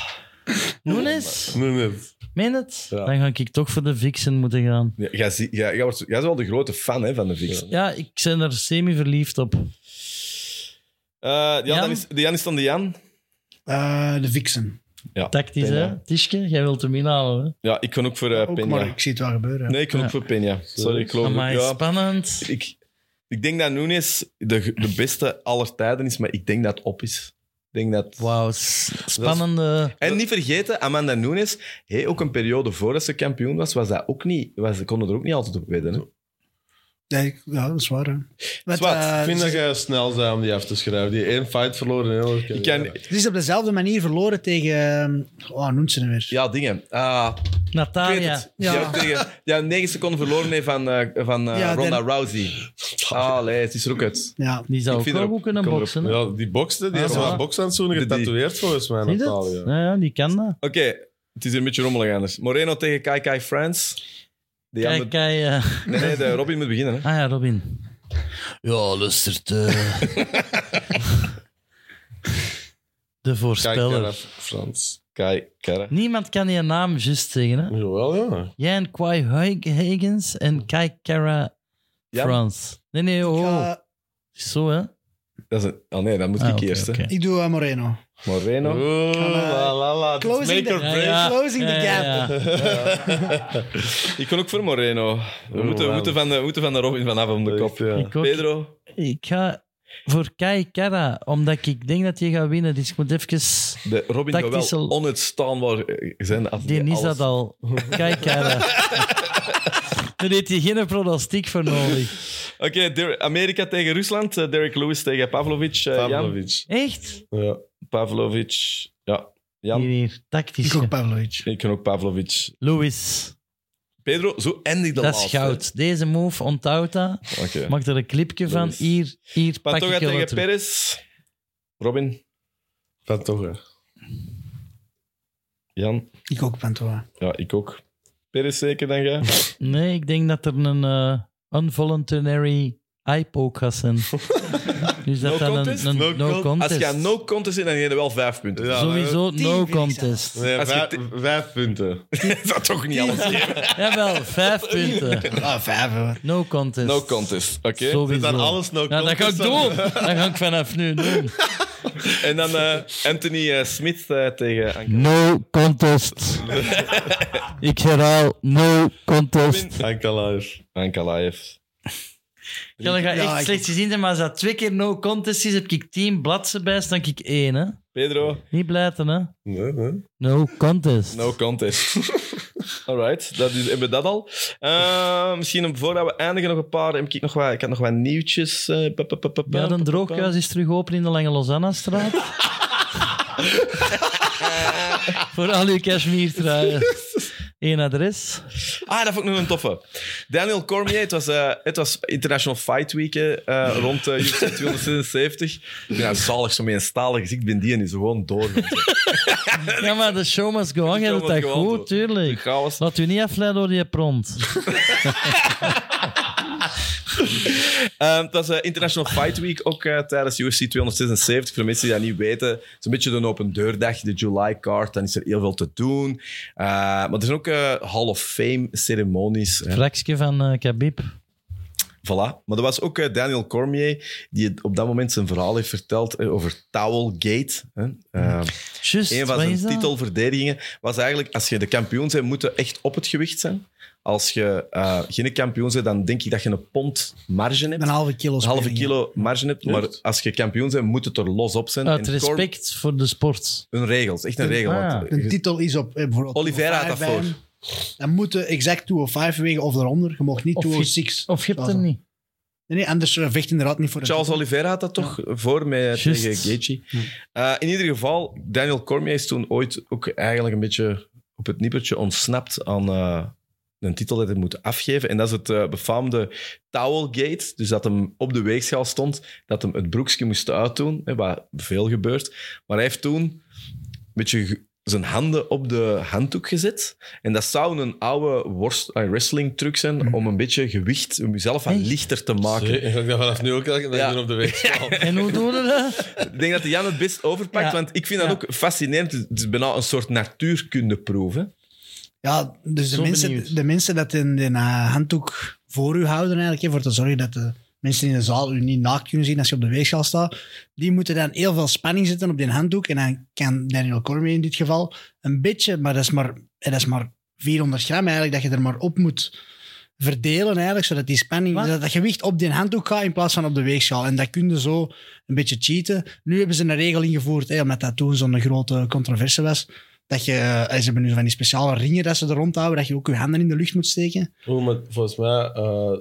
Speaker 2: Nunes?
Speaker 3: Nunes.
Speaker 2: Meen het?
Speaker 3: Ja.
Speaker 2: Dan ga ik toch voor de Vixen moeten gaan.
Speaker 1: Ja, jij, zie- jij, jij, wordt, jij is wel de grote fan hè, van de Vix.
Speaker 2: Ja, ik ben er semi-verliefd op.
Speaker 1: Eh, ja,
Speaker 2: Jan?
Speaker 1: dan is, de Jan is dan de Jan.
Speaker 4: Eh, de Vixen.
Speaker 2: Tactisch, hè? Tischke, jij wilt hem inhalen,
Speaker 1: Ja, ik kan ook voor eh
Speaker 4: Ook,
Speaker 1: Peña.
Speaker 4: maar ik zie het wel gebeuren.
Speaker 1: Nee, ik kan
Speaker 2: Ja.
Speaker 1: ook voor Peña. Sorry, ik
Speaker 2: hè?
Speaker 1: geloof
Speaker 2: Amai,
Speaker 1: ja,
Speaker 2: spannend.
Speaker 1: ik, ik denk dat Nunes de, de beste aller tijden is, maar ik denk dat het op is. Ik denk dat...
Speaker 2: Wauw, s- spannende...
Speaker 1: En niet vergeten, Amanda Nunes, hey, ook een periode voordat ze kampioen was, was dat ook niet, was, ze konden er ook niet altijd op wedden. Hè?
Speaker 4: Nee, ik- ja, dat is waar. hè. Met,
Speaker 1: Zwart,
Speaker 4: eh,
Speaker 3: Ik vind dat
Speaker 4: ze-
Speaker 3: jij snel zijn om die af te schrijven. Die één fight verloren in heel
Speaker 1: Ik ken,
Speaker 4: Het is op dezelfde manier verloren tegen... ehm, Oh, noemt ze hem weer?
Speaker 1: ja, dingen. Ah, ik weet
Speaker 2: Natalia.
Speaker 1: het. Ja.
Speaker 4: Ja.
Speaker 1: ook tegen, ja, 9 seconden verloren heeft van, eh, van eh,
Speaker 4: Ja,
Speaker 1: Ronda
Speaker 4: dan-
Speaker 1: Rousey. Ah, nee, het is er ook uit.
Speaker 4: Ja.
Speaker 2: Die zou
Speaker 1: Ik
Speaker 2: ook
Speaker 1: vind
Speaker 2: wel
Speaker 1: erop-
Speaker 2: goed kunnen
Speaker 1: kom erop.
Speaker 2: boksen. hè?
Speaker 3: Ja, die bokste, die
Speaker 2: Ah,
Speaker 3: is
Speaker 2: ja.
Speaker 3: wel een bokshandschoenen
Speaker 1: Die- die-
Speaker 3: getatoeëerd volgens mij,
Speaker 2: Zie je dat?
Speaker 3: Natalia.
Speaker 2: Ja, ja, die kan dat.
Speaker 1: Oké, het is hier een beetje rommelig anders. Moreno tegen Kai Kai France. De Jan
Speaker 2: Kijk,
Speaker 1: moet-
Speaker 2: kijk. eh,
Speaker 1: nee, nee, de Robin moet beginnen. Hè.
Speaker 2: Ah ja, Robin. Ja, lustert. eh. De
Speaker 3: Kijk,
Speaker 2: voorspeller.
Speaker 3: Gerard Frans.
Speaker 1: Kai Kara.
Speaker 2: Niemand kan je naam juist zeggen, hè?
Speaker 3: Jawel, ja.
Speaker 2: Jij en Kwai Higgins en Kai Kara
Speaker 1: Jan?
Speaker 2: Frans. Nee, nee, oh.
Speaker 4: Ik, ga-
Speaker 2: Zo, hè?
Speaker 1: Dat is een, oh nee, dat moet
Speaker 2: Ah,
Speaker 1: ik
Speaker 2: oké,
Speaker 1: eerst. hè.
Speaker 2: oké.
Speaker 4: ik doe eh, Moreno.
Speaker 1: Moreno.
Speaker 3: Oeh,
Speaker 4: Kan, eh,
Speaker 3: la, la, la.
Speaker 4: Closing
Speaker 3: Make
Speaker 4: the,
Speaker 3: or break.
Speaker 2: Ja,
Speaker 4: closing the
Speaker 2: ja,
Speaker 4: gap.
Speaker 2: ja, ja.
Speaker 1: Ik kon ook voor Moreno. We,
Speaker 3: Oh,
Speaker 1: moeten, we,
Speaker 3: wauw.
Speaker 1: moeten van de, we moeten van de Robin vanaf om de kop.
Speaker 3: Ja.
Speaker 2: Ik ook.
Speaker 1: Pedro.
Speaker 2: Ik ga voor Kai Kara, omdat ik denk dat hij gaat winnen. Dus ik moet even...
Speaker 1: De Robin gaat wel
Speaker 2: Tactische-
Speaker 1: onuitstaanbaar eh, zijn. Als
Speaker 2: Die is
Speaker 1: alles-
Speaker 2: dat al. Kijk, Kara. Daar heeft hij geen pronostiek voor nodig.
Speaker 1: Oké, Der- Amerika tegen Rusland. eh, Derek Lewis tegen Pavlovic. eh, Jan.
Speaker 3: Pavlovic.
Speaker 2: Echt?
Speaker 3: Ja.
Speaker 1: Pavlovic. Ja.
Speaker 2: Hier,
Speaker 1: Jan.
Speaker 2: hier. Tactisch.
Speaker 4: Ik ook Pavlovic.
Speaker 1: Ik kan ook Pavlovic.
Speaker 2: Louis,
Speaker 1: Pedro, zo eindig de
Speaker 2: dat is
Speaker 1: laatste.
Speaker 2: goud. Deze move, onthoud dat.
Speaker 1: Oké.
Speaker 2: Maak er een clipje van.
Speaker 1: Louis.
Speaker 2: Hier, hier, pak
Speaker 1: Pantoja
Speaker 2: ik je
Speaker 1: tegen
Speaker 2: wat terug.
Speaker 1: Perez. Robin.
Speaker 3: Van toch, hè.
Speaker 1: Jan.
Speaker 4: Ik ook Pantoa.
Speaker 1: Ja, ik ook. Perez zeker dan jij.
Speaker 2: Nee, ik denk dat er een eh unvoluntary eye-poke gaat zijn. dus dat
Speaker 1: No
Speaker 2: dan
Speaker 1: contest?
Speaker 2: een, een
Speaker 3: No
Speaker 2: no
Speaker 1: Als
Speaker 3: contest.
Speaker 2: contest.
Speaker 1: je aan no contest zit, dan geef je wel vijf punten.
Speaker 3: Ja,
Speaker 2: Sowieso
Speaker 4: Tien
Speaker 2: no
Speaker 4: vind ik
Speaker 2: contest.
Speaker 3: Nee,
Speaker 1: Als je
Speaker 3: vijf,
Speaker 1: ti-
Speaker 3: vijf punten.
Speaker 1: dat toch niet alles geven.
Speaker 2: Jawel, vijf punten.
Speaker 4: Ah, vijf hoor.
Speaker 2: No contest.
Speaker 1: No contest, oké.
Speaker 2: Sowieso.
Speaker 3: Zit dan alles no
Speaker 2: Ja, dat ga ik
Speaker 3: contest
Speaker 2: doen.
Speaker 3: aan?
Speaker 2: Dat ga ik vanaf nu doen.
Speaker 1: En dan eh, Anthony eh, Smith eh, tegen Anke.
Speaker 2: No contest. ik herhaal, no contest.
Speaker 3: Ankalaev.
Speaker 1: Ankalaev.
Speaker 2: Ik had dat
Speaker 4: Ja,
Speaker 2: echt
Speaker 4: ik-
Speaker 2: slecht gezien, zijn, maar als dat twee keer no contest is, heb ik tien bladzijden bij, staan ik één. Hè?
Speaker 1: Pedro,
Speaker 2: Niet blijten, hè?
Speaker 3: Nee, nee.
Speaker 2: No contest.
Speaker 1: no contest. Alright, dat is, hebben we dat al. Eh, misschien om- voordat we eindigen nog een paar... Heb ik, nog wat, ik had nog wat nieuwtjes. eh, pa, pa, pa, pa, pa,
Speaker 2: Ja,
Speaker 1: pa,
Speaker 2: de
Speaker 1: pa,
Speaker 2: droogkuis is terug open in de Lange Lozanna-straat. Voor al uw cashmere-truien. Eén adres.
Speaker 1: Ah, dat vond ik nog een toffe. Daniel Cormier, het was, eh, het was International Fight Week eh, eh, rond eh, UFC 276. Ik ben nou zalig zo met een stalen gezicht, ik ben die en is gewoon door.
Speaker 2: Ja, maar de show must go on. Jij
Speaker 1: show
Speaker 2: doet
Speaker 1: must
Speaker 2: dat
Speaker 1: go on,
Speaker 2: goed,
Speaker 1: toch?
Speaker 2: tuurlijk.
Speaker 1: Chaos.
Speaker 2: Laat u niet afleiden door die pront.
Speaker 1: Ehm, het was eh, International Fight Week ook eh, tijdens UFC 276. Voor de mensen die dat niet weten, het is een beetje de open deurdag, de July card. Dan is er heel veel te doen. Eh, maar er zijn ook eh, Hall of Fame ceremonies. hè.
Speaker 2: Fraksje van eh Khabib.
Speaker 1: Voilà. Maar er was ook eh, Daniel Cormier, die het op dat moment zijn verhaal heeft verteld eh, over Towelgate. Hè. Eh,
Speaker 2: Just,
Speaker 1: een van
Speaker 2: wat
Speaker 1: zijn
Speaker 2: is dat?
Speaker 1: titelverdedigingen was eigenlijk, als je de kampioen bent, moet je echt op het gewicht zijn. Als je eh, geen kampioen bent, dan denk ik dat je een pond marge hebt.
Speaker 4: Een halve kilo.
Speaker 1: Een halve
Speaker 4: spelling,
Speaker 1: kilo marge hebt. Maar als je kampioen bent, moet het er los op zijn.
Speaker 2: Uit
Speaker 1: En Cor-
Speaker 2: respect voor de sport.
Speaker 1: Een regels, echt een regel.
Speaker 2: Ah.
Speaker 1: want,
Speaker 4: ja. De titel is op eh, bijvoorbeeld.
Speaker 1: Oliveira had
Speaker 4: 205
Speaker 1: dat
Speaker 4: bij
Speaker 1: voor.
Speaker 4: hem. Dan moet je exact 205 wegen of daaronder. Je mag niet
Speaker 2: Of je-
Speaker 4: 206.
Speaker 2: Of je hebt
Speaker 4: Dat
Speaker 2: hem
Speaker 4: is-
Speaker 2: niet.
Speaker 4: Nee, nee, anders eh, vecht inderdaad niet voor de
Speaker 1: Charles Oliveira had dat toch voor met,
Speaker 2: Juist.
Speaker 1: tegen Gaethje. Eh, in ieder geval, Daniel Cormier is toen ooit ook eigenlijk een beetje op het nippertje ontsnapt aan eh, een titel dat hij moet afgeven. En dat is het eh, befaamde Towelgate. Dus dat hem op de weegschaal stond, dat hem het broekje moest uitdoen, hè, wat veel gebeurt. Maar hij heeft toen een beetje ge- zijn handen op de handdoek gezet. En dat zou een oude worst, eh, wrestling truc zijn om een beetje gewicht, om jezelf wat
Speaker 2: Echt?
Speaker 1: lichter te maken.
Speaker 3: Zee, Ik ga vanaf nu ook elke dag
Speaker 1: Ja.
Speaker 3: doen op de weegschaal.
Speaker 2: En hoe doen we dat?
Speaker 1: Ik denk dat de Jan het best overpakt,
Speaker 2: Ja.
Speaker 1: want ik vind dat
Speaker 2: Ja.
Speaker 1: ook fascinerend. Het is bijna een soort natuurkundeproef. Hè?
Speaker 4: Ja, dus de
Speaker 2: Zo
Speaker 4: mensen,
Speaker 2: benieuwd.
Speaker 4: de mensen dat in de eh, handdoek voor u houden, eigenlijk, hè, voor te zorgen dat de mensen in de zaal u niet naakt kunnen zien als je op de weegschaal staat, die moeten dan heel veel spanning zetten op die handdoek. En dan kan Daniel Cormier in dit geval een beetje, maar dat is maar, eh, dat is maar 400 gram eigenlijk, dat je er maar op moet verdelen eigenlijk, zodat die spanning,
Speaker 2: Wat?
Speaker 4: dat, dat gewicht op die handdoek gaat in plaats van op de weegschaal. En dat kun je zo een beetje cheaten. Nu hebben ze een regel ingevoerd, hè, omdat dat toen zo'n grote controverse was, dat je, eh, ze hebben nu van die speciale ringen dat ze er rondhouden, dat je ook je handen in de lucht moet steken.
Speaker 3: Oeh, maar volgens mij, eh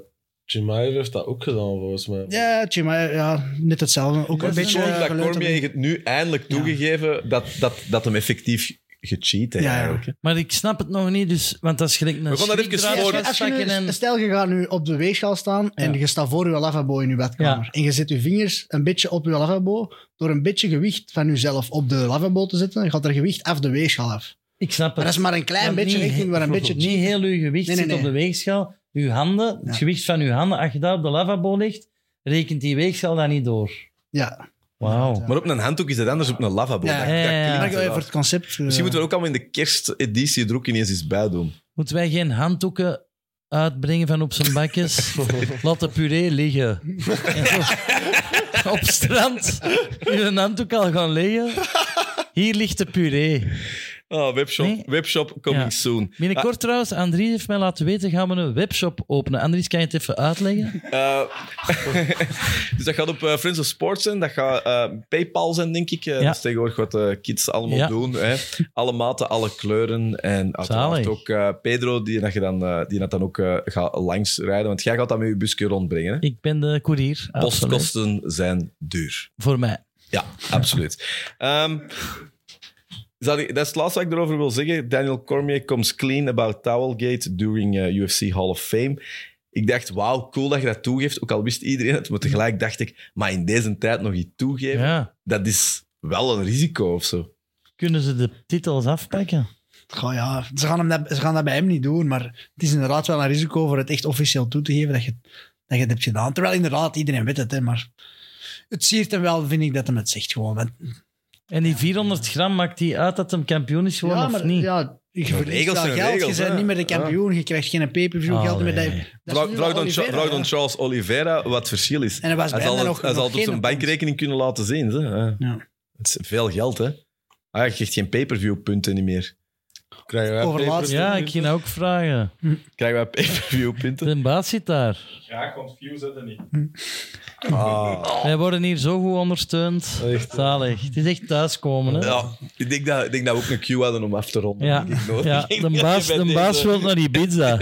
Speaker 3: Jemai heeft dat ook gedaan, volgens mij.
Speaker 4: Ja, tje, maar eh, ja, net hetzelfde.
Speaker 1: Het
Speaker 4: Ook een
Speaker 1: is
Speaker 4: beetje...
Speaker 1: gewoon
Speaker 4: eh,
Speaker 1: dat
Speaker 4: geluid
Speaker 1: Cormier
Speaker 4: erin.
Speaker 1: heeft het nu eindelijk toegegeven dat, dat, dat hem effectief gecheat heeft.
Speaker 4: Ja, ja.
Speaker 1: eigenlijk, hè.
Speaker 2: Maar ik snap het nog niet, dus, want dat is gelijk een
Speaker 1: We gaan dat even
Speaker 2: schrikdraad
Speaker 1: voor-
Speaker 4: Als je
Speaker 2: vastpakken
Speaker 4: nu,
Speaker 2: en...
Speaker 4: stel, je gaat nu op de weegschaal staan en je staat voor je lavabo in je badkamer.
Speaker 2: Ja.
Speaker 4: En je zet je vingers een beetje op je lavabo door een beetje gewicht van jezelf op de lavabo te zetten. Dan gaat er gewicht af de weegschaal af.
Speaker 2: Ik snap het.
Speaker 4: Maar dat is maar een klein
Speaker 2: Want
Speaker 4: beetje
Speaker 2: niet-
Speaker 4: richting waar een beetje...
Speaker 2: Niet heel uw gewicht
Speaker 4: Nee, nee,
Speaker 2: zit op
Speaker 4: nee.
Speaker 2: de weegschaal. Uw handen,
Speaker 4: Ja.
Speaker 2: het gewicht van uw handen, als je daar op de lavabo ligt, rekent die weegschaal dan niet door.
Speaker 4: Ja.
Speaker 2: Wauw.
Speaker 1: Maar op een handdoek is dat anders op een lavabo.
Speaker 4: Ja,
Speaker 1: Dat-
Speaker 4: ja,
Speaker 1: dat
Speaker 2: ja.
Speaker 1: klinkt
Speaker 4: Maar
Speaker 1: raar.
Speaker 4: eh, voor het concept... eh,
Speaker 1: Misschien moeten we er ook allemaal in de kersteditie er ook ineens iets bij doen.
Speaker 2: Moeten wij geen handdoeken uitbrengen van op zijn bakjes? Laat de puree liggen. En zo op strand. Uw handdoek al gaan liggen. Hier ligt de puree.
Speaker 1: Ah, webshop,
Speaker 2: Nee.
Speaker 1: webshop coming
Speaker 2: Ja.
Speaker 1: soon.
Speaker 2: Binnenkort trouwens, Andries heeft mij laten weten, gaan we een webshop openen. Andries, kan je het even uitleggen?
Speaker 1: Eh, dus dat gaat op eh, Friends of Sports zijn. Dat gaat eh, Paypal zijn, denk ik. Eh,
Speaker 2: Ja.
Speaker 1: Dat is tegenwoordig wat de kids allemaal
Speaker 2: Ja.
Speaker 1: doen. Hè. Alle maten, alle kleuren. En uiteraard
Speaker 2: Zalig.
Speaker 1: ook eh, Pedro, die dat, je dan, eh, die dat dan ook eh, gaat langsrijden. Want jij gaat dat met je busje rondbrengen. Hè?
Speaker 2: Ik ben de koerier. Absoluut.
Speaker 1: Postkosten zijn duur.
Speaker 2: Voor mij.
Speaker 1: Ja, absoluut. Ehm, zal ik- dat is het laatste wat ik erover wil zeggen. Daniel Cormier comes clean about Towelgate during eh, UFC Hall of Fame. Ik dacht, wauw, cool dat je dat toegeeft. Ook al wist iedereen het, maar tegelijk dacht ik, maar in deze tijd nog iets toegeven,
Speaker 2: Ja.
Speaker 1: dat is wel een risico of zo.
Speaker 2: Kunnen ze de titels afpakken?
Speaker 4: Goh, ja, ze gaan, hem dat, ze gaan dat bij hem niet doen, maar het is inderdaad wel een risico voor het echt officieel toe te geven dat je, dat je het hebt gedaan. Terwijl inderdaad, iedereen weet het, hè, maar het siert hem wel, vind ik, dat hem het zegt gewoon. Want-
Speaker 2: En die 400 gram, maakt die uit dat hem kampioen is geworden
Speaker 4: ja,
Speaker 2: of niet?
Speaker 4: Ja, je verliest
Speaker 1: regels
Speaker 4: wel
Speaker 1: zijn
Speaker 4: geld,
Speaker 1: regels,
Speaker 4: je bent
Speaker 1: hè.
Speaker 4: niet meer de kampioen, je krijgt geen pay-per-view geld meer. Dat,
Speaker 2: Allee.
Speaker 4: dat is
Speaker 1: Vraag
Speaker 4: nu
Speaker 1: vraag
Speaker 4: wel
Speaker 1: dan, Cha-
Speaker 4: Oliveira,
Speaker 1: vraag
Speaker 4: ja.
Speaker 1: dan Charles Oliveira wat het verschil is.
Speaker 4: En hij was
Speaker 1: Hij
Speaker 4: bijna
Speaker 1: zal het,
Speaker 4: nog,
Speaker 1: hij zal
Speaker 4: nog
Speaker 1: het op
Speaker 4: geen
Speaker 1: zijn
Speaker 4: punt.
Speaker 1: bankrekening kunnen laten zien. Hè? Ja.
Speaker 4: Ja.
Speaker 1: Het is veel geld, hè? Ah, je krijgt geen pay-per-view punten niet meer.
Speaker 3: Krijgen wij
Speaker 4: Overlaatst.
Speaker 3: papers?
Speaker 2: Ja, ik ging ook vragen.
Speaker 1: Krijgen wij pay-per-view punten?
Speaker 2: De baas zit daar.
Speaker 6: Ja, confuse het niet.
Speaker 3: Ah,
Speaker 2: Wij worden hier zo goed ondersteund.
Speaker 3: Echt.
Speaker 2: Zalig. Het is echt thuiskomen, hè?
Speaker 1: Ja, ik denk dat, ik denk dat we ook een cue hadden om af te ronden.
Speaker 2: Ja,
Speaker 1: denk ik, hoor.
Speaker 2: ja
Speaker 1: Ik denk
Speaker 2: de
Speaker 1: dat
Speaker 2: baas,
Speaker 1: je eh, bij
Speaker 2: de baas
Speaker 1: deze-
Speaker 2: wil naar Ibiza.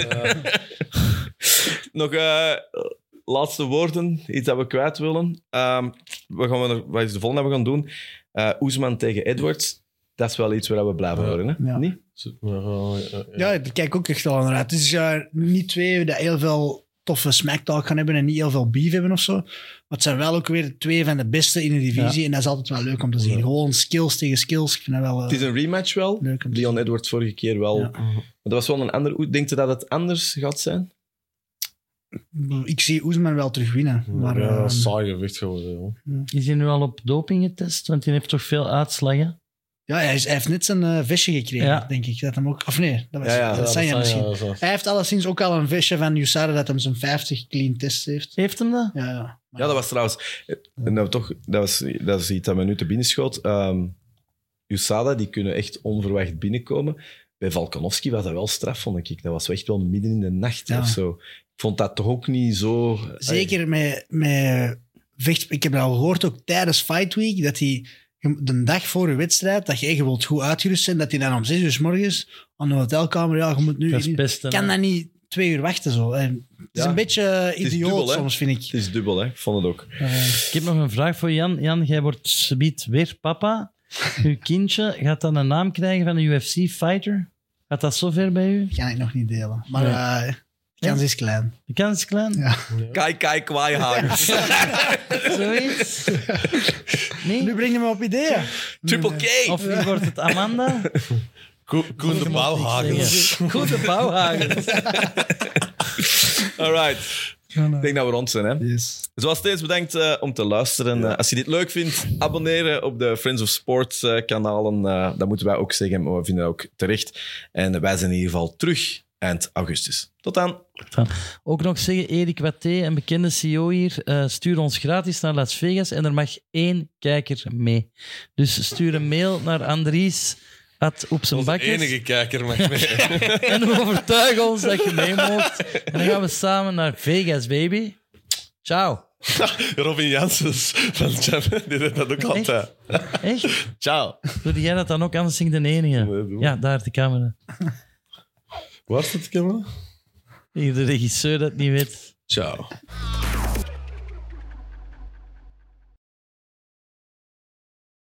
Speaker 1: Nog eh, laatste woorden, iets dat we kwijt willen. Ehm, wat, gaan we er, wat is de volgende dat we gaan doen? Eh Oesman tegen Edwards. dat is wel iets waar we blijven
Speaker 3: Ja.
Speaker 1: horen. Hè?
Speaker 4: Ja.
Speaker 1: Niet?
Speaker 4: Ja,
Speaker 3: Ja,
Speaker 4: ik kijk ook echt wel naar uit. Het is eh, niet twee die heel veel toffe smacktalk gaan hebben en niet heel veel beef hebben of zo. Maar het zijn wel ook weer twee van de beste in de divisie. En dat is altijd wel leuk om te zien. Gewoon skills tegen skills. Ik vind dat wel eh,
Speaker 1: Het is een rematch wel.
Speaker 4: leuk om te
Speaker 1: Leon Edwards vorige keer wel.
Speaker 4: Ja.
Speaker 1: Maar dat was wel een ander. Hoe denkt u dat het anders gaat zijn?
Speaker 4: zien. Ik zie Oesman wel terug winnen. Maar,
Speaker 3: ja,
Speaker 4: ehm,
Speaker 3: saai gewicht geworden, joh.
Speaker 2: Is hij nu al op doping getest? Want hij heeft toch veel uitslagen?
Speaker 4: ja, hij, is- hij heeft net zijn eh, visje gekregen,
Speaker 2: Ja.
Speaker 4: denk ik. Dat hem ook, of nee, dat was
Speaker 1: Ja, ja,
Speaker 4: dat
Speaker 3: Ja,
Speaker 4: zijn
Speaker 3: saai,
Speaker 4: misschien.
Speaker 3: ja, dat is-
Speaker 4: Hij heeft alleszins ook al een visje van USADA dat hem zijn 50 clean tests heeft.
Speaker 2: Heeft hem dat?
Speaker 4: Ja, ja. Maar-
Speaker 1: Ja, dat was trouwens. En dat, we toch, dat, was, dat is iets dat me nu te binnen schoot. Ehm, USADA, die kunnen echt onverwacht binnenkomen. Bij Valkanovski was dat wel straf, vond ik. Dat was echt wel midden in de nacht
Speaker 4: Ja.
Speaker 1: of zo. Ik vond dat toch ook niet zo. eh,
Speaker 4: Zeker met, met vecht. Ik heb dat al gehoord ook tijdens Fight Week. Dat hij de dag voor je wedstrijd, dat je, je wilt goed uitgerust zijn, dat hij dan om zes uur 's morgens aan de hotelkamer. Ja, je moet nu.
Speaker 2: Dat is pesten,
Speaker 4: kan
Speaker 2: hè.
Speaker 4: dat niet twee uur wachten zo. En Het is
Speaker 1: Ja.
Speaker 4: een beetje eh,
Speaker 1: is
Speaker 4: idioot
Speaker 1: dubbel, hè?
Speaker 4: soms, vind ik.
Speaker 1: Het is dubbel, hè? Ik vond het ook.
Speaker 4: Eh,
Speaker 2: Ik heb nog een vraag voor Jan. Jan, jij wordt subiet weer papa. Uw kindje gaat dan een naam krijgen van een UFC-fighter. Gaat dat zover bij u?
Speaker 4: kan ik nog niet delen. Maar eh de kans is klein.
Speaker 2: De kans is klein.
Speaker 4: Ja.
Speaker 1: Kai, kai, kwaai, hagers.
Speaker 2: Zoiets. Nee?
Speaker 4: Nu breng je me op ideeën.
Speaker 1: Triple K.
Speaker 2: Of wie wordt het? Amanda?
Speaker 3: Koen- Koen de Bouwhagens.
Speaker 2: Goede bouwhagen.
Speaker 1: All right. Ik denk dat we rond zijn, hè?
Speaker 4: Yes.
Speaker 1: Zoals steeds, bedankt eh, om te luisteren. Eh, als je dit leuk vindt, abonneren op de Friends of Sports eh, kanalen. Eh, dat moeten wij ook zeggen, maar we vinden dat ook terecht. En wij zijn in ieder geval terug eind augustus. Tot dan.
Speaker 2: Ook nog zeggen, Erik Watté, een bekende CEO hier, eh, stuur ons gratis naar Las Vegas en er mag één kijker mee. Dus stuur een mail naar Andries at op zijn
Speaker 3: De
Speaker 2: bakjes.
Speaker 3: enige kijker mag mee.
Speaker 2: En overtuig ons dat je mee mocht. En dan gaan we samen naar Vegas, baby. Ciao.
Speaker 3: Robin Janssens van Jam, die deed dat ook altijd.
Speaker 2: Echt?
Speaker 3: Ciao.
Speaker 2: Doe jij dat dan ook? Anders zing de enige.
Speaker 3: Nee, doe.
Speaker 2: Ja, daar de camera.
Speaker 3: Waar staat de camera?
Speaker 2: Hier de regisseur dat niet weet.
Speaker 3: Ciao.